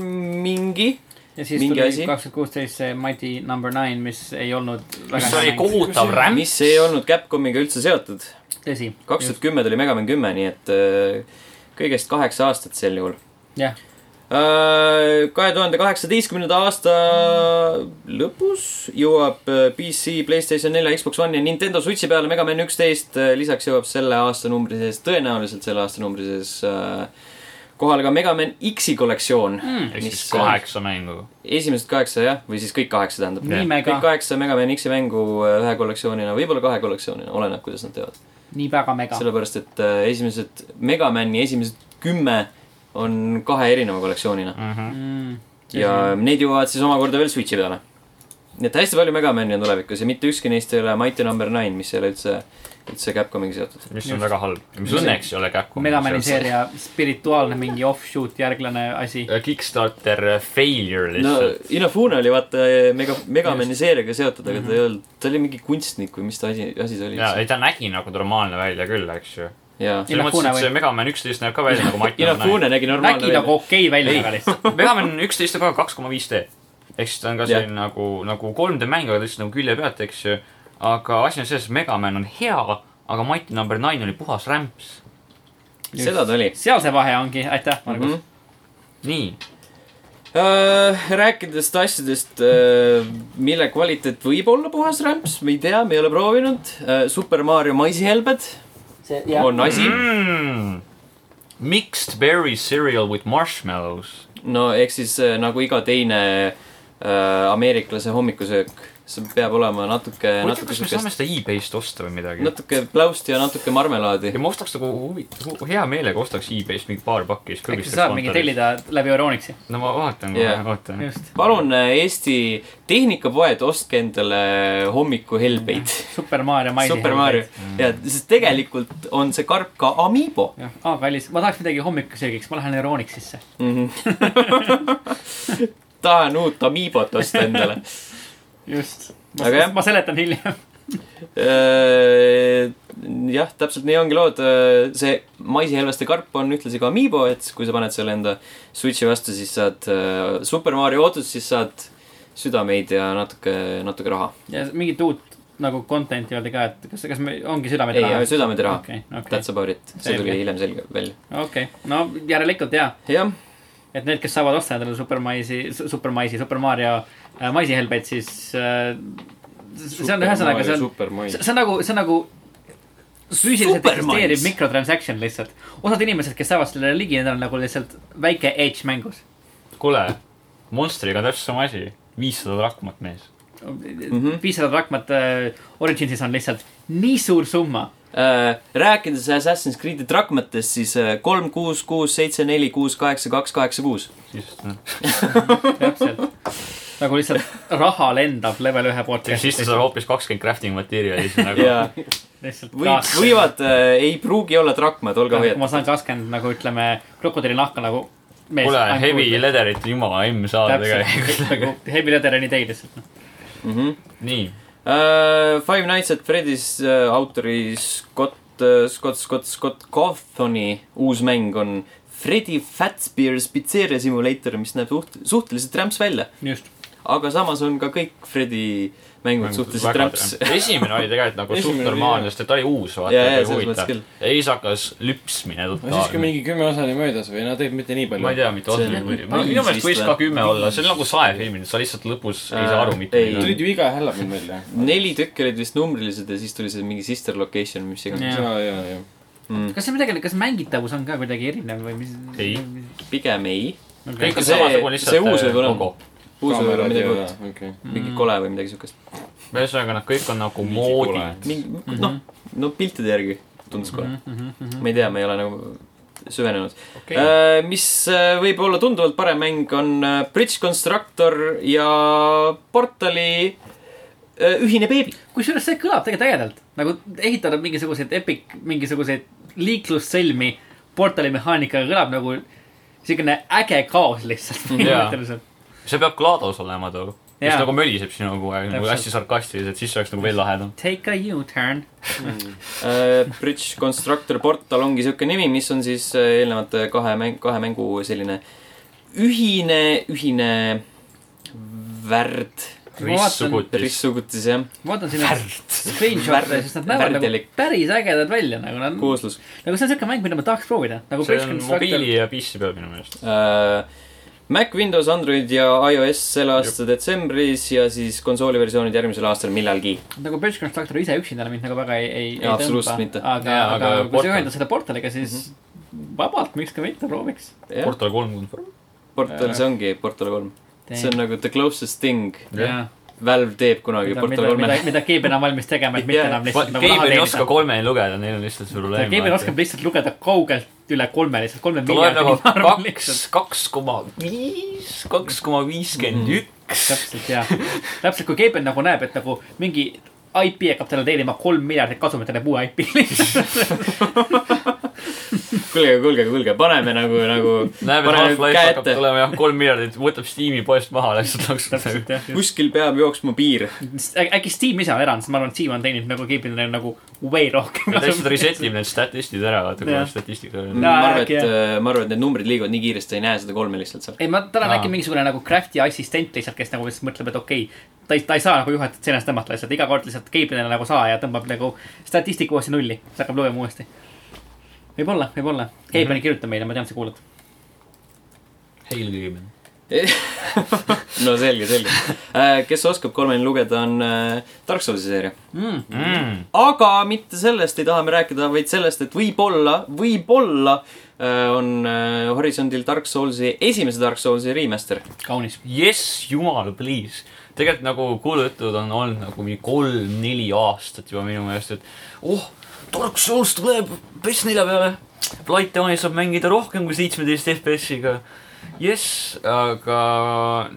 A: mingi
C: ja siis
A: Mingi
C: tuli
A: asi?
C: kaks tuhat kuusteist see Mighty number nine , mis ei olnud
D: mis
C: hea
D: oli
C: mäng.
D: kohutav rämp .
A: mis ei olnud Capcomiga üldse seotud .
C: tõsi .
A: kaks tuhat kümme tuli Megaman kümme , nii et öö, kõigest kaheksa aastat sel juhul .
C: jah ,
A: Äh, kahe tuhande kaheksateistkümnenda aasta lõpus jõuab öö, PC , Playstation nelja , Xbox One ja Nintendo Switchi peale Megaman üksteist . lisaks jõuab selle aastanumbri sees , tõenäoliselt selle aastanumbri sees öö, kohale ka Megaman X-i kollektsioon mm,
D: ehk siis kaheksa mängu .
A: esimesed kaheksa jah , või siis kõik kaheksa tähendab .
C: Nii mega.
A: kõik kaheksa Megaman X-i mängu äh, ühe kollektsioonina , võib-olla kahe kollektsioonina , oleneb , kuidas nad teevad .
C: nii väga mega .
A: sellepärast , et äh, esimesed Megamani esimesed kümme on kahe erineva kollektsioonina mm.
C: Mhm.
A: ja
D: Mhm.
A: need jõuavad siis omakorda veel Switchi peale . nii et hästi palju Megamani on tulevikus ja mitte ükski neist ei ole Mighty number nine , mis ei ole üldse , üldse Capcomiga seotud .
D: mis on väga halb . mis õnneks ei ole käkku .
C: Megamani . seeria spirituaalne mingi offshoot järglane asi .
D: Kickstarter äh, failure
A: no
D: lihtsalt .
A: Inafune oli vaata äh, Mega , Megamani seeriaga seotud , aga ta ei olnud , ta oli mingi kunstnik või mis ta asi , asi see oli
D: Mhm. jaa , ei ta nägi nagu normaalne välja küll , eks ju .
A: jaa .
D: selles mõttes ,
C: Inafune
D: et
C: või?
D: see Megaman üksteist näeb ka välja nagu Mati .
A: Inafune nägi normaalne
C: nägi nagu okei okay välja , aga lihtsalt .
D: Megaman üksteist on ka kaks koma viis D . ehk siis ta on ka
A: Jah.
D: selline nagu , nagu 3D mäng , aga lihtsalt nagu külje pealt , eks ju . aga asi on selles , et Megaman on hea , aga Mighty number nine oli puhas rämps .
A: seda ta oli .
C: seal see vahe ongi , aitäh , Margus .
A: Mhm.
D: nii ,
A: Äh, Rääkides asjadest , mille kvaliteet võib olla puhas rämps , me ei tea , me ei ole proovinud . Super Mario maisihelbed on asi .
D: mm. . Mixed berry cereal with marshmallows .
A: no ehk siis äh, nagu iga teine äh, ameeriklase hommikusöök , see peab olema natuke ,
D: ma ei tea ,
A: natuke
D: kas me saame
A: siukest ,
D: seda e-base'ist osta või midagi no. .
A: natuke pläust ja natuke marmelaadi
D: ja . ma ostaks nagu huvitav , hea meelega ostaks e-base'ist mingi paar pakki , siis
C: äkki sa saad mingi . tellida läbi Euronixi ,
D: no ma vaatan
A: Jah.
D: kohe , vaatan .
C: just .
A: palun äh, Eesti tehnikapoed , ostke endale hommikuhelbeid .
C: Super Mario maisi .
A: Super Mario .
D: Mm.
A: ja , sest tegelikult on see karp ka Amiibo
C: jah , aa , kallis , ma tahaks midagi hommikusöögiks , ma lähen Euronixisse .
D: Mhm.
A: tahan uut Amiibot osta endale .
C: just .
A: Aga jah.
C: ma seletan hiljem .
A: Äh, jah , täpselt nii ongi lood . see maisihelveste karp on ühtlasi ka Amiibo , et kui sa paned selle enda Switchi vastu , siis saad öö, Super Mario ootust , siis saad südameid ja natuke , natuke raha .
C: ja mingit uut nagu content'i öeldi ka , et kas , kas me , ongi südamed
A: ei , südameid ja raha .
C: okei , okei
A: That's , about it . see tuli
C: Selge.
A: hiljem selge välja .
C: okei , no järelikult jaa ,
A: jah ,
C: et need , kes saavad osta endale Super Maisi , Super Maisi , Super Mario äh, maisihelbeid , siis äh, see on ühesõnaga , see on
B: super mai .
C: see see on nagu , see on nagu füüsiliselt
A: Supermais.
C: eksisteeriv mikrotransaction lihtsalt . osad inimesed , kes saavad sellele ligi , need on nagu lihtsalt väike edge mängus .
D: kuule , Monstriga on täpselt sama asi , viissada drakmat mees .
B: Mhm.
C: viissada drakmat äh, Originsis on lihtsalt nii suur summa .
A: Äh, rääkides Assassin's Creed'i trakmatest , siis äh, kolm , kuus , kuus , seitse , neli , kuus , kaheksa , kaks , kaheksa , kuus .
D: siis noh ,
C: täpselt , nagu lihtsalt raha lendab level ühe poolt .
D: siis ta saab hoopis kakskümmend crafting materjali , siis nagu
A: jaa ,
C: lihtsalt
A: võib , võivad , ei pruugi olla trakmad , olge
C: kui
A: hoiatud .
C: ma saan kakskümmend nagu ütleme krokodillinahka nagu .
D: kuule , heavy . leatherit jumala emm saada tegelikult .
C: täpselt , nagu heavy leather on idee lihtsalt .
A: Mhm.
D: nii ,
A: Äh, Five Nights at Freddy's äh, autori Scott , Scott , Scott , Scott Cawthoni uus mäng on Freddy Fazbear's Pizzeria Simulator , mis näeb suht- , suhteliselt rämps välja .
C: just ,
A: aga samas on ka kõik Freddy mängud suhteliselt rämps .
D: esimene oli tegelikult nagu suht
B: Esimene oli,
D: normaalne , sest et ta oli uus , vaata
A: Jaa, , jaa,
D: ta oli
A: selles mõttes
D: huvitav .
A: küll.
D: ja siis hakkas lüpsmine
B: no siis , kui
D: totaalne .
B: mingi kümme osa oli möödas või no tegelikult mitte nii
D: ma ei
B: palju .
D: tea , mitte
A: See
D: otseselt
A: oli
D: muidugi .
A: nagu
D: minu
A: viis
D: meelest võis
A: vist
D: ka
A: või?
D: kümme olla , see on nagu saefilmid , sa lihtsalt lõpus ei saa aru mitte
A: Äh, ei.
D: midagi .
B: tulid ju iga hälla film välja .
A: neli tükki olid vist numbrilised ja siis tuli see mingi sister location , mis iganes
C: Jah.
B: ja , ja , ja .
C: kas see midagi , kas mängitavus on ka kuidagi erinev või mis ?
D: Ei. .
A: yeah. . pigem ei .
D: kõik on
A: See-
D: samasugune äh,
A: see uus võib-olla on.
D: lihtsalt .
A: uus või midagi uut ,
B: okei .
A: mingi kole või midagi siukest .
D: ühesõnaga , nad kõik on nagu
B: kole.
D: moodid .
A: mingi mm -hmm. noh , no piltide järgi tundus kole mm . -hmm. ma ei tea , ma ei ole nagu süvenenud okay. . mis äh, võib olla tunduvalt parem mäng , on äh, Bridge Constructor ja Portali äh, ühine beebi .
C: kusjuures see kõlab tegelikult ägedalt , nagu ehitada mingisuguseid epic , mingisuguseid liiklussõlmi portali mehaanikaga kõlab nagu siukene äge kaos lihtsalt .
D: Jaa.
C: täpselt ,
D: see peab GLaDOS olema too . mis
C: Jaa.
D: nagu möliseb sinu kogu aeg , nagu
C: Täpselt.
D: hästi sarkastiliselt , siis oleks nagu veel lahedam .
C: take a U-turn .
A: Äh, Bridge Constructor Portal ongi siuke nimi , mis on siis äh, eelnevate kahe mäng , kahe mängu selline ühine , ühine värd ,
D: ristsugutis .
A: ristsugutis jah ,
C: ma vaatan siin neid screenshot'e , siis nad näevad nagu
A: Värdelik.
C: päris ägedad välja , nagu nad , nagu
A: kooslus
C: see on siuke mäng , mida ma tahaks proovida . nagu
D: see
C: Bridge
D: on
C: Constructor ,
D: mobiili ja PC peal minu meelest .
A: uh, . Mac , Windows , Android ja iOS selle aasta detsembris ja siis konsooliversioonid järgmisel aastal millalgi .
C: nagu Bridge Constructor ise üksinda mind nagu väga ei , ei , ei
A: Jaa, absoluutselt mitte. Mhm.
C: aga
D: Jaa, ,
C: aga
D: aga
C: kui
D: Portal.
C: sa ühendad selle Portaliga , siis vabalt , miks ka mitte , prooviks .
D: Portal kolmkümmend .
A: Portal , see ongi Portal kolm . see on nagu the closest thing
C: jah ,
A: Valve teeb kunagi
C: mida , mida
A: Portal ,
C: mida
A: kolmele .,
C: mida Keeben on valmis tegema , et mitte
A: Jaa.
C: enam lihtsalt nagu raha
D: Keimel ei oska
C: teenida .
D: kolmeni lugeda , neil on lihtsalt see probleem .
C: Keeben oskab lihtsalt lugeda kaugelt üle kolme lihtsalt , kolme
D: ta loeb nagu
C: miljardi .
D: kaks , kaks koma viis , kaks koma viiskümmend üks .
C: täpselt jah , täpselt kui Keeben nagu näeb , et nagu mingi IP hakkab talle teenima kolm miljardit kasumit , ta teeb uue IP lihtsalt .
A: kuulge , kuulge , kuulge , paneme nagu , nagu .
D: näeb , et
A: paneme
D: Half-Life
A: käe
D: hakkab
A: ette ,
D: tulema jah , kolm miljardit , võtab Steam'i poest maha , lihtsalt nagu laksub
C: täpselt . jah .
A: kuskil peab jooksma piir .
C: äkki Steam ise on erand , sest ma arvan , et Steam on teeninud nagu Keebenile nagu way rohkem
D: ta lihtsalt . reset ib need statistid ära , vaata kui
C: Jah.
D: on statistika
A: ma
C: No.
D: oli .
A: arvan ,
C: äkki,
A: et , ma arvan , et need numbrid liiguvad nii kiiresti , sa ei näe seda kolme lihtsalt seal .
C: ei , ma , tal on
D: Aa.
C: äkki mingisugune nagu crafty assistent lihtsalt , kes nagu lihtsalt mõtleb , et okei okay, , ta ei , ta ei saa nagu juhatajat seinast tõmmata lihtsalt , iga kord lihtsalt Keebenile nagu saa ja tõmbab nagu statistika uuesti nulli , siis hakkab lugema uuesti . võib-olla , võib-olla . Keeben mm -hmm. kirjutab meile , ma tean , sa kuulad .
D: Hail Keimel .
A: no selge , selge . kes oskab kolmeni lugeda , on äh, Dark Soulsi seeria .
C: Mm.
A: aga mitte sellest ei taha me rääkida , vaid sellest , et võib-olla , võib-olla äh, on äh, Horisondil Dark Soulsi , esimese Dark Soulsi remaster .
C: kaunis .
D: Yes , jumal , please . tegelikult nagu kuulujutud on olnud nagu mingi kolm-neli aastat juba minu meelest , et oh , Dark Souls tuleb PS4 peale . Light Downi saab mängida rohkem kui seitsmeteist FPS-iga . Yes , aga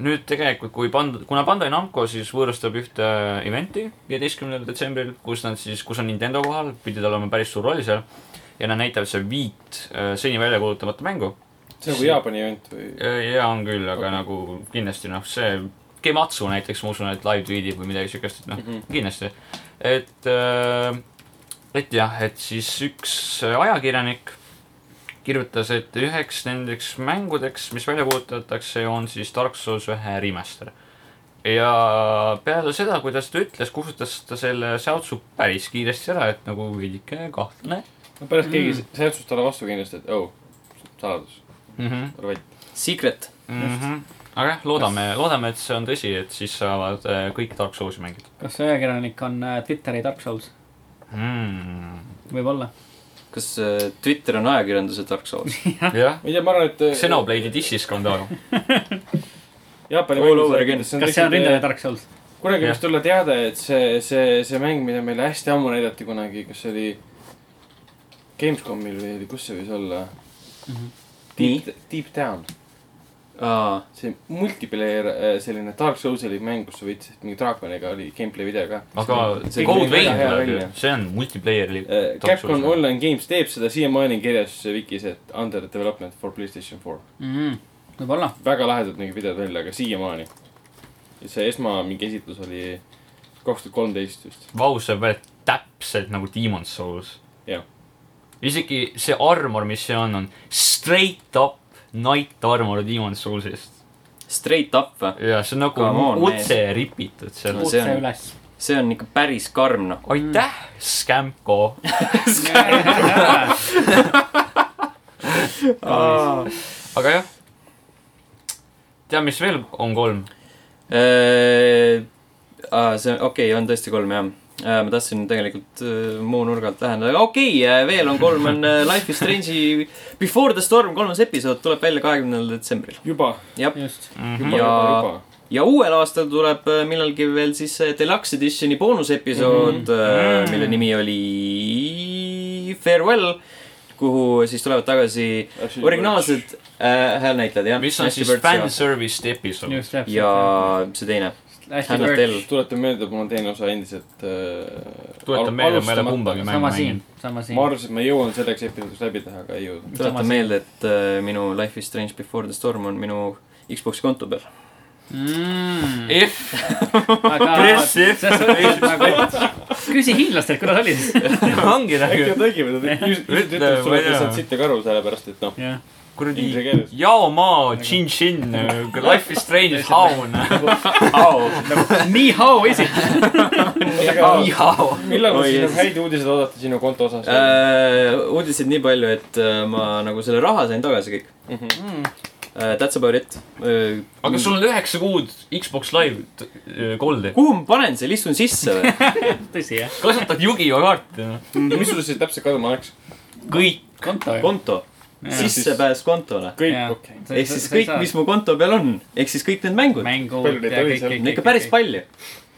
D: nüüd tegelikult , kui pand- , kuna Bandai Namco siis võõrustab ühte event'i viieteistkümnendal detsembril , kus nad siis , kus on Nintendo kohal , pidi tal olema päris suur roll seal ja nad näitavad seal viit äh, seni välja kuulutamata mängu
B: see on nagu Jaapani event või ?
D: jaa , on küll , aga
B: Okei.
D: okay. nagu kindlasti noh , see Gematsu näiteks , ma usun , et live tweetib või midagi siukest , et noh mm
B: Mhm.
D: -hmm. kindlasti . et , et jah , et siis üks ajakirjanik kirjutas , et üheks nendeks mängudeks , mis välja kuulutatakse , on siis Dark Souls ühe remaster . ja peale seda , kuidas ta ütles , kustutas ta selle säutsu päris kiiresti ära , et nagu veidike kahtlane
B: no pärast keegi mm. särtsus talle vastu kindlasti , et oh , saladus ,
D: mm . -hmm.
B: ole vait .
A: Secret .
D: Mhm. aga jah , loodame , loodame , et see on tõsi , et siis saavad äh, kõik Dark Soulsi mängida
C: kas see ajakirjanik on äh, Twitteri Dark Souls ?
D: mm. .
C: võib-olla .
A: kas äh, Twitter on ajakirjanduse Dark Souls ?
D: jah ,
B: ma ei tea , ma arvan , et . äh,
D: Xenoblade'i dissiskandaal .
B: Jaapani
A: All over again.
C: kas see on rindele Dark Souls ?
B: kunagi
D: Jah.
B: võiks tulla teade , et see , see , see mäng , mida meile hästi ammu näidati kunagi , kas see oli Gamescomil või oli , kus see võis olla ?
C: Mhm.
B: Deep , Deep Down ,
A: aa ,
B: see multiplayer äh, selline Dark Souls'i mäng , kus sa võitsid mingi draakoniga , oli gameplay video ka .
D: aga
A: See
D: Code
A: kõik
D: Vein
B: näeb väga hea
D: tuleb ju
B: välja. ,
D: see on multiplayer'i .
B: Capcom Online Games teeb seda , siiamaani on kirjas Vikis , et under development for Playstation 4 .
C: Mm. võib-olla .
B: väga lahedad nägid videod välja , aga siiamaani . see esma mingi esitlus oli kaks tuhat kolmteist vist .
D: Vaus saab välja täpselt nagu Demon's Souls .
B: Jah.
D: isegi see armor , mis see on , on straight up night armor Demon's Soulsist .
A: straight up või ?
D: ja see on nagu
A: Come on,
D: otse ripitud seal
A: No . see
C: otse
A: on-
C: üles .
A: see on ikka päris karm noh .
D: aitäh , Scamco . aga jah . tead , mis veel on kolm ?
A: Äh, Aa, see , okei , on tõesti kolm jah . ma tahtsin tegelikult äh, muu nurga alt läheneda , aga okei okay, , veel on kolm , on äh, Life is Strange'i Before the Storm kolmas episood tuleb välja kahekümnendal detsembril .
B: juba ,
A: jah ,
C: just .
B: juba ,
A: Ja-
B: juba , juba .
A: ja uuel aastal tuleb äh, millalgi veel siis see Deluxe Editioni boonusepisood
D: Mhm.
A: mm , -hmm. mille nimi oli Farewell , kuhu siis tulevad tagasi originaalsed äh, häälnäitlejad , jah .
D: mis on siis fanservice'd episood .
C: just , täpselt .
A: ja see teine ,
C: Ashley
A: Hannah
C: Birch .
A: Tell .
B: tuletan meelde , mul on teine osa endiselt äh, .
D: tuletan meelde , ma ei ole . kumbagi mängu
C: sama siin
D: mänginud .,
C: sama siin
B: ma . arvasin , et ma jõuan selleks episoodiks läbi teha , aga ei jõudnud .
A: tuletan
C: Samas-
A: meelde , et äh, minu Life is Strange Before the Storm on minu Xbox'i konto peal .
C: Mm.
D: If ,
C: aga
D: Press if-
C: selles suhtes nagu , küsi hiinlastelt , kuidas oli siis .
B: äkki
D: ongi nagu ,
B: nad nägid , nad ütlesid
D: Ütle, ma ei
B: sulle , et
D: tea.
B: sa saad siit nagu aru , sellepärast et noh ,
D: kuradi
B: Inglise keeles.
D: Jaomaa Chin-Chin , äh, Life is Strange is Haun .
C: nii how is it ?
D: Jao .
B: millal
A: Oi,
B: te siis nagu
A: Jeesus.
B: häid uudiseid oodate sinu konto osas ?
A: Äh, uudiseid nii palju , et äh, ma nagu selle raha sain tagasi kõik .
D: Mhm.
A: That's about it . Äh,
D: aga sul on üheksa kuud Xbox Live äh, t- öö, kolde .
A: kuhu ma panen selle , istun sisse või ?
C: tõsi jah ,
D: kasutad Yugi-Oh kaarte , noh .
B: missugused see täpselt kaduma läks ?
D: kõik .
C: konto ju .
A: konto , sissepääs kontole .
B: kõik , okei .
A: ehk siis kõik , mis mu konto peal on , ehk siis kõik need mängud .
C: mängud
B: Palju neid
C: ja
B: oli
C: kõik ,
B: seal?
C: kõik ,
A: no ikka päris . palju .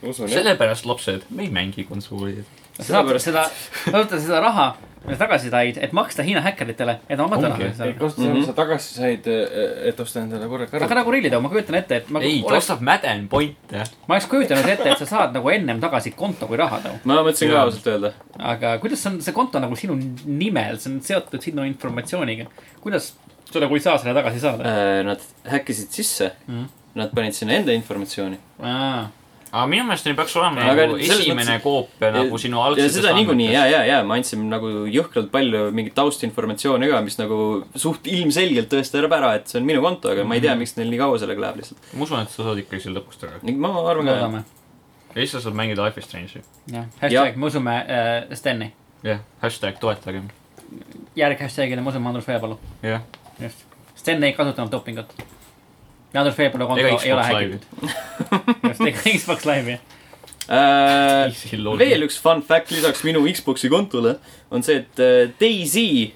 B: usun jah .
D: sellepärast , lapsed , me ei mängi konsoolidel .
C: sellepärast seda , vaata seda raha , mida tagasi said , et maksta Hiina häkkeritele , et oma
D: Ongi.
C: raha
B: ei ,
C: saada .
B: kust sa sa tagasi said , et osta endale korra
C: aga
B: karu ?
C: nagu rillida , ma kujutan ette , et ma
D: ei , ta
C: oleks ,
D: ostab Madden Pointe .
C: ma oleks kujutanud ette , et sa saad nagu ennem tagasi konto kui raha too .
A: ma mõtlesin ka
D: Jaa.
A: ausalt öelda .
C: aga kuidas on see konto nagu sinu nimel , see on seotud sinu informatsiooniga . kuidas sa nagu ei saa selle tagasi saada ?
A: Äh, Nad häkkisid sisse , nad panid sinna enda informatsiooni .
D: aga minu meelest neil peaks olema
A: Aga
D: nagu
A: selles
D: esimene
A: mõttes-
D: koopia nagu sinu
A: ja
D: algsetest
A: seda niikuinii ja , ja , ja ma andsin nagu jõhkralt palju mingit taustinformatsiooni ka , mis nagu suht ilmselgelt tõestab ära , et see on minu konto , aga ma ei tea , miks neil nii kaua sellega läheb lihtsalt .
D: ma usun , et sa saad ikkagi selle lõpuks tagasi .
A: ma arvan ka .
C: loodame .
D: ja siis sa saad mängida Life is Strange'i .
C: jah , hashtag me usume äh, Steni .
D: jah , hashtag toetagem .
C: järg hashtagile me usume Andrus Veepalu .
D: jah .
C: just . Sten ei kasutanud dopingut . ja Andrus Veepalu konto
D: ega
C: ei ole
D: Xbox
C: häkitud .
D: Live'it .
C: just , ega Xbox Live'i .
A: Äh,
D: Easy lol.
A: veel üks fun fact lisaks minu Xbox'i kontole on see , et äh, Daisy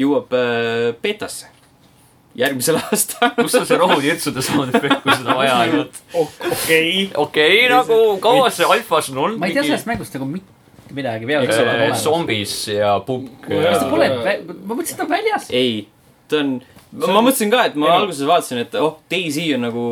A: jõuab äh, betasse järgmisel aastal .
D: kust sa see rohutirtsude sound efekt , kui seda vaja on ?
B: okei .
D: okei , nagu kaua see alfas on olnud ?
C: ma ei tea sellest mängust nagu mitte midagi peale .
B: Eks ole,
D: sellest . zombis ja äh, punk
B: Mul ei ole
C: kas
D: ja
C: ta pole , ma mõtlesin , et ta on väljas .
A: ei , ta on , ma ma mõtlesin ka , et ma alguses vaatasin , et oh , Daisy on nagu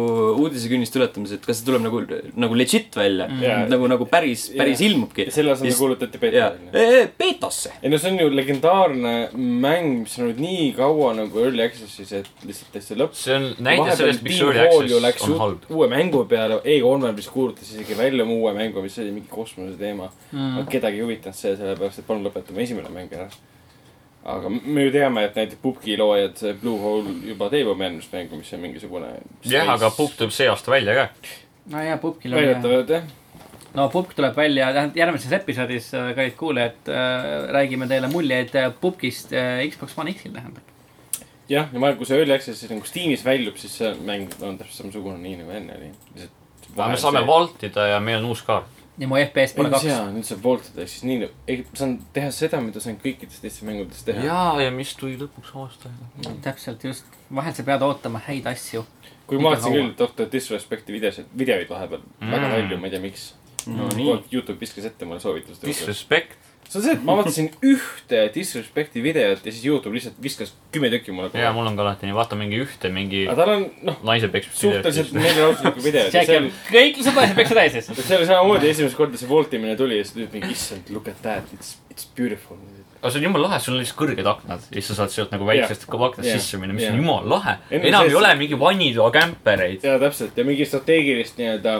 A: uudisekünnist ületamas , et kas see tuleb nagu , nagu legit välja mm. .
B: Jaa.
A: nagu , nagu päris , päris yeah.
B: Jaa.
A: ilmubki
B: ja . selle asemel
A: Just-
B: kuulutati
A: jaa
B: Peeter ,.
A: beetasse .
B: ei no see on ju legendaarne mäng , mis on olnud nii kaua nagu early access'is , et lihtsalt täitsa lõpp .
D: see on näide sellest , miks Early Access on halb .
B: uue mängu peale , e-konverentsis kuulutas isegi välja oma uue mängu , mis oli mingi kosmose teema
C: Mhm.
B: mm. . aga kedagi ei huvitanud see , sellepärast et palun lõpetame esimene mäng ära . aga m- me ju teame , et näiteks Pupki loojad , see Blue Hole juba teeb oma järgmist mängu , mis on mingisugune .
D: jah , aga Pukk tuleb see aasta välja ka .
C: no jaa , Pupkil on jah .
B: väidetavalt jah .
C: no Pupk tuleb välja , tähendab järgmises episoodis , kallid kuulajad , räägime teile muljeid äh, Pupkist äh, Xbox One X-il tähendab .
B: jah , ja ma arvan , kui see Early Access'is nagu Steamis väljub , siis see mäng on täpselt samasugune , nii nagu enne oli .
D: aga me saame valtida ja meil on uus kaart .
C: ja mu FPS
B: ei
C: pole
B: no see
C: kaks .
B: on , nüüd saab voltada , ehk siis nii , saan teha seda , mida saan kõikides teistes mängudes teha .
D: jaa , ja mis tuli lõpuks aasta aega .
C: täpselt , just . vahel sa pead ootama häid asju .
B: kui
C: Ikka
B: ma vaatasin
C: kaua.
B: küll Doctor Disrespecti videosid , videoid vahepeal mm. väga palju , ma ei tea , miks .
A: no nii .
B: Youtube viskas ette mulle soovitust . see
D: Disrespect .
B: on see , et ma vaatasin ühte Disrespecti videot ja siis Youtube lihtsalt viskas kümme tükki mulle kohe .
D: jaa , mul on ka alati nii , vaata mingi ühte mingi
B: aga tal on , noh ,
D: naise peksmist .
B: suhteliselt meelelahutuslikku videot ja seal ,
C: kõik lihtsalt naised peaksid täis siis .
B: seal samamoodi esimest korda see voltimine tuli ja siis tuli mingi , issand , look at that , it's , it's beautiful .
D: aga see on jumala lahe , sul on lihtsalt kõrged aknad ja siis sa saad sealt nagu väiksest yeah. aknast
B: Jah.
D: yeah. sisse minna , mis yeah.
B: Jah.
D: on jumala lahe .
B: Enne
D: enam
B: sees-
D: ei ole mingi vanitoa kämpereid .
B: jaa , täpselt ja mingi strateegilist nii-öelda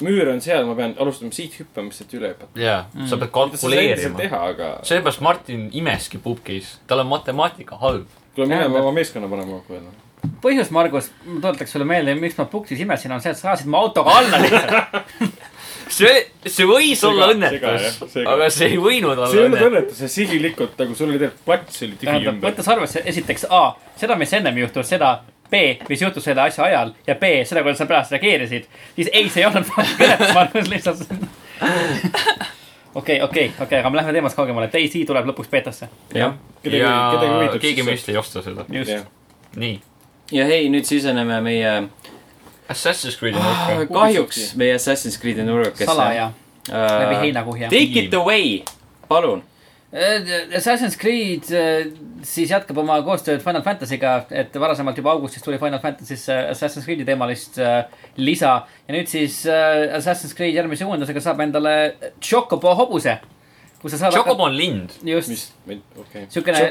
B: müür on seal , ma pean alustama siit hüppamist , et üle hüpata .
D: jaa , Mm. sa pead
B: mida sa said seal
D: kalkuleerima .
B: teha , aga
D: seepärast Martin imeski pubgis , tal on matemaatika halb .
B: kuule , me
C: Tähendab-
B: peame oma meeskonna panema kokku jälle .
C: põhjus , Margus , ma tuletaks sulle meelde , miks ma Puksis imesin , on see , et sa ajasid mu autoga alla lihtsalt .
D: see , see võis
B: Sega-
D: olla
B: sega,
D: õnnetus
B: jah, , sega.
D: aga see ei võinud
B: see ei olnud
D: olla õnnetus .
B: õnnetus , see sihilikult nagu sul oli tegelikult plats oli tühi
C: tähendab ,
B: ümber .
C: võttes arvesse esiteks A , seda , mis ennem juhtus , seda B , mis juhtus selle asja ajal ja B , seda , kuidas sa pärast reageerisid , siis ei , see ei olnud kõnet , Margus lihtsalt . okei , okei , okei , aga me läheme teemast kaugemale , Daisy tuleb lõpuks beetasse .
A: jah .
B: Kedagi-
D: ja
B: kedagi huvitab
D: keegi
B: siis
D: meist ei osta seda .
C: just ,
D: nii ,
A: ja hei , nüüd siseneme meie ,
D: Assassin's Creed'i
B: Ah,
D: nurka .
A: kahjuks meie Assassin's Creed'i nurgakesse .
C: salaja , läbi
A: äh, .
C: heinakuhja .
A: Take it away , palun .
C: Assassin's Creed eh, siis jätkab oma koostööd Final Fantasy'ga , et varasemalt juba augustis tuli Final Fantasy'sse Assassin's Creed'i teemalist eh, lisa . ja nüüd siis eh, Assassin's Creed järgmise uuendusega saab endale Chocobo hobuse . kus sa saad
D: Chocobo on lind .
C: hakata- just
B: mis , okei .
C: siukene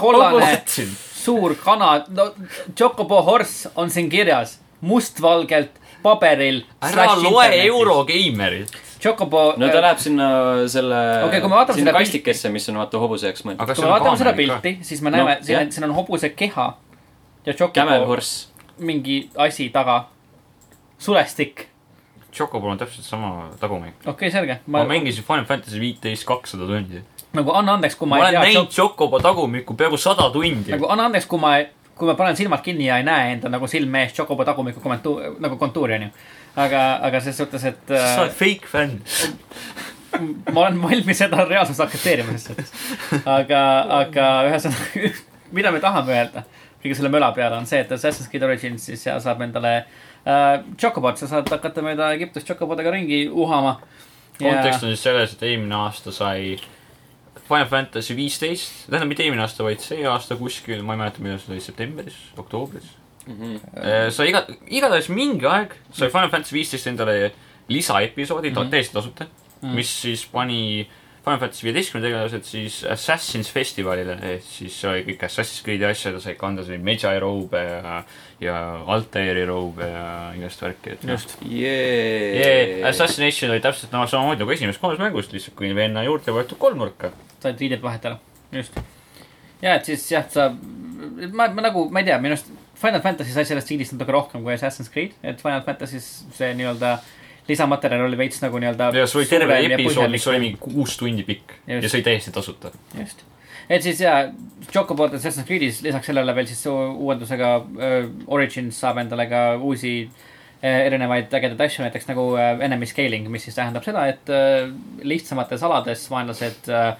C: kollane suur kana , no Chocobo horse on siin kirjas mustvalgelt paberil .
D: ära loe . Eurogeimerit .
C: Chocobo . eh,
A: no ta läheb sinna selle
C: Okei, kui me vaatame
A: sinna
C: seda
A: kastikesse , mis on vaata hobuse jaoks mõeldud .
D: aga
C: kui me vaatame seda pilti , siis me näeme
A: No,
C: no, , siin
A: jah.
C: on , siin on hobuse keha ja
A: Camel
C: Chocobo
A: Horse .
C: mingi asi taga . sulestik ,
D: Chocobol on täpselt sama tagumik .
C: okei okay, , selge .
D: ma
C: ma
D: mängisin Final Fantasy viiteist kakssada tundi .
C: nagu anna andeks , kui
D: ma
C: ma ei
D: olen
C: tea
D: näinud , Chocobo tagumikku peaaegu sada tundi .
C: nagu anna andeks , kui ma , kui ma panen silmad kinni ja ei näe enda nagu silme ees Chocobo tagumiku kommentu- , nagu kontuuri onju . aga , aga selles suhtes , et
D: sa
C: äh,
D: oled fake fänn .
B: Nagu-
C: ma olen valmis seda reaalsust aktsepteerima selles suhtes . aga , aga ühesõnaga , mida me tahame öelda kõige selle möla peale on see , et Assassin's Creed Origins siis seal saab endale äh, Chocobot , sa saad hakata mööda Egiptust Chocobotega ringi uhama .
D: kontekst on siis selles , et eelmine aasta sai Final Fantasy viisteist , tähendab mitte eelmine aasta , vaid see aasta kuskil , ma ei mäleta , millal see oli , septembris , oktoobris Eh, sai iga , igatahes mingi aeg sai Final Fantasy viisteist endale lisaepisoodi mm -hmm. täiesti tasuta mm , -hmm. mis siis pani Final Fantasy viieteistkümne tegelased siis Assassin's festivalile , ehk siis see oli kõik Assassin's Creed'i asjad , sai kanda siin Medjai roube ja , ja Altairi roube ja igast värki , et noh. just . Yeah,
A: jee .
D: Assassination oli täpselt no, samamoodi nagu esimeses kolmes mängus , lihtsalt kui venna juurde võetud kolmnurka .
C: said riided vahetada , just . ja , et siis jah , sa , ma , ma nagu , ma ei tea , minu arust Final Fantasy sai sellest stiilist natuke rohkem kui Assassin's Creed , et Final Fantasy's see nii-öelda lisamaterjal oli veits nagu nii-öelda .
D: ja see oli terve episood , mis oli mingi kuus tundi pikk
C: Just.
D: ja see oli täiesti tasuta .
C: just , et siis jaa , Chocobot Assassin's Creed'is lisaks sellele veel siis u- uuendusega äh, Origins saab endale ka uusi äh, erinevaid ägedaid asju , näiteks nagu äh, enemy scaling , mis siis tähendab seda , et äh, lihtsamates alades vaenlased äh,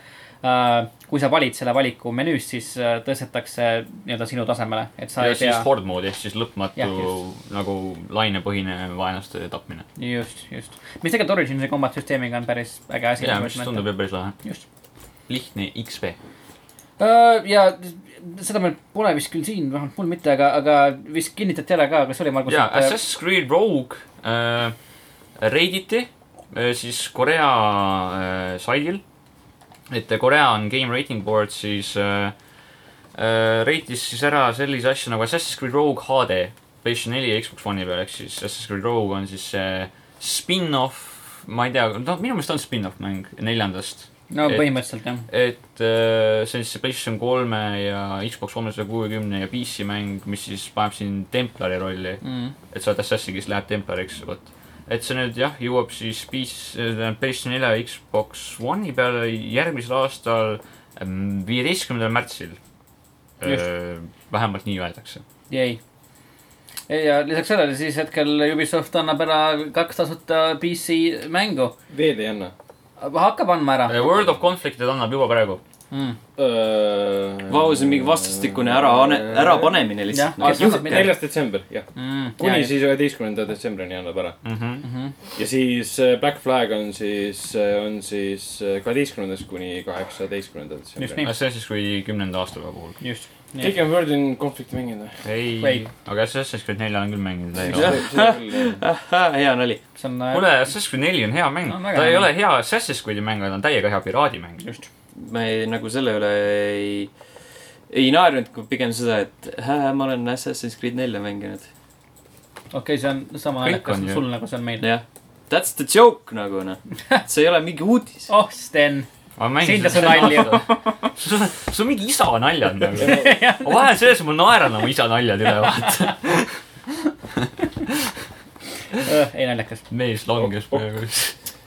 C: äh, kui sa valid selle valiku menüüs , siis äh, tõstetakse nii-öelda sinu tasemele , et sa ei
D: ja siis
C: pea .
D: horde moodi ehk siis
C: Jah,
D: lõpmatu
C: just.
D: nagu lainepõhine vaenlaste tapmine .
C: just , just , mis tegelikult Originsi combat süsteemiga on päris äge asi . nagu
D: ja mis tundub ju päris lahe .
C: just .
D: lihtne XP .
C: Öö, Äh, ja seda meil pole vist küll siin , vähemalt mul mitte , aga , aga vist kinnitati ära ka , kas oli Margus ? äh,
D: ja Assassin's Creed Rogue äh, reiditi äh, siis Korea äh, saidil . et äh, Korea on game rating board , siis äh, äh, reitis siis ära sellise asja nagu Assassin's Creed Rogue HD PlayStation neli ja Xbox One'i peal , ehk siis Assassin's Creed Rogue on siis see spin-off , ma ei tea , noh , minu meelest on spin-off mäng neljandast
C: no
D: et-
C: põhimõtteliselt jah .
D: et äh, see on siis see PlayStation kolme ja Xbox kolmesaja kuuekümne ja PC mäng , mis siis paneb siin templari rolli mm. . et sa oled assassin , kes läheb templariks , vot . et see nüüd jah , jõuab siis PC , tähendab PlayStation nelja ja Xbox One'i peale järgmisel aastal ähm, viieteistkümnendal märtsil .
C: Just.
D: vähemalt nii öeldakse .
C: jäi . ja lisaks sellele siis hetkel Ubisoft annab ära kaks tasuta PC mängu .
B: veed ei anna .
C: hakkab andma ära .
D: World of Conflicted annab juba praegu .
A: Vau , see on mingi vastastikune ära , ärapanemine lihtsalt
C: Jah, . aga-
B: neljas detsember , jah .
C: Mm,
B: kuni . siis üheteistkümnenda detsembrini annab ära .
C: Mhm.
B: ja siis äh, Black Flag on siis , on siis kaheteistkümnendast kuni kaheksateistkümnenda
C: just nii
B: detsembrini .,
D: Assassin's Creed'i kümnenda aastapäeva puhul .
C: just .
B: keegi on World in Conflict'i mänginud või ?
D: ei
C: Wait. ,
D: aga Assassin's Creed nelja olen küll mänginud .
A: Ah, hea nali .
C: see on , äh,
D: kuule , Assassin's Creed neli on hea mäng
C: On
D: no, ,
C: väga
D: ta
C: hea
D: ei
C: mäng.
D: ole hea Assassin's Creed'i mäng , ta on täiega hea piraadimäng .
C: just .
A: me ei, nagu selle üle ei , ei naernud , kui pigem seda , et hää , ma olen Assassin's Creed nelja mänginud .
C: okei , see on sama
D: Kõik
C: häälekas
D: on ju.
C: sul nagu see on meil .
A: jah , that's the joke nagu noh , see ei ole mingi uudis .
C: oh , Sten ,
D: ma
C: siin
D: mängin
C: ta su nalju .
D: sul on , sul on mingi isa naljad nagu . ma vajan selles , et ma naeran oma isa naljad üle , vaata .
C: ei naljakas .
D: mees langes praegu .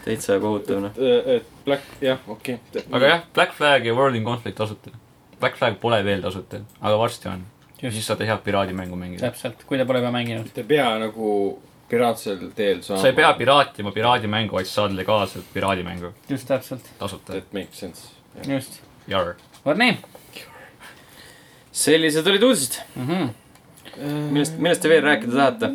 A: täitsa kohutav noh .
B: äh, Black , jah , okei .
D: aga jah , Black Flag ja World in Conflict tasuta . Black Flag pole veel tasuta , aga varsti on . ja siis saate head piraadimängu mängida .
C: täpselt , kui te pole juba mänginud .
B: Te ei pea nagu piraatsel teel saama .
D: sa ei pea . piraatima piraadimängu , vaid saad legaalselt piraadimängu
C: just täpselt ,
D: tasuta .
B: That makes sense .
C: just .
D: Jar .
C: vot nii .
A: sellised olid uudised ,
C: Mhm.
A: millest , millest te veel rääkida tahate ?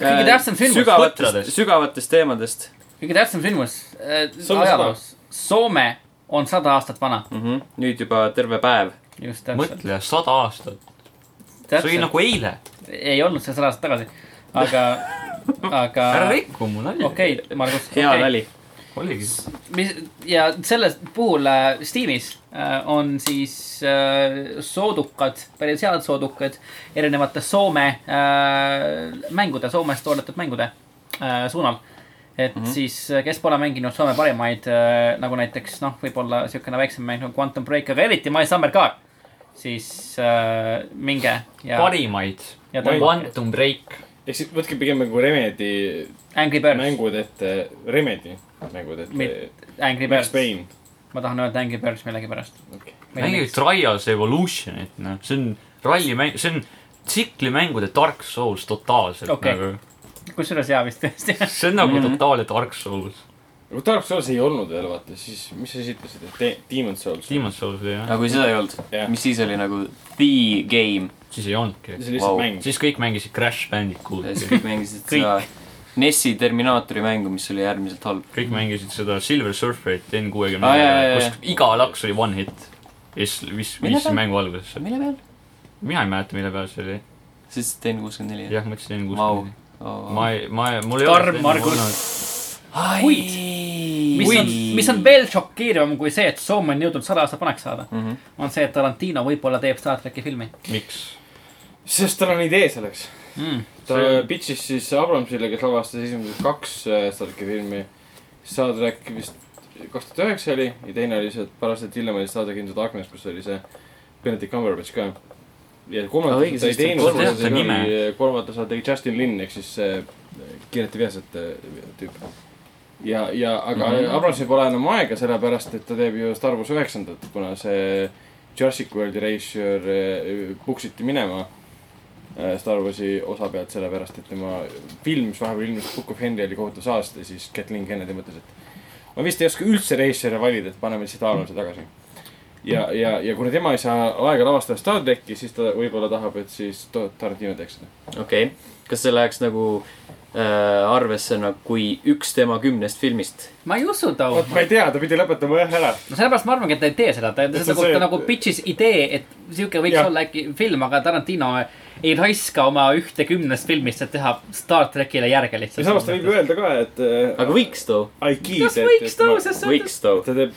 C: kõige tähtsam sündmus .
A: Äh, sügavatest ,
D: põtradest.
A: sügavatest teemadest
C: kõige tähtsam sündmus äh,
B: Soome
C: ajaloos . Soome on sada aastat vana .
A: mm . -hmm. nüüd juba terve päev .
C: just täpselt .
D: mõtle , sada aastat . see oli
C: täpselt ,
D: nagu eile .
C: ei olnud see sada aastat tagasi , aga , aga
D: ära rikku mu nalja .
C: okei , Margus ,
A: hea okay. nali .
D: oligi .
C: mis ja selles puhul äh, Steamis äh, on siis äh, soodukad , päris head soodukad erinevate Soome äh, mängude , Soomest toodetud mängude äh, suunal . et mm -hmm. siis , kes pole mänginud Soome parimaid äh, nagu näiteks noh , võib-olla siukene väiksem mäng nagu Quantum Break , aga eriti My Summer Car , siis äh, minge ja
D: parimaid .
C: ja tõmb-
D: Quantum Break .
B: ehk siis võtke pigem nagu Remedi
C: Angry Birds ,
B: mängud ette , Remedi mängud ette
C: Mit- . Angry
B: Max
C: Birds ,
B: Payne .
C: ma tahan öelda Angry Birds millegipärast .
D: mängige Trials Evolutionit , noh , see on rallimäng , see on tsiklimängude Dark Souls totaalselt
C: Okei.
D: okay. nagu .
C: kusjuures jaa vist tõesti .
D: see on nagu mm -hmm. totaalne Dark Souls .
B: kui Dark Souls ei olnud veel , vaata , siis mis sa siis ütlesid , et De- Demon's Souls ?
D: Demon's Souls oli jah ,
A: aga Nagu kui seda ei olnud
B: Jah. ,
A: mis siis oli nagu the game ,
D: siis ei olnudki .
B: see oli lihtsalt
A: Vau.
B: mäng .
D: siis kõik mängisid Crash
A: siis
D: Bandicooti .
A: kõik mängisid
C: Kõik.
A: seda NES-i Terminaatori mängu , mis oli äärmiselt halb .
D: kõik mängisid seda Silver Surferit N
A: Aa, jaa, jaa,
D: kuuekümne , kus iga laks oli one hit . ja siis viis ,
A: Mille
D: viis
A: peal?
D: mängu algusesse .
A: mille peal ?
D: mina ei mäleta , mille peal see oli .
A: siis N64 jah
D: jah , ma ütlesin N
A: Vau.
D: kuuskümmend . ma ei , ma ei , mul ei
C: Karm
D: enne
C: Margus.
D: olnud.
C: Kuid. mis on , mis on veel šokeerivam kui see , et Soome on jõudnud sada aastat vanaks saada ,
A: Mhm.
C: on see , et Tarantino võib-olla teeb Star tracki filmi .
D: miks ?
B: sest tal on idee selleks .
C: Mm.
B: ta
D: See-
B: pitch'is siis Abramsile , kes lavastas esimesed kaks äh, Star tracki filmi . Star track vist kaks tuhat üheksa oli ja teine oli see , et paar aastat hiljem oli Star track Into Darkness , kus oli see Benedict Cumberbatch ka . ja
A: Aa,
B: kolmandat
A: õige,
B: ta ei
A: sest et
B: teinud
D: kolmas- , ta nime.
B: kolmandat osa tegi äh, Justin Lin ehk siis äh, see kiirete vihasete äh, tüüp . ja , ja aga
A: Mhm.
B: mm -hmm. Abramsil pole enam aega , sellepärast et ta teeb ju Star Wars üheksandat , kuna see Jurassic World Erasure eh, puksiti minema eh, Star Warsi osa pealt , sellepärast et tema film , mis vahepeal ilmus , Book of Henry oli kohutav saast ja siis Kathleen Kennedy mõtles , et ma vist ei oska üldse Erasere'i valida , et paneme lihtsalt Abramsi tagasi . ja , ja , ja kuna tema ei saa aega lavastada Star tracki , siis ta võib-olla tahab , et siis to- Tarantino teeks seda .
A: okei okay. , kas see läheks nagu äh, arvesse nagu kui üks tema kümnest filmist ?
C: ma ei usu too .
B: vot ma ei tea , ta pidi lõpetama ühe ära .
C: no sellepärast ma arvangi , et ta ei tee seda , ta , ta
B: Et see on
C: nagu
B: see, ,
C: ta
B: et-
C: nagu pitch'is idee , et sihuke võiks ja.
B: Jah.
C: olla äkki film , aga Tarantino ei raiska oma ühte kümnest filmist , et teha Star trackile järge
B: ja samas ta
C: lihtsalt .
B: võib öelda ka , et eh,
A: aga võiks too ,
B: I kid .
C: kas võiks too , sest see Mm. on .
A: võiks too .
B: ta teeb ,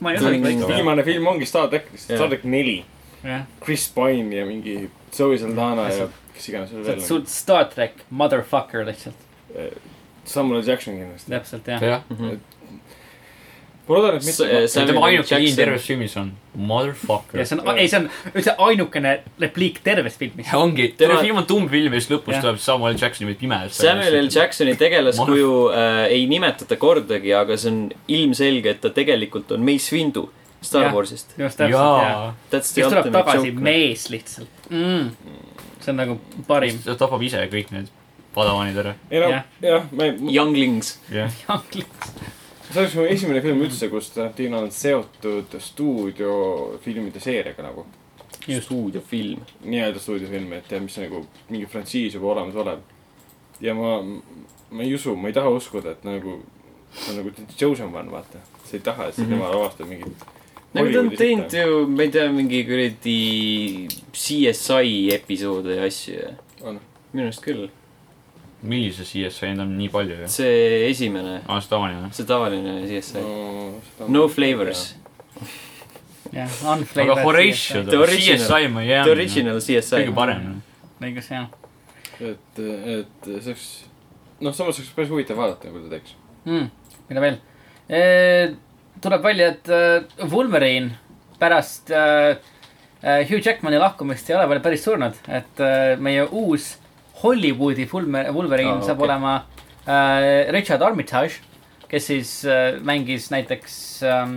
C: ma ei usu , et võiks
A: Või-
B: viimane film ongi Star track ,
A: Jah.
B: Star track neli .
C: teha .
B: Chris Pine ja mingi Zoe Saldana ja
C: Hästi.
B: kes iganes
C: see
B: veel
C: on sul Star track , motherfucker lihtsalt ,
B: on . Samuel L. Jackson kindlasti .
C: täpselt jah .
D: jah ,
A: Mhm.
B: ma loodan , et mitte .
A: S-
D: tema
A: Samuel
D: ainuke liin
A: Jackson.
D: terves filmis on motherfucker
C: ja . see on , ei , see on üldse ainukene repliik terves filmis .
D: Ja ongi , terve
A: Tema-
D: film on tumm film ja siis lõpus
C: Jah.
D: tuleb Samuel Jacksoni mingi pime .
A: Samuel L . Jacksoni tegelaskuju äh, ei nimetata kordagi , aga see on ilmselge , et ta tegelikult on Mace Windu Star
C: Jah.
A: Warsist .
C: just täpselt jah .
D: jaa .
A: That's the
C: siis tuleb
A: ultimate
C: tagasi
A: joke .
C: mees lihtsalt mm. . see on nagu parim .
D: ta tapab ise kõik need padavanid ära .
B: ei no
C: jah. ,
B: jah , ma ei ,
A: Younglings .
D: jah .
B: see oleks mu esimene film üldse , kus Tarantino on seotud stuudiofilmide seeriaga nagu .
C: Just.
A: stuudiofilm .
B: nii-öelda stuudiofilme , et tead , mis on nagu mingi frantsiis juba olemasolev . ja ma , ma ei usu , ma ei taha uskuda , et nagu , see on nagu Chosen One , vaata . sa ei taha , et see tema lavastab mingit .
A: Mhm. nagu ta on teinud ju , ma ei tea , mingi kuradi CSI episoode ja asju ja .
B: On.
A: minu arust küll .
D: millise CSI on tal nii palju ju ?
A: see esimene ,
D: aa , see tavaline .
A: see tavaline CSI .
B: no,
A: No flavors .
C: jah ,
D: aga Horatio ,
A: The original.
D: CSI
A: The
D: Miami ,
A: original CSI
D: kõige . parem .
C: õigus jah
B: et , et see oleks , noh , samas oleks päris huvitav vaadata , kui ta teeks .
C: mm, . mida veel ? tuleb välja , et eh, Wolverine pärast eh, eh, Hugh Jackmani lahkumist ei ole veel päris surnud , et eh, meie uus Hollywoodi Fulme- Wolverine
A: Aa,
C: saab
A: okei.
C: okay. olema eh, Richard Armitage , kes siis eh, mängis näiteks ähm,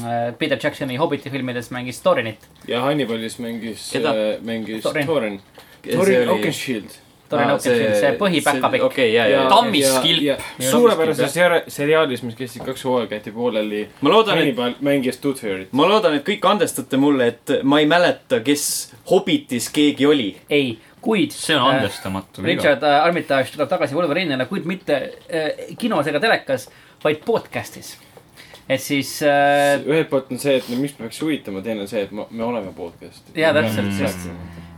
C: eh, Peter Jacksoni Hobbiti filmides mängis Thorinit .
B: ja Hannibalis mängis ,
A: Keda?
B: mängis
C: Thorin.
B: Thorin .
A: See
B: Thorin
A: oli-
B: Oakenshield .
C: Thorin Oakenshield , see põhipäkapikk .
A: Ah, okei , ja , ja , ja .
D: Tammiskilp.
B: suurepärases seri- seriaalis , mis kestis kaks hooaega , jäeti pooleli .
A: ma loodan , et ,
B: Hannibal mängis Toothfairy't .
A: ma loodan , et kõik andestate mulle , et ma ei mäleta , kes Hobbitis keegi oli .
C: ei , kuid .
D: see
A: Äh,
D: on . andestamatu viga .
C: Richard äh, Armitage tuleb tagasi Wolverine'ina , kuid mitte äh, kinos ega telekas , vaid podcast'is . et siis äh, ,
B: ühelt poolt on see , et no miks me peaks huvitama , teine on see , et ma, me oleme podcast .
C: jaa , täpselt , just .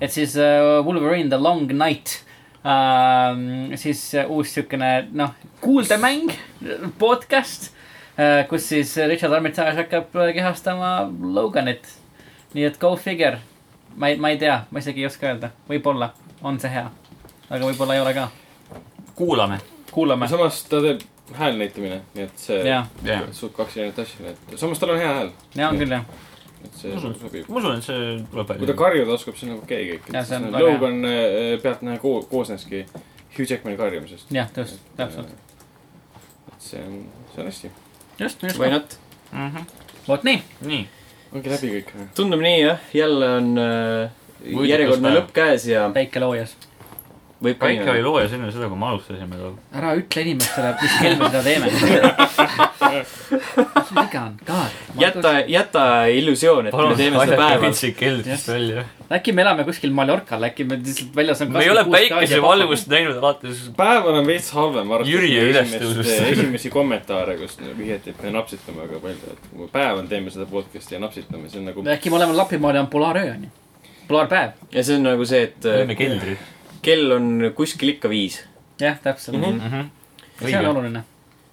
C: et siis äh, Wolverine The Long Night äh, . siis äh, uus siukene , noh , kuuldemäng , podcast äh, , kus siis Richard Armitage hakkab äh, kehastama Loganit . nii et go figure . ma ei , ma ei tea , ma isegi ei oska öelda , võib-olla on see hea , aga võib-olla ei ole ka .
D: kuulame .
C: kuulame .
B: samas ta teeb hääl näitamine , nii et see
C: jah ,
D: jah .
B: suht kaks erinevat asja , nii et samas tal on hea hääl ,
C: ja on küll jah .
B: et see
C: Mm.
D: Mhm.
B: sobib .
D: ma usun , et see tuleb
B: kui ta
D: välja .
B: karjuda oskab , siis on nagu okei kõik .
C: Jah, see on väga hea.
B: Logan äh, pealtnäha ko- koosneski Hugh Jackmani karjumisest .
C: jah , just , täpselt ..
B: et see on , see on hästi .
D: just , just .
A: Why not ?
C: vot nii ,
D: Mhm. nii ,
B: ongi läbi kõik .
A: tundub nii jah , jälle on äh,
D: Võidukas
A: järjekordne
D: päev.
A: lõpp käes ja
C: päike loojas .
A: võib ka
D: väike
A: nii
D: oli
A: olla .
D: loojas enne seda , kui me alustasime tal .
C: ära ütle inimestele , mis kell me seda teeme . mis sul viga on ,
A: jäta
C: kaart ?,
A: jäta illusioon , et me teeme seda
D: aidake
A: päeval .
D: vitsik kell siis välja .
C: äkki me elame kuskil Mallorcal , äkki me lihtsalt väljas on .
D: me ei ole päikesevalgust näinud alates ,
B: päeval on veits halvem ,
D: Jüri ja ülestõusust.
B: eh, esimesi kommentaare , kus vihjati , et me napsitame väga palju , et kui me päeval teeme seda podcast'i ja napsitame , see on nagu
C: äkki me oleme Lapimaal ja on polaaröö on ju , polaarpäev .
A: ja see on nagu see , et
D: me olime
A: äh,
D: keldris .
A: kell on kuskil ikka viis .
C: jah , täpselt mm .
A: Mhm.
C: -hmm. see on
D: Mhm. Õige.
C: oluline .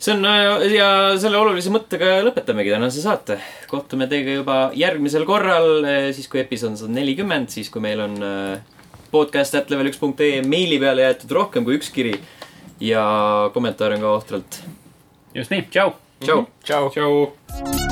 A: see on äh, ja selle olulise mõttega lõpetamegi tänase saate . kohtume teiega juba järgmisel korral , siis kui episood on sada nelikümmend , siis kui meil on äh, podcast at level üks punkt ee meili peale jäetud rohkem kui üks kiri ja kommentaare on ka ohtralt .
C: just nii , tšau .
A: tšau .
B: tšau .